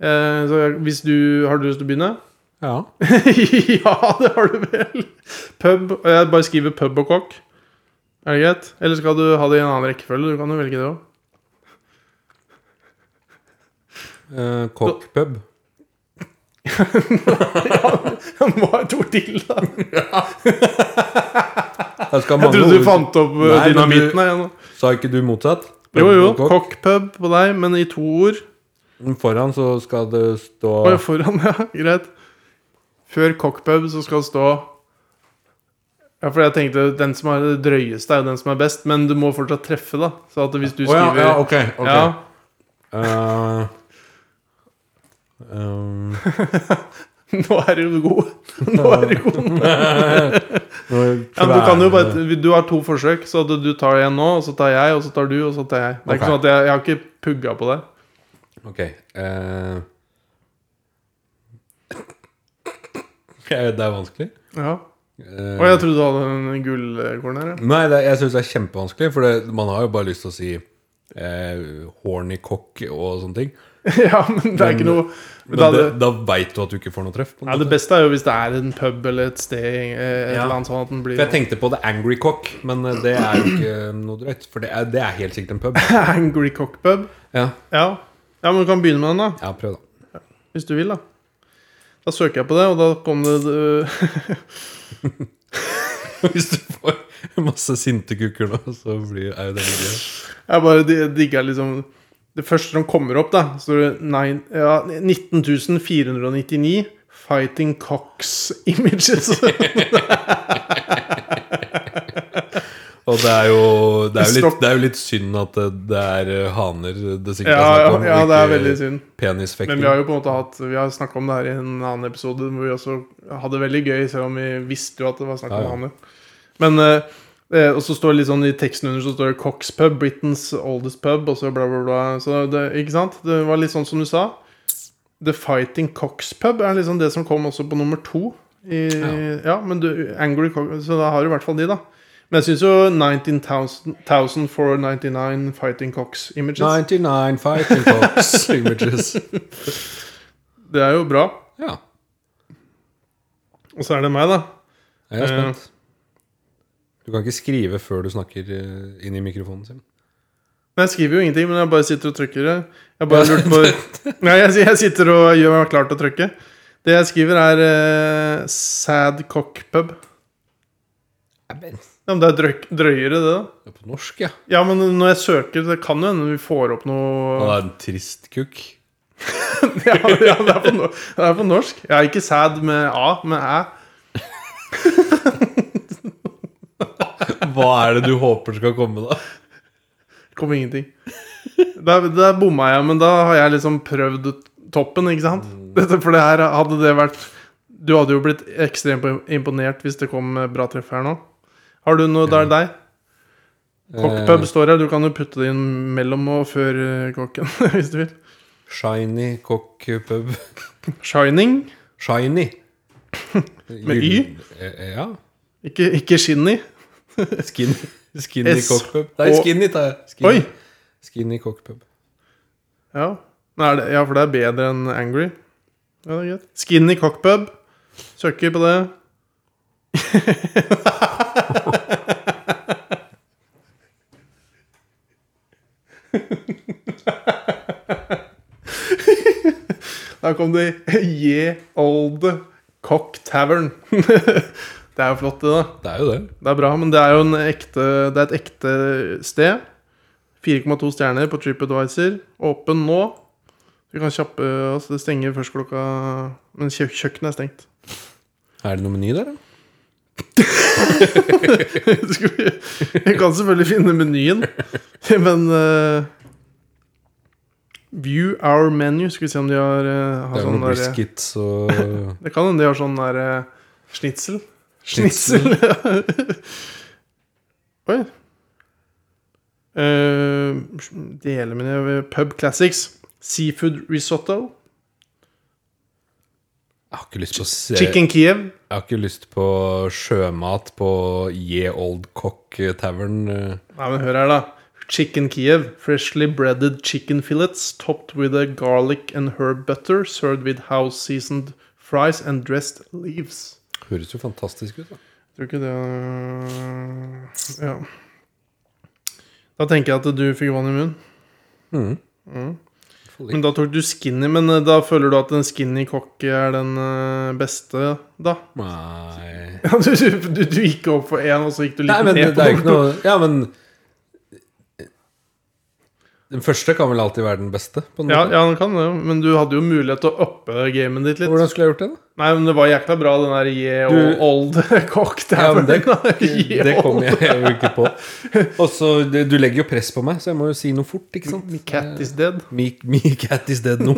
Eh, så hvis du Har du lyst til å begynne? Ja. ja, det har du vel. Pub. og Jeg bare skriver pub og kokk. Er det greit? Eller skal du ha det i en annen rekkefølge? Du kan jo velge det òg. Eh, Cockpub. Jeg må ha et ord til, da. Jeg Jeg trodde du fant opp eh, Nei, men du- dynamitten her igjen. nå. Sa ikke du motsatt? Pub Jo, jo. og cock. Kokk, pub på deg, men i to ord. Foran så skal det stå Oi, foran, ja, greit. Før cockpub så skal det stå Ja, for jeg tenkte den som er det drøyeste, er jo den som er best, men du må fortsatt treffe, da. Så at hvis du Å ja, skriver ja, ok. ok. Ja, Eh, um, nå er du god. Nå er du god. nå Ja, men du kan kveler jo det. bare Du har to forsøk, så du, du tar en nå, og så tar jeg, og så tar du, og så tar jeg. Det er ikke Ok. sånn at jeg, jeg har ikke pugga på det. Ok. eh. Jeg vet det er vanskelig. Ja. Eh, Og jeg trodde du hadde en gullkorn her, ja. Nei, det, jeg syns det er kjempevanskelig, for det, man har jo bare lyst til å si eh, horny cock og sånne ting. ja, men det er ikke noe Men da da, hadde- det, da veit du at du ikke får noe treff. På en Nei, Det måte. beste er jo hvis det er en pub eller et sted. eh, Et Ja. eller annet sånn at den blir For jeg tenkte på The Angry Cock, men eh, det er jo ikke noe drøyt. For det er, det er helt sikkert en pub. Angry Cock Pub. Ja, Ja. ja, men du kan begynne med den, da. ja prøv, da. Hvis du vil, da. Da søker jeg på det, og da kom det øh, Hvis du får masse sinte kukker nå, så blir, er jo det litt gøy. Jeg bare di- digga liksom Det første som kommer opp, da, så er det nine- ja, 19.499 Fighting Cocks Images. Og det er jo, det er jo, litt, Stopp. det er jo litt synd at det, det er eh, haner det sikkert ja, er ja, snakk om. ja, og det er ikke veldig synd. Men Penisfekting. vi har jo på en måte hatt Vi har snakka om det her i en annen episode hvor vi også hadde det veldig gøy, selv om vi visste jo at det var snakk om Ja, ja. haner. Men eh, eh, Og så står det litt sånn i teksten under så står det 'Cox pub, Britain's oldest pub', og så bla, bla, bla. Så det, ikke sant? Det var litt sånn som du sa. The Fighting Cox Pub er liksom det som kom også på nummer to. I, ja. men du, Angry Cox Så da har du i hvert fall de, da. Men jeg syns jo 19,499 Fighting Cox Images 99 fighting cocks images. Det er jo bra. Ja, Og så er det meg, da. jeg er spent. Eh. Du kan ikke skrive før du snakker eh, inn i mikrofonen sin. Men jeg skriver jo ingenting, men jeg bare sitter og trykker det. Jeg bare lurte på Nei, jeg, jeg sitter og gjør meg klar til å trykke. Det jeg skriver, er eh, sad cock pub. Ja, men det er drøy, drøyere, det, da. Det er på norsk, ja. Ja, men når jeg søker, det kan jo hende vi får opp Og det noe er en trist kukk. Ja, ja det, er på, no- det er på norsk. Ja, ikke sad med A, med æ. Hva er det du håper skal komme, da? Det kom ingenting. Der, der bomma jeg, men da har jeg liksom prøvd toppen, ikke sant? Dette, for det her hadde det vært Du hadde jo blitt ekstremt imponert hvis det kom eh, bra treff her nå. Har du noe der deg? Eh, Cockpub står her. Du kan jo putte det inn mellom og før eh, kokken, hvis du vil. Eh, shiny cockpub. Shining. Shiny. Med Y? Gyllen- eh, Ja. Ikke, ikke skinny. Skinny, skinny S- cockpub. Nei, og- skinny tar jeg. Skinny. Oi! Skinny cockpub. Ja. Nei, er det, ja, for det er bedre enn Angry. Ja, det er greit. Skinny cockpub. Søker på det. Der kom det Ye Old Cock Tavern. det er jo flott, det, da. Det er jo det. Det er bra, men det er jo en ekte, det er et ekte sted. 4,2 stjerner på TripAdvisor. Åpen nå. Vi kan kjappe oss. Det stenger først klokka Men kjø kjøkkenet er stengt. Er det noe meny der, da? Skal vi vi kan selvfølgelig finne menyen, men eh, View our menu. Skal vi se om de har, eh, har Det er jo sånn noe briskets og der, Det kan hende de har sånn der eh, Schnitzel. Schnitzel. Schnitzel. Oi. Uh, Deler mine Pub Classics. Seafood risotto. Jeg har ikke lyst på se- Chicken Kiev. Jeg har ikke lyst på sjømat på Ye Old Cock Tavern. eh. Nei, men hør her, da. Chicken Kiev. Freshly breaded chicken fillets topped with a garlic and herb butter served with house seasoned fries and dressed leaves. Høres jo fantastisk ut, da. Tror ikke det er- Ja. Da tenker jeg at du fikk vann i munnen. Men da tok du skinny, men eh, da føler du at den skinny cocky er den eh, beste, da? Nei Ja, du, du, du gikk opp for én, og så gikk du litt Nei, men det, ned på er jo ikke noe Ja, men Den første kan vel alltid være den beste? På en Ja, måte. ja, den kan det, men du hadde jo mulighet til å uppe gamen ditt litt. Hvordan skulle jeg gjort det, da? Nei, men det var jækla bra, den der yeah Du- old cock Ja, men det, Yeah, det kom old. jeg jo ikke på. Og så det- Du legger jo press på meg, så jeg må jo si noe fort, ikke sant? My cat is dead. Me, me cat is dead nå.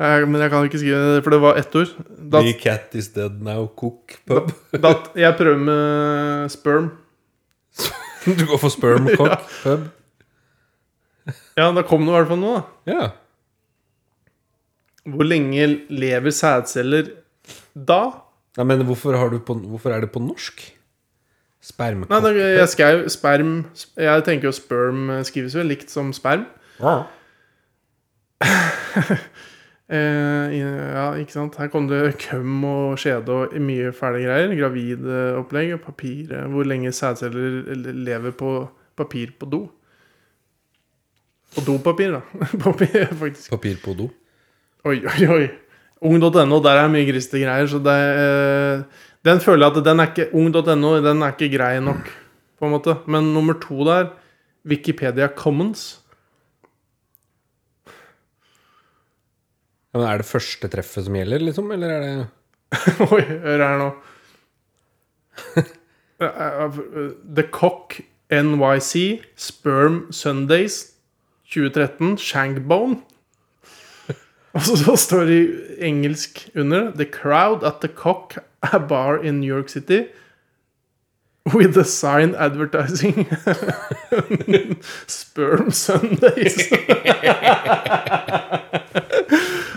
Eh, Men jeg kan ikke skrive det, for det var ett ord. Da, Me cat is dead now, cook pub. da, jeg prøver med sperm. Du går for sperm cock pub. Ja, da kom det i hvert fall noe, da. Ja. Hvor lenge lever sædceller da? Nei, men hvorfor, har du på, hvorfor er det på norsk? Nei, da, Spermkopp. jeg skrev sperm Jeg tenker jo sperm skrives jo likt som sperm. Eh, ja, ikke sant. Her kom det køm og skjede og mye fæle greier. Gravidopplegg og papir. eh, Hvor lenge sædceller lever på papir på do. På dopapir, da. Papir, faktisk. Papir på do. Oi, oi, oi. Ung.no, der er mye griste greier, så det eh, Den føler jeg at den er ikke Ung.no, den er ikke grei nok, på en måte. Men nummer to der, Wikipedia Commons. Ja, men Er det første treffet som gjelder, liksom? Eller er det Oi, hør her nå. Eh, eh, The Cock NYC Sperm Sundays 2013 Shankbone. Og så så står det i engelsk under The crowd at the cock a bar in New York City With a sign advertising Sperm Sundays.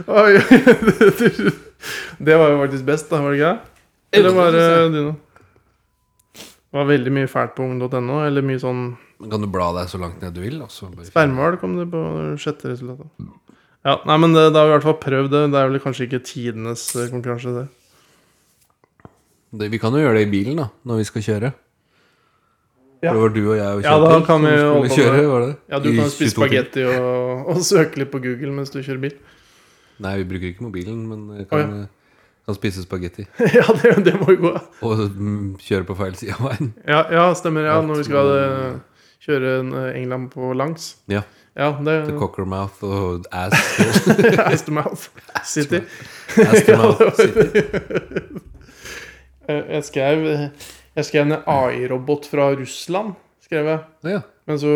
Oi, det var jo faktisk best, da, var det ikke det? Eller var det dine? Det var veldig mye fælt på ung.no, eller mye sånn Men Kan du bla deg så langt ned du vil? Altså, bare... Spermhval kom det på sjette resultatet. Ja, nei, men det, da har vi i hvert fall prøvd det. Det er vel kanskje ikke tidenes eh, konkurranse, det. Det, vi kan jo gjøre det i bilen, da, når vi skal kjøre. Ja. For Det var du og jeg og Ja, da Kjetil som kan skulle vi holde på kjøre, med- var det? Ja, du I kan jo 22 spise timer. spagetti og, og søke litt på Google mens du kjører bil. Nei, vi bruker ikke mobilen, men jeg kan, eh, Å, kan spise spagetti. ja, det, det må jo gå. Og mm, kjøre på feil side av veien. Ja, ja stemmer. ja, Alt Når vi skal med- eh, kjøre en, eh, England på langs. Ja. Ja, det The cockermouth og ass, Astomouth City. ass to mouth. sitter. Eh, Jeg skrev, jeg skrev en AI-robot fra Russland, skrev jeg. Ja. Men så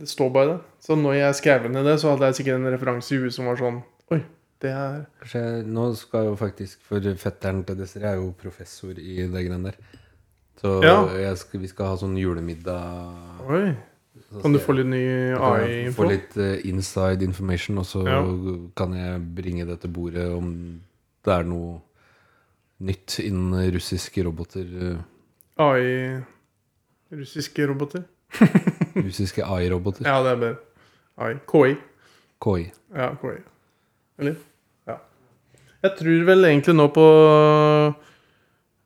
Det står bare det. Så når jeg skrev ned det, så hadde jeg sikkert en referanse i huet som var sånn Oi, det er Kanskje jeg- Nå skal jeg jo faktisk For fetteren til Desiree er jo professor i det greiene der. Så Ja. jeg skal, vi skal ha sånn julemiddag. Oi. så Kan du skal få litt ny jeg AI-info? få litt eh, inside information, og så Ja. kan jeg bringe det til bordet om det er noe nytt innen russiske roboter eh, AI Russiske roboter? Russiske AI-roboter. Ja, det er bedre. AI. KI. KI. Ja, KI. Eller? Ja. Jeg tror vel egentlig nå på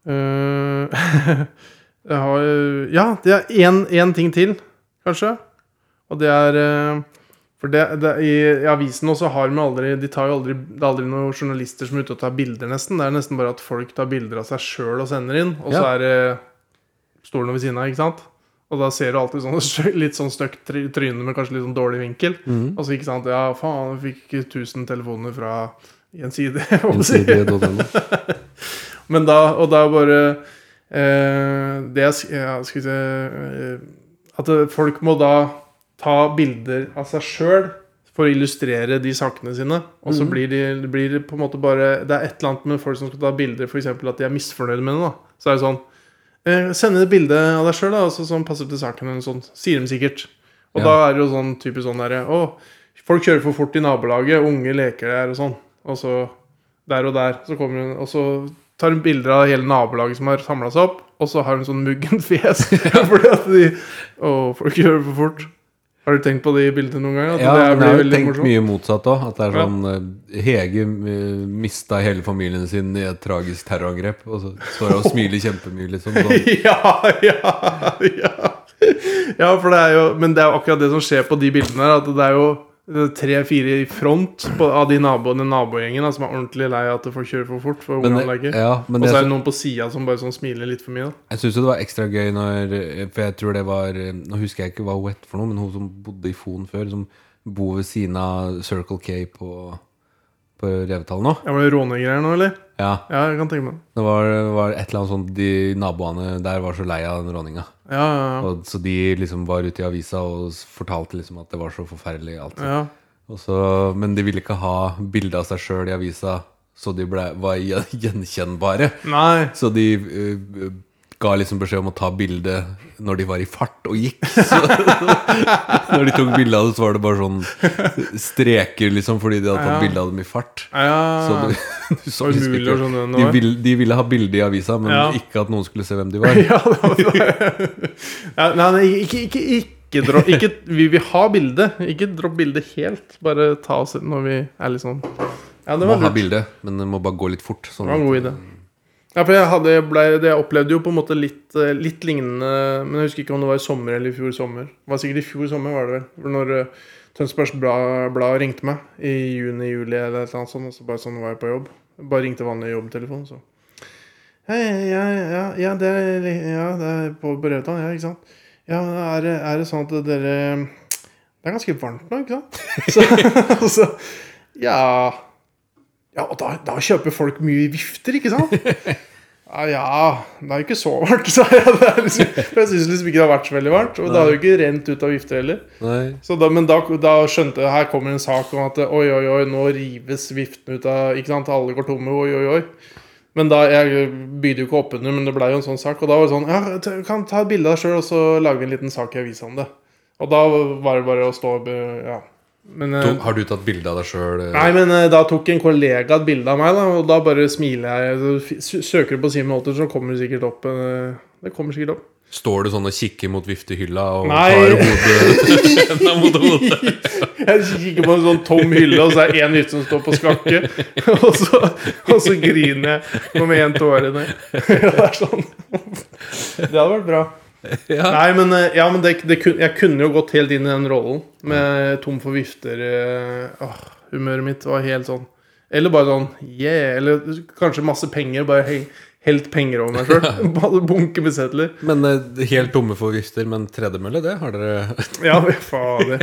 øh, Jeg har Ja, det er én, én ting til, kanskje. Og det er øh, For det, det, i, i avisen også har de aldri De tar jo aldri Det er aldri noen journalister som er ute og tar bilder, nesten. Det er nesten bare at folk tar bilder av seg sjøl og sender inn, og så Ja. er det stolen ved siden av, ikke sant? Og da ser du alltid sånn, litt sånn støkt try- tryne med kanskje litt sånn dårlig vinkel. Og så ikke sant, ja faen, jeg fikk 1000 telefoner fra Gjensidige. hva man sier. Gjensidige.no. Men da, og da bare eh, Det jeg sk- ja, skal vi si eh, At eh, folk må da ta bilder av seg sjøl for å illustrere de sakene sine. Og så blir, de, det blir det på en måte bare Det er et eller annet med folk som skal ta bilder, f.eks. at de er misfornøyde med noe. da. Så er det sånn eh, Send inn et bilde av deg sjøl, da, altså, som passer til saken. Eller noe sånt. Sier de sikkert. Og Ja. da er det jo sånn typisk sånn derre Å, folk kjører for fort i nabolaget, unge leker der og sånn. Og så der og der. Så kommer hun, og så tar hun bilder av hele nabolaget som har samla seg opp. Og så har hun sånn muggent fjes. fordi at de Å, folk gjør det for fort. Har du tenkt på de bildene noen gang? At Ja, det men det blir er jo veldig tenkt morsomt. mye motsatt òg. At det er Ja. sånn eh, Hege eh, mista hele familien sin i et tragisk terrorangrep, og så står hun og smiler kjempemye, liksom. Sånn. Ja, ja, ja. Ja, for det er jo Men det er jo akkurat det som skjer på de bildene her. At det er jo tre-fire i front på, av de naboene, nabogjengen da, som er ordentlig lei av at folk kjører for fort. For Men, ungene det- leker. ja, men og det, så er det noen på sida som bare sånn smiler litt for mye. da. jeg syns jo det var ekstra gøy når For jeg tror det var Nå husker jeg ikke hva hun het for noe, men hun som bodde i Fon før, som bor ved siden av Circle K på, på Revetal nå. Ja, Var det rånegreier nå, eller? Ja, Ja, jeg kan tenke meg det. det var, var et eller annet sånt De naboene der var så lei av den råninga. Ja, ja, Og, så de liksom var ute i avisa og s- fortalte liksom at det var så forferdelig alt. ja. ja. Og så, men de ville ikke ha bilde av seg sjøl i avisa, så de ble, var gjen- gjenkjennbare. Nei. Så de eh, ga liksom beskjed om å ta bilde når de var i fart og gikk. Så, når de tok bilde av det, så var det bare sånn streker, liksom, fordi de hadde tatt Ja. bilde av dem i fart. Ja, Så ja. du, du så liksom umulig å skjønne hvem det ikke- de, var. ville, de ville ha bilde i avisa, men Ja. ikke at noen skulle se hvem de var. ja, det var det. ja nei, nei, ikke, ikke, ikke dra ikke, Vi vil ha bilde. Ikke dropp bildet helt. Bare ta oss når vi er litt sånn Ja, det Må var ha lurt. bilde, men det må bare gå litt fort. Sånn. Det var en god idé. Ja, for jeg, hadde, ble, det jeg opplevde jo på en måte litt, eh, litt lignende Men jeg husker ikke om det var i sommer eller i fjor sommer. Det var sikkert i fjor sommer, var det vel. For når eh, Tønsbergs Blad, Blad ringte meg i juni-juli eller et eller annet sånt, og så bare sånn var jeg på jobb. Bare ringte vanlig jobbtelefon, så. Hei, ja, ja, ja, det er, ja, det er på Brevdal, ja, ikke sant? Ja, men er det, er det sånn at dere Det er ganske varmt nå, ikke sant? Så, så ja ja, og da, da kjøper folk mye vifter, ikke sant? Ja, ja Det er jo ikke så varmt, sa jeg. Det er liksom, for jeg syns liksom ikke det har vært så veldig varmt. Og det har jo ikke rent ut av vifter heller. Nei. Så da, men da, da skjønte jeg her kommer en sak om at oi, oi, oi, nå rives viftene ut av Ikke sant, alle går tomme, oi, oi, oi. Men da, Jeg bygde jo ikke opp under, men det blei jo en sånn sak. Og da var det sånn Ja, t- kan ta et bilde av deg sjøl, og så lage en liten sak i avisa om det. Og da var det bare å stå Ja. Men, eh, To- Har du tatt bilde av deg sjøl? Nei, men eh, da tok en kollega et bilde av meg, da, og da bare smiler jeg. Så f- sø- Søker du på Simen Holter, så kommer det sikkert opp. eh, Det kommer sikkert opp. Står du sånn og kikker mot viftehylla og Nei. tar hodet enda mot hodet? Jeg kikker på en sånn tom hylle, og så er det én hytte som står på skakke. Og så, og så griner jeg. Kommer én tåre ned. Ja, Det er sånn. Det hadde vært bra. Ja. Nei, men, eh, ja, men det, det, kun- jeg kunne jo gått helt inn i den rollen med tom for vifter. eh, Åh, humøret mitt var helt sånn. Eller bare sånn yeah. Eller kanskje masse penger. Bare heng, helt penger over meg sjøl. Bare Bunke med sedler. Men eh, helt tomme for vifter, men tredemølle, det har dere Ja, men fader.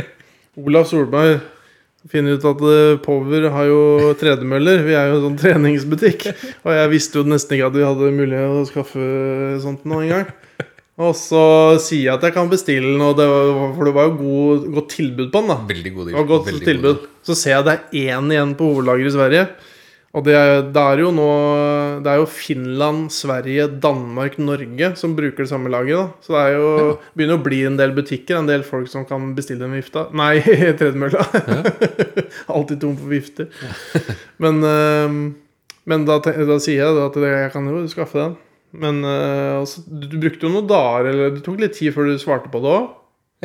Olav Solberg finner ut at eh, Power har jo tredemøller. Vi er jo en sånn treningsbutikk. Og jeg visste jo nesten ikke at vi hadde mulighet å skaffe eh, sånt nå engang. Og så sier jeg at jeg kan bestille den, og det var, for det var jo god, godt tilbud på den. da Veldig gode det var godt veldig tilbud. gode. Så ser jeg det er én igjen på hovedlageret i Sverige. Og det er, det er jo nå Det er jo Finland, Sverige, Danmark, Norge som bruker det samme laget. da Så det er jo, begynner å bli en del butikker, en del folk som kan bestille en vifta. Nei, tredemølla. Alltid tom for vifter. ehm, men eh, men da, ten- da sier jeg da at jeg kan jo skaffe den. Men eh, altså, du, du brukte jo noen dager, eller det tok litt tid før du svarte på det òg.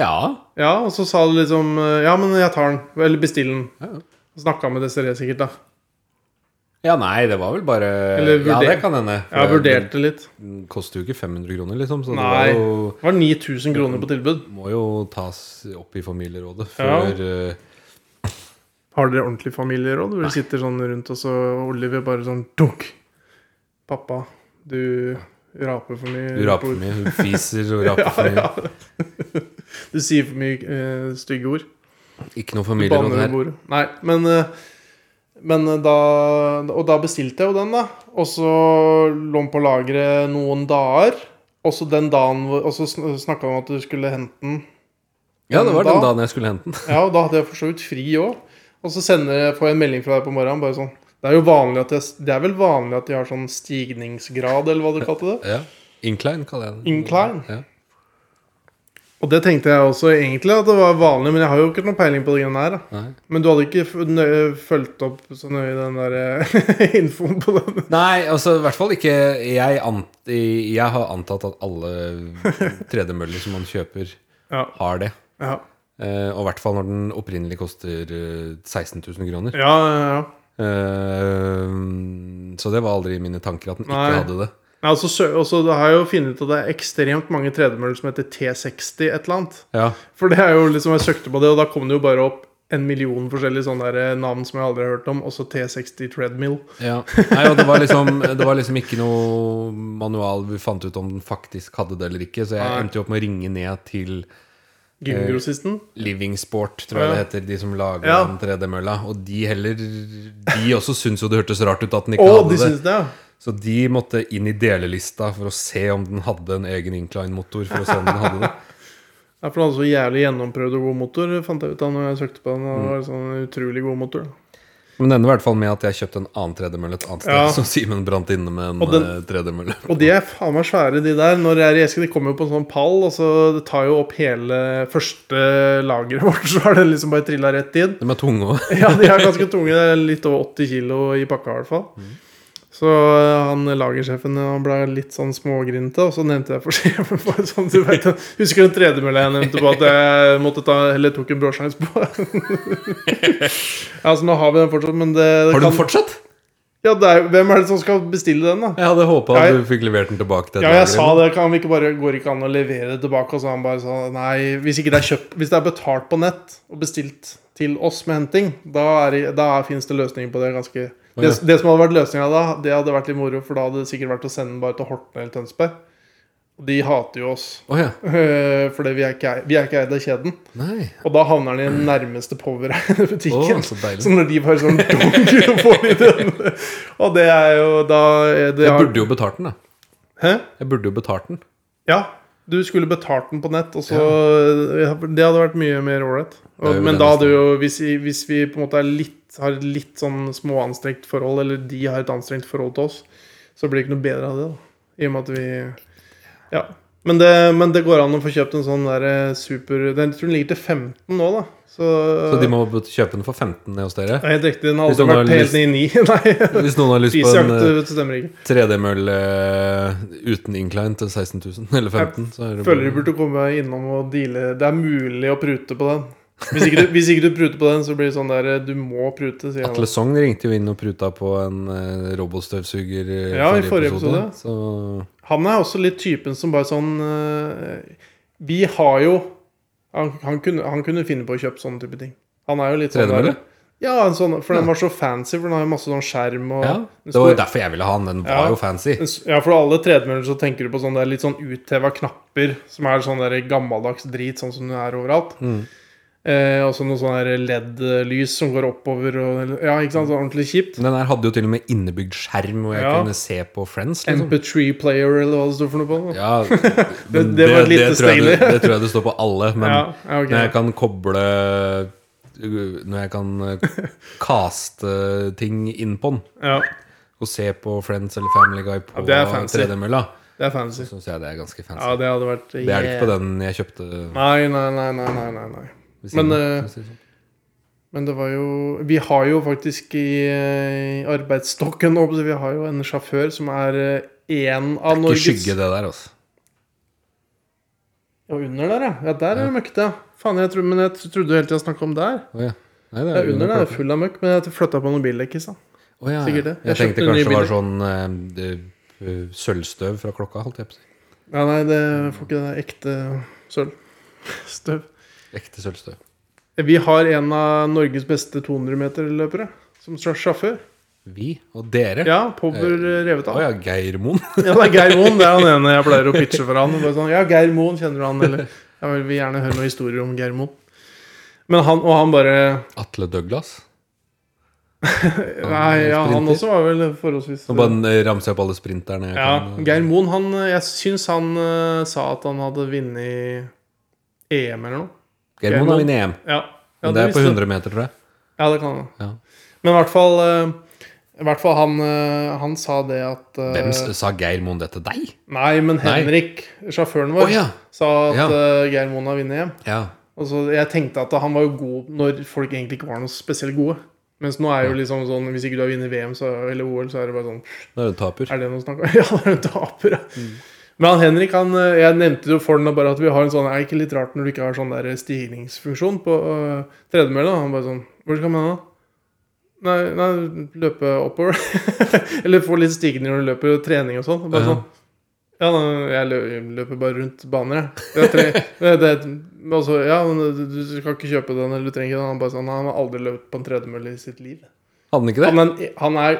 Ja. Ja, og så sa du liksom eh, Ja, men jeg tar den. Eller bestill den. Ja. Snakka med Desiree sikkert, da. Ja, nei, det var vel bare Eller Ja, vurder- det kan hende. for Jeg vurderte litt. Den koster jo ikke 500 kroner, liksom. Så Nei. det var jo, Det var 9000 kroner på tilbud. må jo tas opp i familierådet Ja. før eh, Har dere ordentlig familieråd? Hvor du sitter sånn rundt, og så Oliver bare sånn dunk. Pappa, du raper for mye. du raper for mye. Du fiser og raper for mye. Du sier for mye eh, stygge ord. Ikke noe Du familieråd banner i her. bordet. Nei, men, eh, men eh, da Og da bestilte jeg jo den, da. Og så lå den på lageret noen dager. Og så den dagen hvor- Og så snakka vi om at du skulle hente den. Ja, det var den Da- dagen jeg skulle hente den. Ja, og da hadde jeg for så vidt fri òg. Og så sender jeg, får jeg en melding fra deg på morgenen. bare sånn, Det er jo vanlig at jeg, det er vel vanlig at de har sånn stigningsgrad, eller hva du kalte det. Ja. Incline, kaller jeg den. Incline? Ja. Og det tenkte jeg også egentlig at det var vanlig, men jeg har jo ikke noe peiling på det greiene her. da. Nei. Men du hadde ikke f- nø- fulgt opp så nøye den der eh, infoen på den. Nei, altså i hvert fall ikke jeg, ant, jeg har antatt at alle 3D-møller som man kjøper, Ja, har det. ja, Eh, og i hvert fall når den opprinnelig koster eh, 16 000 kroner. ja. ja, ja. Eh, så det var aldri i mine tanker at den ikke Nei. hadde det. Nei, altså, sø- også, da har jeg jo funnet ut at det er ekstremt mange tredemøller som heter T60 et eller annet. Ja, For det er jo liksom, jeg søkte på det, og da kom det jo bare opp en million forskjellige sånne der eh, navn som jeg aldri har hørt om. Også T60 Treadmill. ja. Nei, og det var, liksom, det var liksom ikke noe manual vi fant ut om den faktisk hadde det eller ikke, så jeg Nei. endte jo opp med å ringe ned til Gymgrossisten. Living Sport, tror jeg Ja. det heter, de som lager Ja. den 3D-mølla. Og de heller De også syntes jo det hørtes rart ut at den Å, ikke hadde de det. syns det, ja. Så de måtte inn i delelista for å se om den hadde en egen incline-motor. For å se om den hadde det Ja, for den hadde så jævlig gjennomprøvd og god motor, fant jeg ut av når jeg søkte på den. Mm. Og det var sånn utrolig god motor. Men det ender i hvert fall med at jeg kjøpte en annen tredemølle et annet sted. Ja. Som Simen brant inne med Og en den- eh, tredemølle. Og de er faen meg svære, de der. Når jeg er i esken, de kommer jo på en sånn pall, og så det tar jo opp hele første lageret vårt. Så har den liksom bare trilla rett inn. De er tunge òg. Ja, de er ganske tunge. Det er litt over 80 kilo i pakka, i hvert fall. Mm. Så eh, han lagersjefen han ble litt sånn smågrinte, og så nevnte jeg for sjefen bare sånn, du vet, Husker du den tredemølla jeg nevnte på at jeg måtte ta, eller tok en bråsjanse på? ja, så nå har vi den fortsatt, men det, det Har du den fortsatt? Ja, det er, Hvem er det som skal bestille den, da? Jeg hadde håpa Ja, at jeg- du fikk levert den tilbake. til Ja, et jeg lager. sa det. Kan vi ikke bare, går ikke an å levere det tilbake? Og så han bare sa nei, hvis, ikke det er kjøpt, hvis det er betalt på nett og bestilt til oss med henting, da, er, det- da finnes det løsninger på det. ganske Å, det, ja. det som hadde vært løsninga da, det hadde vært litt moro, for da hadde det sikkert vært å sende den bare til Horten eller Tønsberg. Og de hater jo oss, Å ja. fordi vi er ikke ei- vi er ikke eid av kjeden. Nei. Og da havner den i den nærmeste power-eide butikken. Å, så deilig. så når de bare sånn dunker og får i den Og det er jo da er det Jeg burde jo betalt den, da. Hæ? Jeg burde jo betalt den. Ja, du skulle betalt den på nett, og så ja. Det hadde vært mye mer ålreit. Det er jo Men det da neste. hadde jo hvis, vi- hvis vi på en måte er litt, har et litt sånn småanstrengt forhold, eller de har et anstrengt forhold til oss, så blir det ikke noe bedre av det, da. I og med at vi Ja. Men det, men det går an å få kjøpt en sånn der eh, super Den tror den ligger til 15 nå, da. Så, Så de må bet- kjøpe den for 15 ned hos dere. Det er helt riktig. Den har Hvis noen aldri har vært helt lyst- ned i 9. Nei. Hvis noen har lyst på en eh, Prisjakt stemmer ikke. 3D-mølle uten incline til 16 000, eller 15 så er det Føler du burde komme innom og deale Det er mulig å prute på den. Hvis ikke du, hvis ikke du pruter på den, så blir det sånn der Du må prute, sier Atle han. Sogn ringte jo inn og pruta på en eh, robotstøvsuger eh, Ja, i forrige episode. Så Han er også litt typen som bare sånn eh, Vi har jo han, han, kunne, han kunne finne på å kjøpe sånne type ting. Han er jo litt sånn Tredemølle? der- Ja, en sånn, for den var så fancy, for den har jo masse sånn skjerm og Ja, en det var stor- jo derfor jeg ville ha den. Den var Ja. jo fancy. en s- Ja, for alle tredemøller så tenker du på sånne der litt sånn utheva knapper, som er sånn der gammeldags drit, sånn som det er overalt. Mm. Eh, og så noe sånn der LED-lys som går oppover og Ja, ikke sant? Så ordentlig kjipt. Men Den her hadde jo til og med innebygd skjerm, hvor jeg Ja. kunne se på Friends. Liksom. MP3-player, eller hva det står for noe på den. da. Ja, men det, sånn- det var litt tror jeg, stilig. det, det tror jeg det står på alle. Men Ja, ja, ok. når jeg kan koble uh, Når jeg kan uh, kaste ting inn på den, Ja, og se på Friends eller Family Guy på Ja, det er fancy. 3D-mølla, det er fancy. syns jeg det er ganske fancy. Ja, det hadde vært det er det ikke på den jeg kjøpte. Nei, nei, nei, nei, nei, nei, nei. ved siden Men, av, eh, for å si det sånn. Men det var jo Vi har jo faktisk i eh, arbeidsstokken nå, så vi har jo en sjåfør som er eh, én av Ikke Norges skygge det der, altså. Og under der, ja. ja der er det møkk, ja. Faen, jeg tror, men jeg trodde helt til jeg snakka om der. Å ja. Nei, det Ja, under der er det klokka. full av møkk, men jeg flytta på noen bildekk i stad. Å ja. sikkert det. Jeg, Jeg tenkte kjøpte nye kanskje det var sånn eh, eh, sølvstøv fra klokka, holdt jeg på å si. Ja, nei, det får ikke det ekte sølv. Støv. Ekte sølvstøv. Vi har en av Norges beste 200-meterløpere som sj- sjåfør. Vi og dere. Ja, Power revet Å av. ja, Geir Moen. Ja, det er Geir Moen. Det er han ene jeg pleier å pitche for han. Bare sånn, ja, Geir Moen, kjenner du han, eller? Jeg vil gjerne høre noen historier om Geir Moen. Men han, og han bare Atle Douglas. Nei, ja, han sprinter. også var vel forholdsvis Nå bare eh, ramser jeg opp alle sprinterne. jeg Ja, kan, eh, Geir Moen, han Jeg syns han eh, sa at han hadde vunnet EM eller noe. Geir Geir Moen har Moen. vunnet EM. Ja, ja Men det er på visste- 100 meter, tror jeg. Ja, det kan han. Ja. Men i hvert fall eh, I hvert fall han, eh, han sa det at eh, Hvem s- sa Geir Moen det til deg? Nei, men Nei. Henrik, sjåføren Å vår, ja. sa at Ja. eh, Geir Moen har vunnet hjem. ja. Og så Jeg tenkte at han var jo god når folk egentlig ikke var noe spesielt gode. Mens nå er jo liksom sånn Hvis ikke du har vunnet VM så, eller OL, så er det bare sånn Da er du taper. Mm. Er det noe å snakke om? Ja, da er du taper, ja. Men han Henrik, han, eh, jeg nevnte det jo for han da bare at vi har en sånn Er det ikke litt rart når du ikke har sånn der stigningsfunksjon på uh, tredemølla? Han bare sånn Hvor skal man da? Nei, nei, løpe oppover. Eller få litt stigning når du løper og trening og sånn. Bare Ja. sånn ja, nei, jeg lø- løper bare rundt baner, jeg. Det er tre, det, det, men altså, ja, men du du skal ikke kjøpe den, eller du trenger ikke den. Han bare sånn, han har aldri løpt på en tredemølle i sitt liv. Hadde han ikke det? Han er, en- han er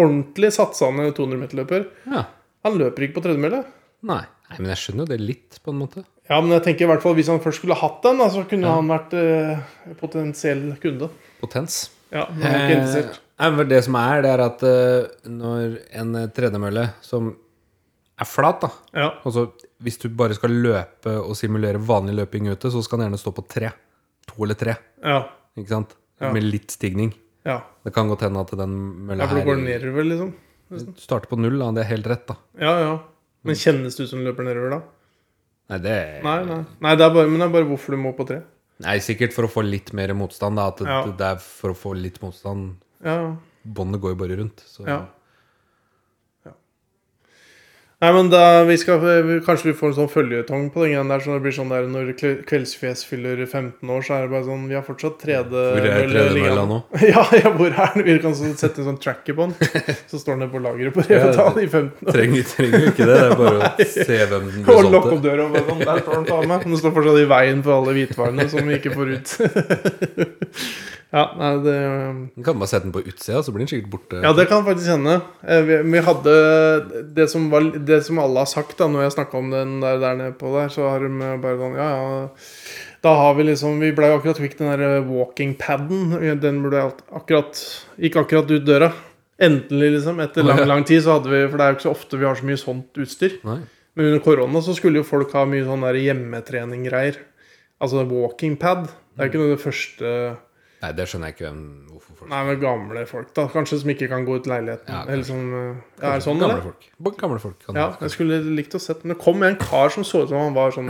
ordentlig satsende 200-meterløper. Ja. Han løper ikke på tredemølle. Nei. Nei, men jeg skjønner jo det litt, på en måte. Ja, men jeg tenker i hvert fall hvis han først skulle hatt den, da, så kunne han vært eh, potensiell kunde. Potens. Ja, men han er ikke Eh, interessert. nei, men det som er, det er at eh, når en eh, tredemølle som er flat, da Ja. Altså hvis du bare skal løpe og simulere vanlig løping ute, så skal den gjerne stå på tre. To eller tre, Ja. ikke sant? Ja. Med litt stigning. ja. Det kan godt hende at den mølla ja for det går her nedover, liksom. starter på null, da. Det er helt rett, da. Ja, ja. Men kjennes det ut som du løper nedover da? Nei, det Nei, nei. nei det er bare, men det er bare hvorfor du må på tre. Nei, sikkert for å få litt mer motstand, da. At det- Ja. det er for å få litt motstand. Ja, ja. Båndet går jo bare rundt. Så. Ja. ja. Nei, men da vi skal, vi- Kanskje vi får en sånn føljetong på den greien der. Så det blir sånn der når Kve- Kveldsfjes fyller 15 år, så er det bare sånn Vi har fortsatt Hvor er tredemølla tredemølla nå? Ja, ja, hvor er den? Vi kan så sette en sånn tracker på den. Så står den på lageret på Ja, Revetal i 15 år. Trenger trenger jo ikke det. Det er bare å se hvem den blir Og lokke solgt opp til. døra og bare sånn Der står den, faen meg. Den står fortsatt i veien for alle hvitvarene som vi ikke får ut. Ja, nei, det um, Den kan bare sette den på utsida, så blir den sikkert borte. Ja, det kan faktisk hende. Eh, Vi, vi hadde det som, var, det som alle har sagt da når jeg snakka om den der, der nede på der, så har de bare sånn Ja, ja. Da har vi liksom Vi blei akkurat kvitt den der eh, walking paden. Den burde alt- akkurat Gikk akkurat ut døra. Endelig, liksom. Etter lang, Ja. lang tid så hadde vi For det er jo ikke så ofte vi har så mye sånt utstyr. Nei. Men under korona så skulle jo folk ha mye sånn der hjemmetrening-greier. Altså walking pad. Det er jo ikke noe av det første Nei, det skjønner jeg ikke hvem, hvorfor folk Nei, men gamle folk, da. Kanskje som ikke kan gå ut leiligheten. Ja, eller som, eh, ja, er det sånn, Gamle eller? folk. Bare Gamle folk kan Ja, jeg skulle likt å sett Men det kom en kar som så ut som han var sånn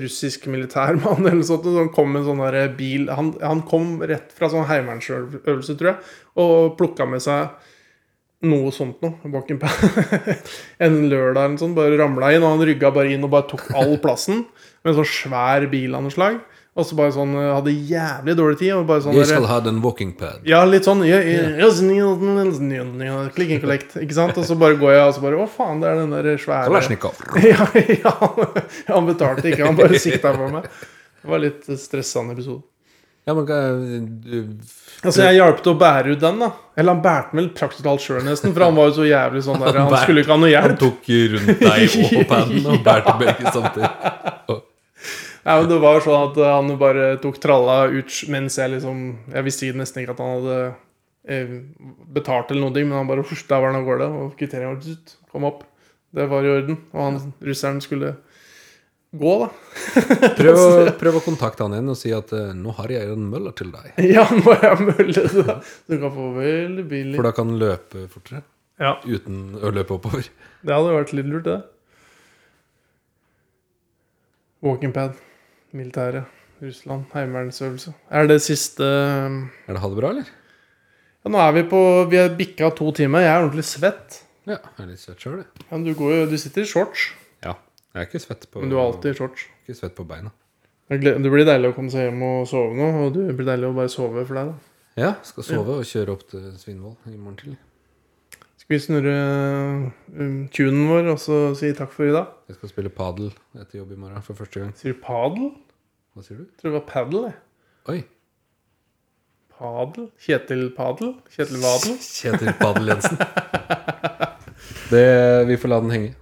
russisk militærmann eller noe sånt. og Han kom med en sånn der bil han, han kom rett fra sånn heimevernsøvelse, tror jeg, og plukka med seg noe sånt noe. bak en pa- En lørdag eller noe sånt. Bare ramla inn, og han rygga bare inn og bare tok all plassen. Med en sånn svær bil av noe slag. Og så bare sånn eh, Hadde jævlig dårlig tid. Og bare sånn Jeg der- skal ha den walking pad. ja, litt sånn ja, ja, ja, sånn, ja, sånn, ja, sånn, ja, sånn, ja, Klikk and collect, ikke sant? Og så bare går jeg og så bare Å, faen, det er den der svære Kalasjnikov. ja, ja, Han betalte ikke, han bare sikta på meg. Det var litt stressende episode. Ja, men kan- du- Altså, jeg hjalp til å bære ut den, da. Eller han bærte den vel praktisk talt sjøl, nesten. For han var jo så jævlig sånn der. Han skulle ikke ha noe Han hjelp. tok rundt deg og paden og bærte begge samtidig. Nei, men det var sånn at han bare tok tralla ut mens jeg liksom Jeg visste ikke- nesten ikke at han hadde eh, betalt eller noen ting, men han bare «Husj, Der var han av gårde, og kvitteringen var tut, kom opp. Det var i orden. Og han russeren skulle gå, da. Prøv å, prøv å kontakte han igjen og si at eh, 'nå har jeg en møller til deg'. Ja, nå er jeg mølle, da. Du kan få veldig For billig. da kan han løpe fortere Ja, uten å løpe oppover. det hadde vært litt lurt, det. Walking pad. Militæret. Russland. Heimevernsøvelse. Er det siste eh, Er det ha det bra, eller? Ja, nå er vi på Vi har bikka to timer. Jeg er ordentlig svett. Ja, jeg er litt svett sjøl, jeg. Ja, men du, går jo, du sitter i shorts, Ja. Jeg er ikke svett på, men du er alltid i shorts. ikke svett på beina. Jeg gled- Det blir deilig å komme seg hjem og sove nå, og det blir deilig å bare sove for deg, da. Ja, skal sove og kjøre opp til Svinvoll i morgen tidlig. Skal vi snurre um, tunen vår og så si takk for i dag? Jeg skal spille padel etter jobb i morgen for første gang. Sier du padel? Hva sier du? Jeg tror det var padel, jeg. Oi! Padel? Kjetil Padel? Kjetil Vadel? Kjetil Padel Jensen. Det, vi får la den henge.